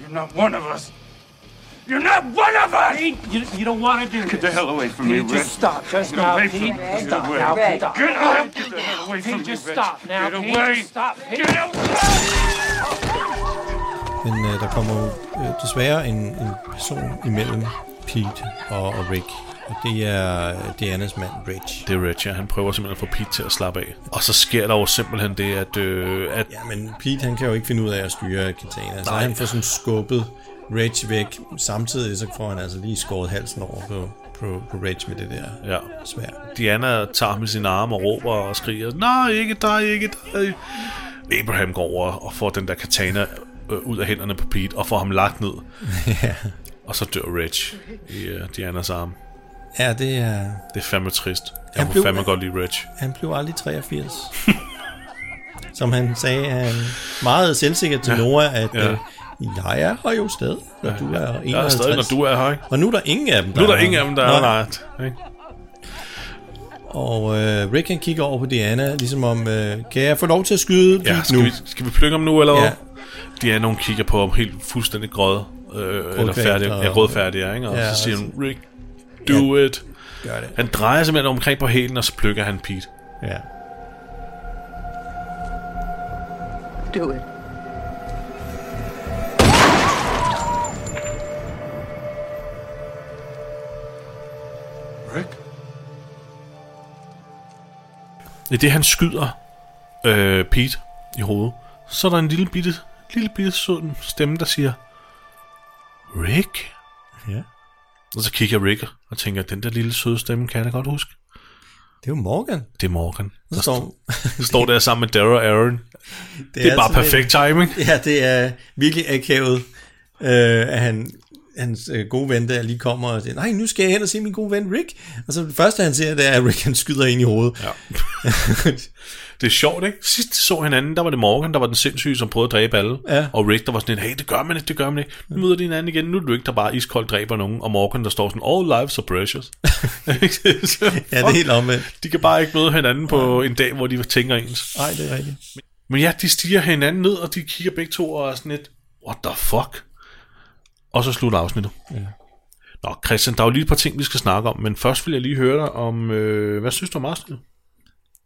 Speaker 12: You're not one of us. You're not one of us! you, you don't want to do Get the hell away from
Speaker 4: me,
Speaker 12: Just
Speaker 4: Rick.
Speaker 12: stop. Just
Speaker 4: Get
Speaker 12: now,
Speaker 4: away
Speaker 12: Pete.
Speaker 4: from me.
Speaker 12: Stop
Speaker 4: Get away.
Speaker 12: now, Pete.
Speaker 4: Stop.
Speaker 12: Get out.
Speaker 4: Get the hell away from
Speaker 12: Pete,
Speaker 4: me,
Speaker 12: just
Speaker 4: Rick.
Speaker 12: stop now,
Speaker 4: Get
Speaker 12: Pete.
Speaker 4: away.
Speaker 12: Just stop, Pete.
Speaker 4: Get out.
Speaker 2: Men øh, der kommer jo øh, desværre en, en person imellem Pete og, og Rick. Og det er øh, Dianas mand, Rich.
Speaker 1: Det er Rich, ja. Han prøver simpelthen at få Pete til at slappe af. Og så sker der jo simpelthen det, at... Øh, at
Speaker 2: ja, men Pete, han kan jo ikke finde ud af at styre Katana. Så
Speaker 1: Nej.
Speaker 2: han får sådan skubbet Rich væk. Samtidig så får han altså lige skåret halsen over på, på, på Rich med det der øh,
Speaker 1: Ja.
Speaker 2: svær. <laughs>
Speaker 1: Diana tager ham i sin arme og råber og skriger, Nej, ikke dig, ikke dig. Abraham går over og får den der katana øh, ud af hænderne på Pete og får ham lagt ned.
Speaker 2: Ja.
Speaker 1: Og så dør Rich i øh, Dianas arme.
Speaker 2: Ja, det er...
Speaker 1: Det er fandme trist. Jeg
Speaker 2: Han
Speaker 1: kunne
Speaker 2: blev-
Speaker 1: fandme godt lide Rich.
Speaker 2: Han blev aldrig 83. Som han sagde, han meget selvsikker til
Speaker 1: Ja.
Speaker 2: Nora, at
Speaker 1: Ja.
Speaker 2: ja. øh, jeg er her jo stadig, når du er 51.
Speaker 1: Jeg er stadig, når du er her, ikke?
Speaker 2: Og nu er der ingen af dem,
Speaker 1: Nu er der ingen af dem, der er her, nej.
Speaker 2: Og øh, Rick han kigger over på Diana, ligesom om, øh, kan jeg få lov til at skyde
Speaker 1: Ja,
Speaker 2: Pete
Speaker 1: skal
Speaker 2: nu?
Speaker 1: vi, skal vi plukke ham nu, eller hvad?
Speaker 2: Ja.
Speaker 1: Diana, hun kigger på ham helt fuldstændig grød. Øh, eller
Speaker 2: Rødkvalt
Speaker 1: færdig,
Speaker 2: og-
Speaker 1: ja, rødfærdig, ja, ikke? Og
Speaker 2: Ja, altså.
Speaker 1: ja, så siger
Speaker 2: og
Speaker 1: hun, Rick, do ja, it.
Speaker 2: Gør det.
Speaker 1: Han drejer simpelthen omkring på hælen, og så plukker han Pete.
Speaker 2: Ja.
Speaker 13: Do it.
Speaker 4: Rick?
Speaker 1: I det han skyder øh, Pete i hovedet, så er der en lille bitte, lille bitte sød stemme, der siger, Rick?
Speaker 2: Ja.
Speaker 1: Og så kigger Rick og tænker, den der lille søde stemme kan jeg da godt huske.
Speaker 2: Det er jo Morgan.
Speaker 1: Det er Morgan.
Speaker 2: Så står, <laughs>
Speaker 1: Han står der sammen med Dara og Aaron. Det, det er, bare
Speaker 2: sådan
Speaker 1: perfekt
Speaker 2: lidt-
Speaker 1: timing.
Speaker 2: <laughs> Ja, det er virkelig akavet, øh, at han, hans øh, gode ven der lige kommer og siger, nej, nu skal jeg hen og se min gode ven Rick. Og så det første, han ser, det er, at Rick han skyder ind i hovedet.
Speaker 1: Ja. Det er sjovt, ikke? Sidst de så hinanden, der var det Morgan, der var den sindssyge, som prøvede at dræbe alle.
Speaker 2: Ja.
Speaker 1: Og Rick, der var sådan lidt, hey, det gør man ikke, det gør man ikke. Nu møder de hinanden igen, nu er det Rick, der bare iskoldt dræber nogen. Og Morgan, der står sådan, all lives are
Speaker 2: <laughs>
Speaker 1: precious.
Speaker 2: <laughs> ja, det er helt omvendt.
Speaker 1: De kan bare ikke møde hinanden på en dag, hvor de tænker ens.
Speaker 2: Nej, det er rigtigt.
Speaker 1: Men ja, de stiger hinanden ned, og de kigger begge to og er sådan lidt, what the fuck? Og så slutter afsnittet.
Speaker 2: Ja.
Speaker 1: Nå, Christian, der er jo lige et par ting, vi skal snakke om, men først vil jeg lige høre dig om, øh, hvad synes du om afsnittet?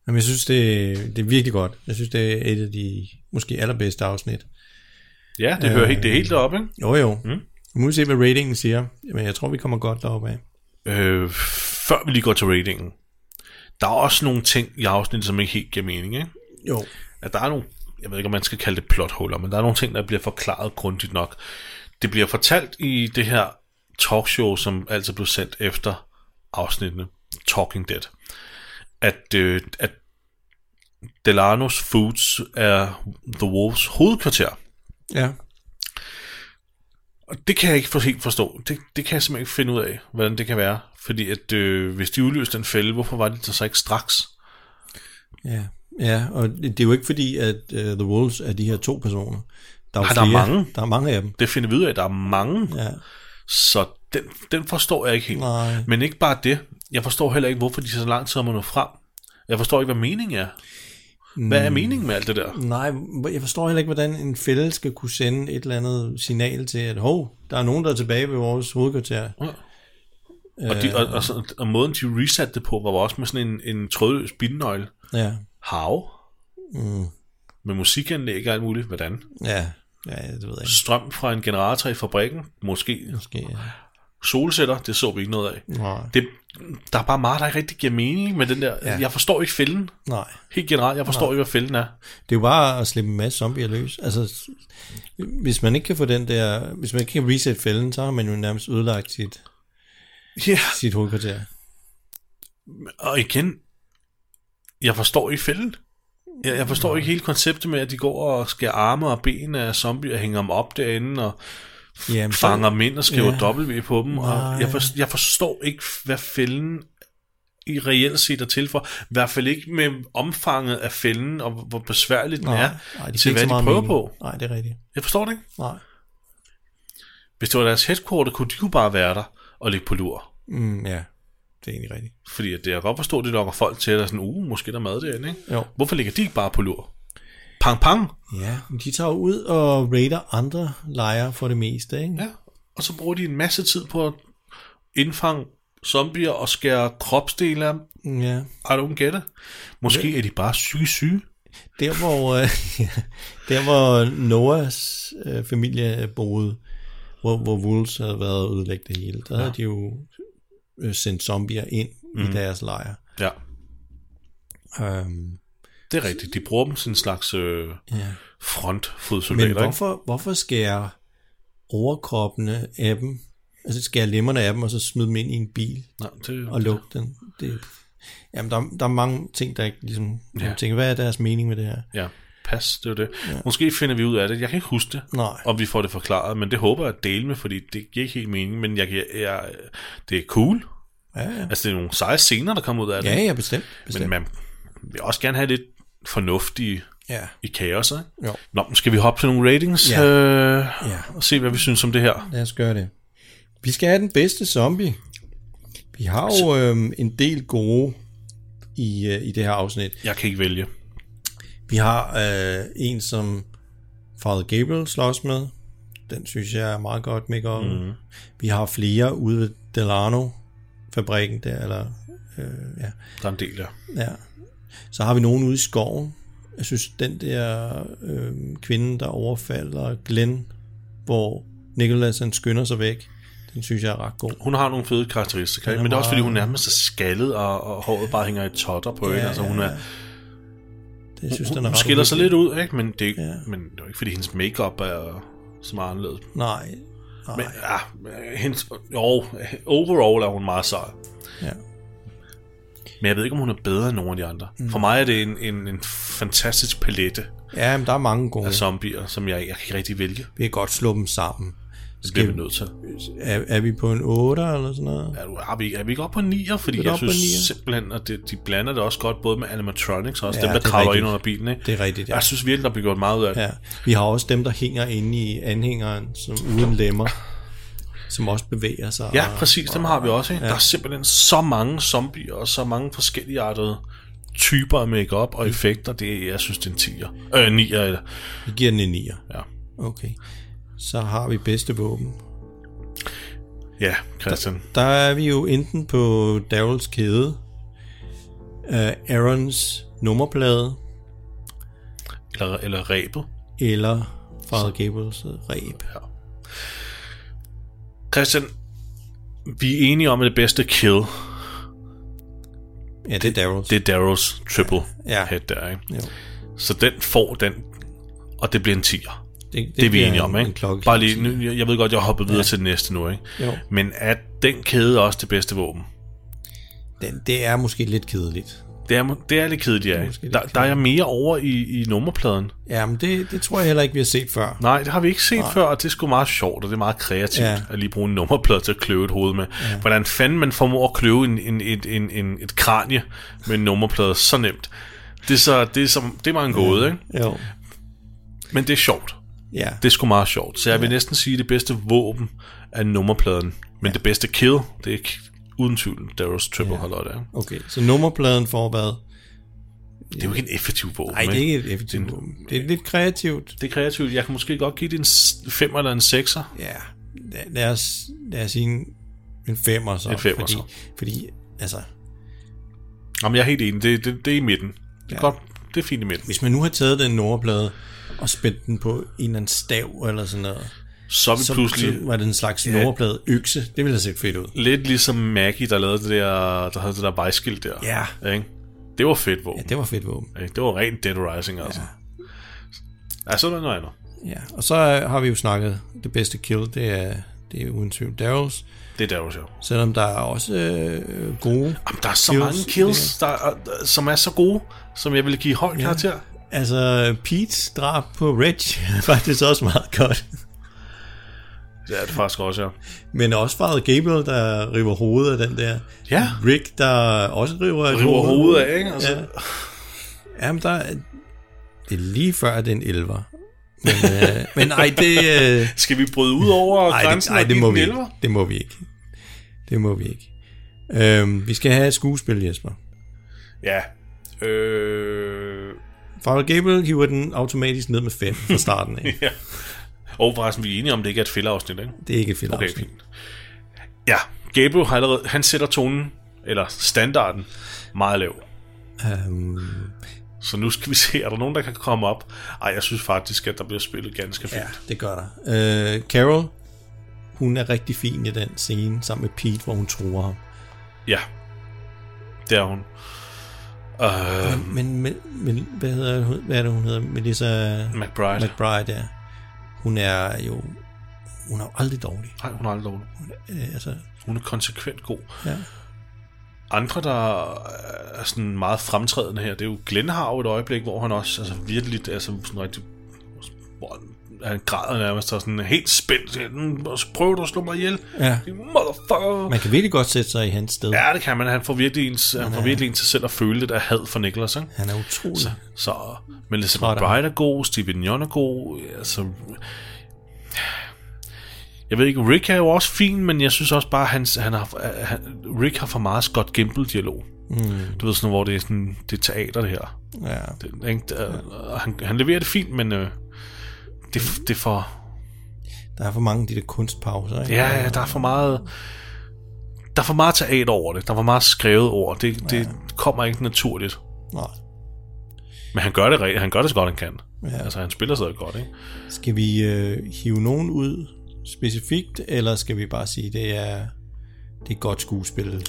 Speaker 2: Jamen, jeg synes, det, det er virkelig godt. Jeg synes, det er et af de måske allerbedste afsnit.
Speaker 1: Ja, det hører helt- det er helt deroppe, ikke?
Speaker 2: Jo, jo.
Speaker 1: Mm.
Speaker 2: Mm. Nu må vi se, hvad ratingen siger. Men jeg tror, vi kommer godt deroppe af.
Speaker 1: Øh, før vi lige går til ratingen, der er også nogle ting i afsnittet, som ikke helt giver mening, ikke?
Speaker 2: Jo.
Speaker 1: At der er nogle, jeg ved ikke, om man skal kalde det plothuller, men der er nogle ting, der bliver forklaret grundigt nok. Det bliver fortalt i det her talkshow, som altså blev sendt efter afsnittene, Talking Dead, at, øh, at Delanos Foods er The Wolves hovedkvarter.
Speaker 2: Ja.
Speaker 1: Og det kan jeg ikke for, helt forstå. Det, det kan jeg simpelthen ikke finde ud af, hvordan det kan være. Fordi at øh, hvis de udløste den fælde, hvorfor var det så ikke straks?
Speaker 2: Ja, ja, og det er jo ikke fordi, at uh, The Wolves er de her to personer. Der er, jo
Speaker 1: Nej, der er
Speaker 2: flere.
Speaker 1: mange.
Speaker 2: Der er mange af dem.
Speaker 1: Det finder vi ud af, at der er mange.
Speaker 2: Ja.
Speaker 1: Så den, den forstår jeg ikke helt.
Speaker 2: Nej.
Speaker 1: Men ikke bare det. Jeg forstår heller ikke, hvorfor de så lang tid har nået frem. Jeg forstår ikke, hvad meningen er. Hvad er
Speaker 2: Mm.
Speaker 1: meningen med alt det der?
Speaker 2: Nej, jeg forstår heller ikke, hvordan en fælde skal kunne sende et eller andet signal til, at hov, der er nogen, der er tilbage ved vores hovedkvarter.
Speaker 1: Ja. Og, de, og, og, så- og måden, de resatte det på, var også med sådan en, en trådløs bilnøgle.
Speaker 2: Ja.
Speaker 1: Hav.
Speaker 2: Mm.
Speaker 1: Med musikanlæg og alt muligt. Hvordan?
Speaker 2: Ja, ja, det ved jeg ikke.
Speaker 1: Strøm fra en generator i fabrikken. Måske.
Speaker 2: Måske, ja.
Speaker 1: Solsætter, det så vi ikke noget af.
Speaker 2: Nej.
Speaker 1: Det, der er bare meget, der ikke rigtig giver mening med den der.
Speaker 2: Ja.
Speaker 1: Ja. Jeg forstår ikke fælden.
Speaker 2: Nej.
Speaker 1: Helt generelt, jeg forstår
Speaker 2: Nej.
Speaker 1: Nej. ikke, hvad fælden er.
Speaker 2: Det er jo bare at slippe en masse zombier løs. Altså, s- hvis man ikke kan få den der, hvis man ikke kan reset fælden, så har man jo nærmest ødelagt sit,
Speaker 1: Ja.
Speaker 2: sit hovedkvarter.
Speaker 1: Og igen, jeg forstår ikke fælden. Jeg, jeg forstår ikke hele konceptet med, at de går og skærer arme og ben af zombier og hænger dem op derinde og
Speaker 2: Jamen,
Speaker 1: Jamen,
Speaker 2: så-
Speaker 1: fanger dem ind og skriver
Speaker 2: Ja.
Speaker 1: ja. W på dem.
Speaker 2: Nej.
Speaker 1: Og jeg, for, jeg forstår ikke, hvad fælden i reelt set er til for. I hvert fald ikke med omfanget af fælden og hvor- hvor besværligt den
Speaker 2: Nej,
Speaker 1: er
Speaker 2: nej, det giver
Speaker 1: til,
Speaker 2: ikke
Speaker 1: hvad
Speaker 2: så
Speaker 1: de
Speaker 2: meget
Speaker 1: prøver
Speaker 2: mening.
Speaker 1: på.
Speaker 2: Nej, det er rigtigt.
Speaker 1: Jeg forstår det ikke.
Speaker 2: Nej.
Speaker 1: Hvis det var deres headquarter, kunne de jo bare være der og ligge på lur.
Speaker 2: Mm, ja, det er egentlig rigtigt.
Speaker 1: Fordi at det, jeg kan godt forstå, at det lokker folk til, at der er sådan, uh, måske der er mad derinde, ikke?
Speaker 2: Jo.
Speaker 1: Hvorfor ligger de ikke bare på lur? Pang, pang!
Speaker 2: Ja, men de tager jo ud og raider andre lejre for det meste, ikke?
Speaker 1: Ja. Og så bruger de en masse tid på at indfange zombier og skære kropsdele af dem.
Speaker 2: Ja.
Speaker 1: I don't get it. Måske er de bare psykisk syge.
Speaker 2: Der hvor, øh, <laughs> der, hvor Noahs øh, familie boede, hvor, hvor Wolves havde været og ødelægge det hele, der ja.
Speaker 1: Ja.
Speaker 2: havde de jo øh, sendt zombier ind mm. i
Speaker 1: Mhm.
Speaker 2: deres lejr.
Speaker 1: Ja,
Speaker 2: Øhm,
Speaker 1: det er rigtigt. De bruger dem som en slags øh,
Speaker 2: Ja.
Speaker 1: ja. frontfodsoldater.
Speaker 2: men
Speaker 1: ikke?
Speaker 2: hvorfor, hvorfor skære overkroppene af dem, altså skære lemmerne af dem, og så smide dem ind i en bil
Speaker 1: Nej, det-
Speaker 2: og lukke den? Det, jamen, der, der er mange ting, der ikke ligesom...
Speaker 1: Ja.
Speaker 2: Ja. Tænker, hvad er deres mening med det her?
Speaker 1: Ja, pas, det er det. Ja. Måske finder vi ud af det. Jeg kan ikke huske det,
Speaker 2: Nej.
Speaker 1: om vi får det forklaret, men det håber jeg at dele med, fordi det giver ikke helt mening, men jeg, kan- jeg, det er cool.
Speaker 2: Ja, ja.
Speaker 1: Altså, det er nogle seje scener, der kommer ud af det.
Speaker 2: Ja, ja, bestemt, bestemt.
Speaker 1: Men man vil også gerne have lidt fornuftige
Speaker 2: Ja.
Speaker 1: i kaos, ikke?
Speaker 2: Jo.
Speaker 1: Nå, men skal vi hoppe til nogle ratings
Speaker 2: Ja.
Speaker 1: Øh,
Speaker 2: Ja.
Speaker 1: og se, hvad vi synes om det her?
Speaker 2: Lad os gøre det. Vi skal have den bedste zombie. Vi har jo øhm, en del gode i, øh, i det her afsnit.
Speaker 1: Jeg kan ikke vælge.
Speaker 2: Vi har øh, en, som Father Gabriel slås med. Den synes jeg er meget godt make up.
Speaker 1: Mhm.
Speaker 2: Mm. Vi har flere ude ved Delano-fabrikken der, eller øh, ja.
Speaker 1: Der er en del der.
Speaker 2: Ja. Så har vi nogen ude i skoven. Jeg synes, den der øh, kvinde, der overfalder Glenn, hvor Nicholas han skynder sig væk, den synes jeg er ret god.
Speaker 1: Hun har nogle fede karakteristika,
Speaker 2: Den er
Speaker 1: men det er også fordi,
Speaker 2: meget-
Speaker 1: hun nærmest er skaldet, og, og håret bare hænger i totter på
Speaker 2: Ja,
Speaker 1: hende. altså, hun
Speaker 2: ja,
Speaker 1: er,
Speaker 2: ja. Det synes
Speaker 1: hun,
Speaker 2: den er
Speaker 1: hun
Speaker 2: ret
Speaker 1: skiller sig lidt
Speaker 2: uhyggelig.
Speaker 1: ud, ikke? Men, det er ikke,
Speaker 2: Ja.
Speaker 1: ja. men det er jo ikke, fordi hendes makeup er så meget anderledes.
Speaker 2: Nej. Nej.
Speaker 1: Men ja, hendes, jo, overall er hun meget sej.
Speaker 2: Ja.
Speaker 1: Men jeg ved ikke, om hun er bedre end nogen af de andre. Mm. For mig er det en, en, en fantastisk palette
Speaker 2: Ja, men der er mange gode.
Speaker 1: af
Speaker 2: Altså,
Speaker 1: zombier, som jeg, jeg kan ikke rigtig vælge.
Speaker 2: vi kan godt slå dem sammen.
Speaker 1: Det bliver vi nødt til.
Speaker 2: Er, er vi på en 8 eller sådan noget?
Speaker 1: Er, du, er, vi, er vi ikke oppe på en 9'er? Fordi
Speaker 2: Er du
Speaker 1: jeg
Speaker 2: oppe på
Speaker 1: synes
Speaker 2: en nier?
Speaker 1: simpelthen, at det, de blander det også godt, både med animatronics og også
Speaker 2: Ja,
Speaker 1: ja, dem, der
Speaker 2: det er
Speaker 1: kravler
Speaker 2: rigtigt.
Speaker 1: ind under bilen. Ikke?
Speaker 2: Det er rigtigt, ja.
Speaker 1: Jeg synes virkelig, der bliver gjort meget ud af det.
Speaker 2: Ja. Vi har også dem, der hænger inde i anhængeren, som uden lemmer, som også bevæger sig.
Speaker 1: Ja,
Speaker 2: og-
Speaker 1: præcis, dem har vi også. Ikke? Ja. Der er simpelthen så mange zombier og så mange forskelligartede typer af makeup
Speaker 2: Mm.
Speaker 1: og effekter. Det er, jeg synes, det er en 10'er. Øh, 9'er. Eller.
Speaker 2: Vi giver den en 9'er.
Speaker 1: Ja.
Speaker 2: Okay. Så har vi bedste våben.
Speaker 1: ja, Christian.
Speaker 2: Der er vi jo enten på Daryls kæde, uh, Aarons nummerplade,
Speaker 1: Eller, eller rebet.
Speaker 2: eller Father Gables ræb.
Speaker 1: Ja. Christian, vi er enige om, at det bedste kill,
Speaker 2: Ja, det er Daryls.
Speaker 1: det er Darrows triple
Speaker 2: Ja.
Speaker 1: ja. head der, ikke?
Speaker 2: Jo.
Speaker 1: Så den får den, og det bliver en 10'er.
Speaker 2: Det, det,
Speaker 1: Det, det er vi
Speaker 2: bliver
Speaker 1: enige
Speaker 2: en-
Speaker 1: om,
Speaker 2: en
Speaker 1: ikke?
Speaker 2: klokke-
Speaker 1: Bare lige, nu, jeg- jeg ved godt, jeg hopper videre
Speaker 2: Ja.
Speaker 1: ja. til det næste nu, ikke?
Speaker 2: Jo.
Speaker 1: Men er den kæde også det bedste våben?
Speaker 2: Den, det er måske lidt kedeligt.
Speaker 1: Det er, må- det er lidt kedeligt, ja. Der, der er jeg mere over i, i nummerpladen.
Speaker 2: Jamen, det, det tror jeg heller ikke, vi har set før.
Speaker 1: Nej, det har vi ikke set
Speaker 2: Nej.
Speaker 1: Nej. før, og det er sgu meget sjovt, og det er meget kreativt
Speaker 2: Ja.
Speaker 1: ja. at lige bruge en nummerplade til at kløve et hoved med. Ja. Hvordan fanden man formår at kløve en, en, en, en, en, et kranje med en nummerplade så nemt. Det er, så, det er, så, det er mig en gåde, ikke?
Speaker 2: Jo.
Speaker 1: Men det er sjovt.
Speaker 2: Ja.
Speaker 1: Det er sgu meget sjovt. Så jeg vil næsten sige, at det bedste våben er nummerpladen. Men det bedste kill, det er ikke uden tvivl Daryl's Triple ja. Hollow der.
Speaker 2: Okay, så nummerpladen får hvad?
Speaker 1: Det er jo ikke en effektiv våben.
Speaker 2: Nej, det er ikke et effektivt våben. Det er lidt kreativt.
Speaker 1: Det er kreativt. Jeg kan måske godt give det en 5 eller en 6'er.
Speaker 2: Ja, lad, lad, os, lad os sige en, en femmer så.
Speaker 1: En femmer,
Speaker 2: fordi,
Speaker 1: så.
Speaker 2: Fordi, altså,
Speaker 1: Jamen, jeg er helt enig. Det, det, det er i midten. Det er, ja. godt. det er fint i midten.
Speaker 2: hvis man nu har taget den nummerplade og spændt den på en eller anden stav eller sådan noget,
Speaker 1: Så er vi pludselig-
Speaker 2: så var det en slags
Speaker 1: Ja.
Speaker 2: nummerplade økse. Det ville have set fedt ud.
Speaker 1: Lidt ligesom Maggie, der lavede det der, der havde det der vejskilt der.
Speaker 2: Ja.
Speaker 1: Ikke? Det var fedt våben. Ja,
Speaker 2: det var fedt våben.
Speaker 1: Ikke? Det var rent Dead Rising, altså. Ja, så er der noget andet.
Speaker 2: Ja, og så øh, har vi jo snakket, det bedste kill, det er, det er uden tvivl Daryls.
Speaker 1: Det er Daryls, jo.
Speaker 2: Selvom der er også øh, gode
Speaker 1: Jamen, Der er så kills, mange kills, der, er- som er så gode, som jeg ville give høj karakter.
Speaker 2: Altså, Pete's drab på Rich er faktisk også meget godt.
Speaker 1: Ja, det er faktisk også, ja.
Speaker 2: Men også Father Gabriel, der river hovedet af den der.
Speaker 1: Ja.
Speaker 2: Rick, der også river, et
Speaker 1: River hovedet af, ikke? Altså.
Speaker 2: Ja. Jamen, der er, det er lige før, at det er en elver. Men, øh, men nej, det... Øh,
Speaker 1: Skal vi bryde ud over grænsen <laughs> og
Speaker 2: det
Speaker 1: give
Speaker 2: må
Speaker 1: den
Speaker 2: vi ikke.
Speaker 1: elver?
Speaker 2: Det må vi ikke. Det må vi ikke. Øhm, vi skal have et skuespil, Jesper.
Speaker 1: Ja. Øh...
Speaker 2: Father Gabriel hiver den automatisk ned med 5 fra starten af.
Speaker 1: <laughs> ja. Og forresten, vi er enige om, det ikke er et fældeafsnit, ikke?
Speaker 2: Det er ikke et fældeafsnit.
Speaker 1: Okay, fint. Ja, Gabriel har allerede, han sætter tonen, eller standarden, meget lav.
Speaker 2: Um...
Speaker 1: Så nu skal vi se, er der nogen, der kan komme op? Ej, jeg synes faktisk, at der bliver spillet ganske fint. Ja,
Speaker 2: det gør der. Øh, Carol, hun er rigtig fin i den scene sammen med Pete, hvor hun tror ham.
Speaker 1: Ja, det er hun. Øh,
Speaker 2: Men, men, men, men hvad, hedder, hun- hvad er det, hun hedder? Melissa...
Speaker 1: McBride.
Speaker 2: McBride, ja. Hun er jo... Hun er jo aldrig dårlig.
Speaker 1: Nej, hun er aldrig dårlig.
Speaker 2: Øh, altså,
Speaker 1: Hun er konsekvent god.
Speaker 2: Ja.
Speaker 1: Andre, der er sådan meget fremtrædende her, det er jo Glenn har jo et øjeblik, hvor han også altså virkelig, altså sådan rigtig, hvor han græder nærmest og sådan helt spændt, "Mm, "Nu prøver du at slå mig ihjel.
Speaker 2: Ja.
Speaker 1: Motherfucker.
Speaker 2: man kan virkelig godt sætte sig i hans sted.
Speaker 1: Ja, det kan man. Han får virkelig ens, han
Speaker 2: Han
Speaker 1: får
Speaker 2: er-
Speaker 1: virkelig en til selv at føle lidt af had for Nicholas. Ikke?
Speaker 2: Han er utrolig.
Speaker 1: Så, så Melissa
Speaker 2: Træt af ham.
Speaker 1: McBride er god, Steven Yeun er god. Altså, jeg ved ikke, Rick er jo også fin, men jeg synes også bare, han, han har, han, Rick har for meget Scott Gimple-dialog.
Speaker 2: Mm.
Speaker 1: Du ved sådan, hvor det er, sådan, det er teater, det her.
Speaker 2: Ja.
Speaker 1: Det, ikke? Det, er- han, han leverer det fint, men øh, det, det er for...
Speaker 2: Der er for mange af de der kunstpauser. Ikke?
Speaker 1: Ja, ja, der er for meget... Der er for meget teater over det. Der er for meget skrevet over det. Det, det kommer ikke naturligt.
Speaker 2: Nej.
Speaker 1: Men han gør det rigtigt. Han gør det så godt, han kan.
Speaker 2: Ja.
Speaker 1: Ja. Altså, han spiller stadig godt, ikke?
Speaker 2: Skal vi øh, hive nogen ud specifikt, eller skal vi bare sige, det er det er godt skuespil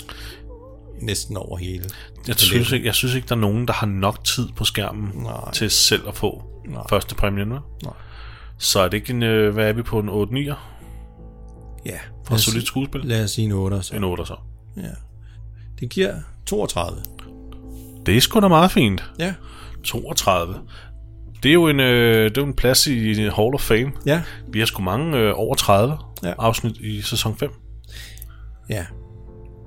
Speaker 2: næsten over hele?
Speaker 1: Jeg synes, ikke, jeg synes ikke, der er nogen, der har nok tid på skærmen
Speaker 2: Nej.
Speaker 1: til selv at få
Speaker 2: Nej.
Speaker 1: første præmien, vel?
Speaker 2: Nej.
Speaker 1: Så er det ikke en... øh, Hvad er vi på? En 8-9'er?
Speaker 2: Ja.
Speaker 1: For solidt skuespil?
Speaker 2: Lad os sige en 8 så.
Speaker 1: En 8'er så.
Speaker 2: Ja. Det giver 32.
Speaker 1: Det er sgu da meget fint.
Speaker 2: Ja.
Speaker 1: 32. Det er jo en, øh, det er jo en plads i Hall of Fame.
Speaker 2: Ja.
Speaker 1: Vi har sgu mange øh, over 30
Speaker 2: Ja.
Speaker 1: ja. afsnit i sæson 5.
Speaker 2: Ja.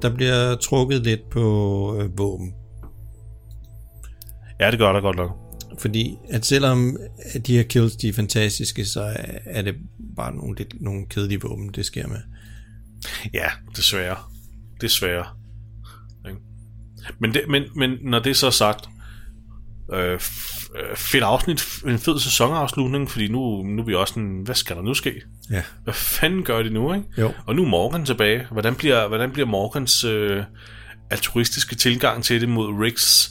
Speaker 2: Der bliver trukket lidt på øh, våben.
Speaker 1: Ja, det gør der godt nok.
Speaker 2: Fordi at selvom at de her kills de er fantastiske, så er- er det bare nogle, lidt, nogle kedelige våben, det sker med.
Speaker 1: Ja, desværre. Desværre. Ikke? Men, det, men, men når det så er sagt, øh, f- øh, fedt afsnit, f- en fed sæsonafslutning, fordi nu, nu er vi også sådan, hvad skal der nu ske?
Speaker 2: Ja.
Speaker 1: Hvad fanden gør de nu, ikke?
Speaker 2: Jo.
Speaker 1: Og nu er Morgan tilbage. Hvordan bliver, hvordan bliver Morgans øh, altruistiske tilgang til det mod Ricks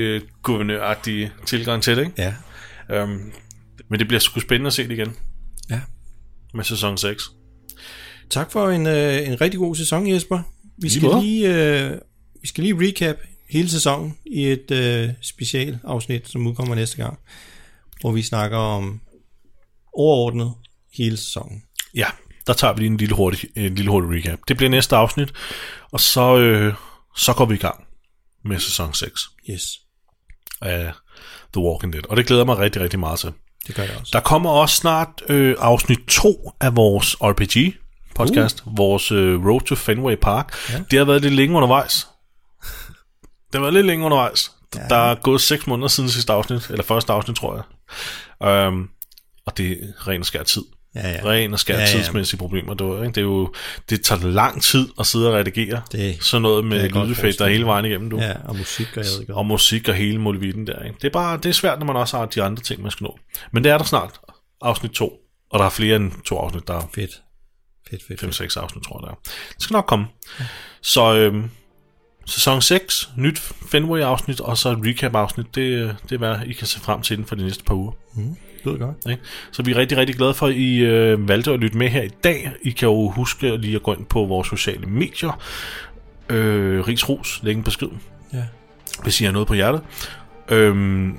Speaker 1: semi-guvernøragtige tilgang til det, ikke? Ja. Øhm, men det bliver sgu spændende at se det igen.
Speaker 2: Ja.
Speaker 1: Med sæson 6.
Speaker 2: Tak for en, øh, en rigtig god sæson, Jesper. Vi
Speaker 1: Lige
Speaker 2: skal,
Speaker 1: måde.
Speaker 2: lige, øh, vi skal lige recap hele sæsonen i et øh, special afsnit, som udkommer næste gang, hvor vi snakker om overordnet hele sæsonen.
Speaker 1: Ja, der tager vi lige en lille hurtig, en lille hurtig recap. Det bliver næste afsnit, og så, øh, så går vi i gang med sæson 6
Speaker 2: Yes.
Speaker 1: af The Walking Dead. Og det glæder jeg mig rigtig, rigtig meget til.
Speaker 2: Det gør jeg også.
Speaker 1: Der kommer også snart øh, afsnit 2 af vores RPG podcast, uh. vores øh, Road to Fenway Park. Ja. Det har været lidt længe undervejs. det har været lidt længe undervejs. Ja. Der er gået 6 måneder siden sidste afsnit, eller første afsnit, tror jeg. Um, og det er ren og skær tid.
Speaker 2: Ja, ja.
Speaker 1: Ren og skær
Speaker 2: Ja,
Speaker 1: ja,
Speaker 2: ja.
Speaker 1: ja. tidsmæssige problemer. Det, var, ikke? det, er jo, det tager lang tid at sidde og redigere
Speaker 2: Det-
Speaker 1: sådan noget
Speaker 2: det
Speaker 1: med
Speaker 2: kan jeg godt
Speaker 1: lydeffekter
Speaker 2: forestille
Speaker 1: hele
Speaker 2: mig.
Speaker 1: vejen igennem. Du.
Speaker 2: Ja, og musik og jeg ved ikke
Speaker 1: Og musik og hele molevitten der. Ikke? Det, er bare, det er svært, når man også har de andre ting, man skal nå. Men det er der snart. Afsnit 2. Og der er flere end to afsnit. Der er
Speaker 2: Fedt. Fedt, fedt.
Speaker 1: 5-6 afsnit, tror jeg, der er. Det skal nok komme. Så øhm, sæson 6, nyt Fenway-afsnit, og så et recap-afsnit. Det, øh, det er, hvad I kan se frem til inden for de næste par uger.
Speaker 2: Mm, lyder godt.
Speaker 1: Ikke? Så vi er rigtig, rigtig glade for, at I øh, valgte at lytte med her i dag. I kan jo huske lige at gå ind på vores sociale medier. Øh, Rigs Ros, læg en besked,
Speaker 2: Ja.
Speaker 1: hvis I har noget på hjertet. Øhm,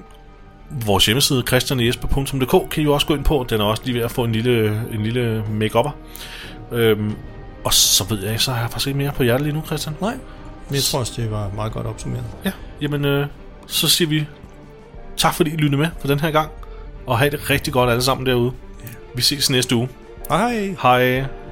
Speaker 1: vores hjemmeside, christianjesper.dk, kan I jo også gå ind på. Den er også lige ved at få en lille, en lille make-upper. Øhm, og så ved jeg ikke, så har jeg faktisk ikke mere på hjertet lige nu, Christian.
Speaker 2: Nej. Men jeg tror også, det var meget godt opsummeret.
Speaker 1: Ja, jamen øh, så siger vi tak fordi I lyttede med for den her gang. Og have det rigtig godt alle sammen derude. Vi ses næste uge.
Speaker 2: Hej.
Speaker 1: Hej.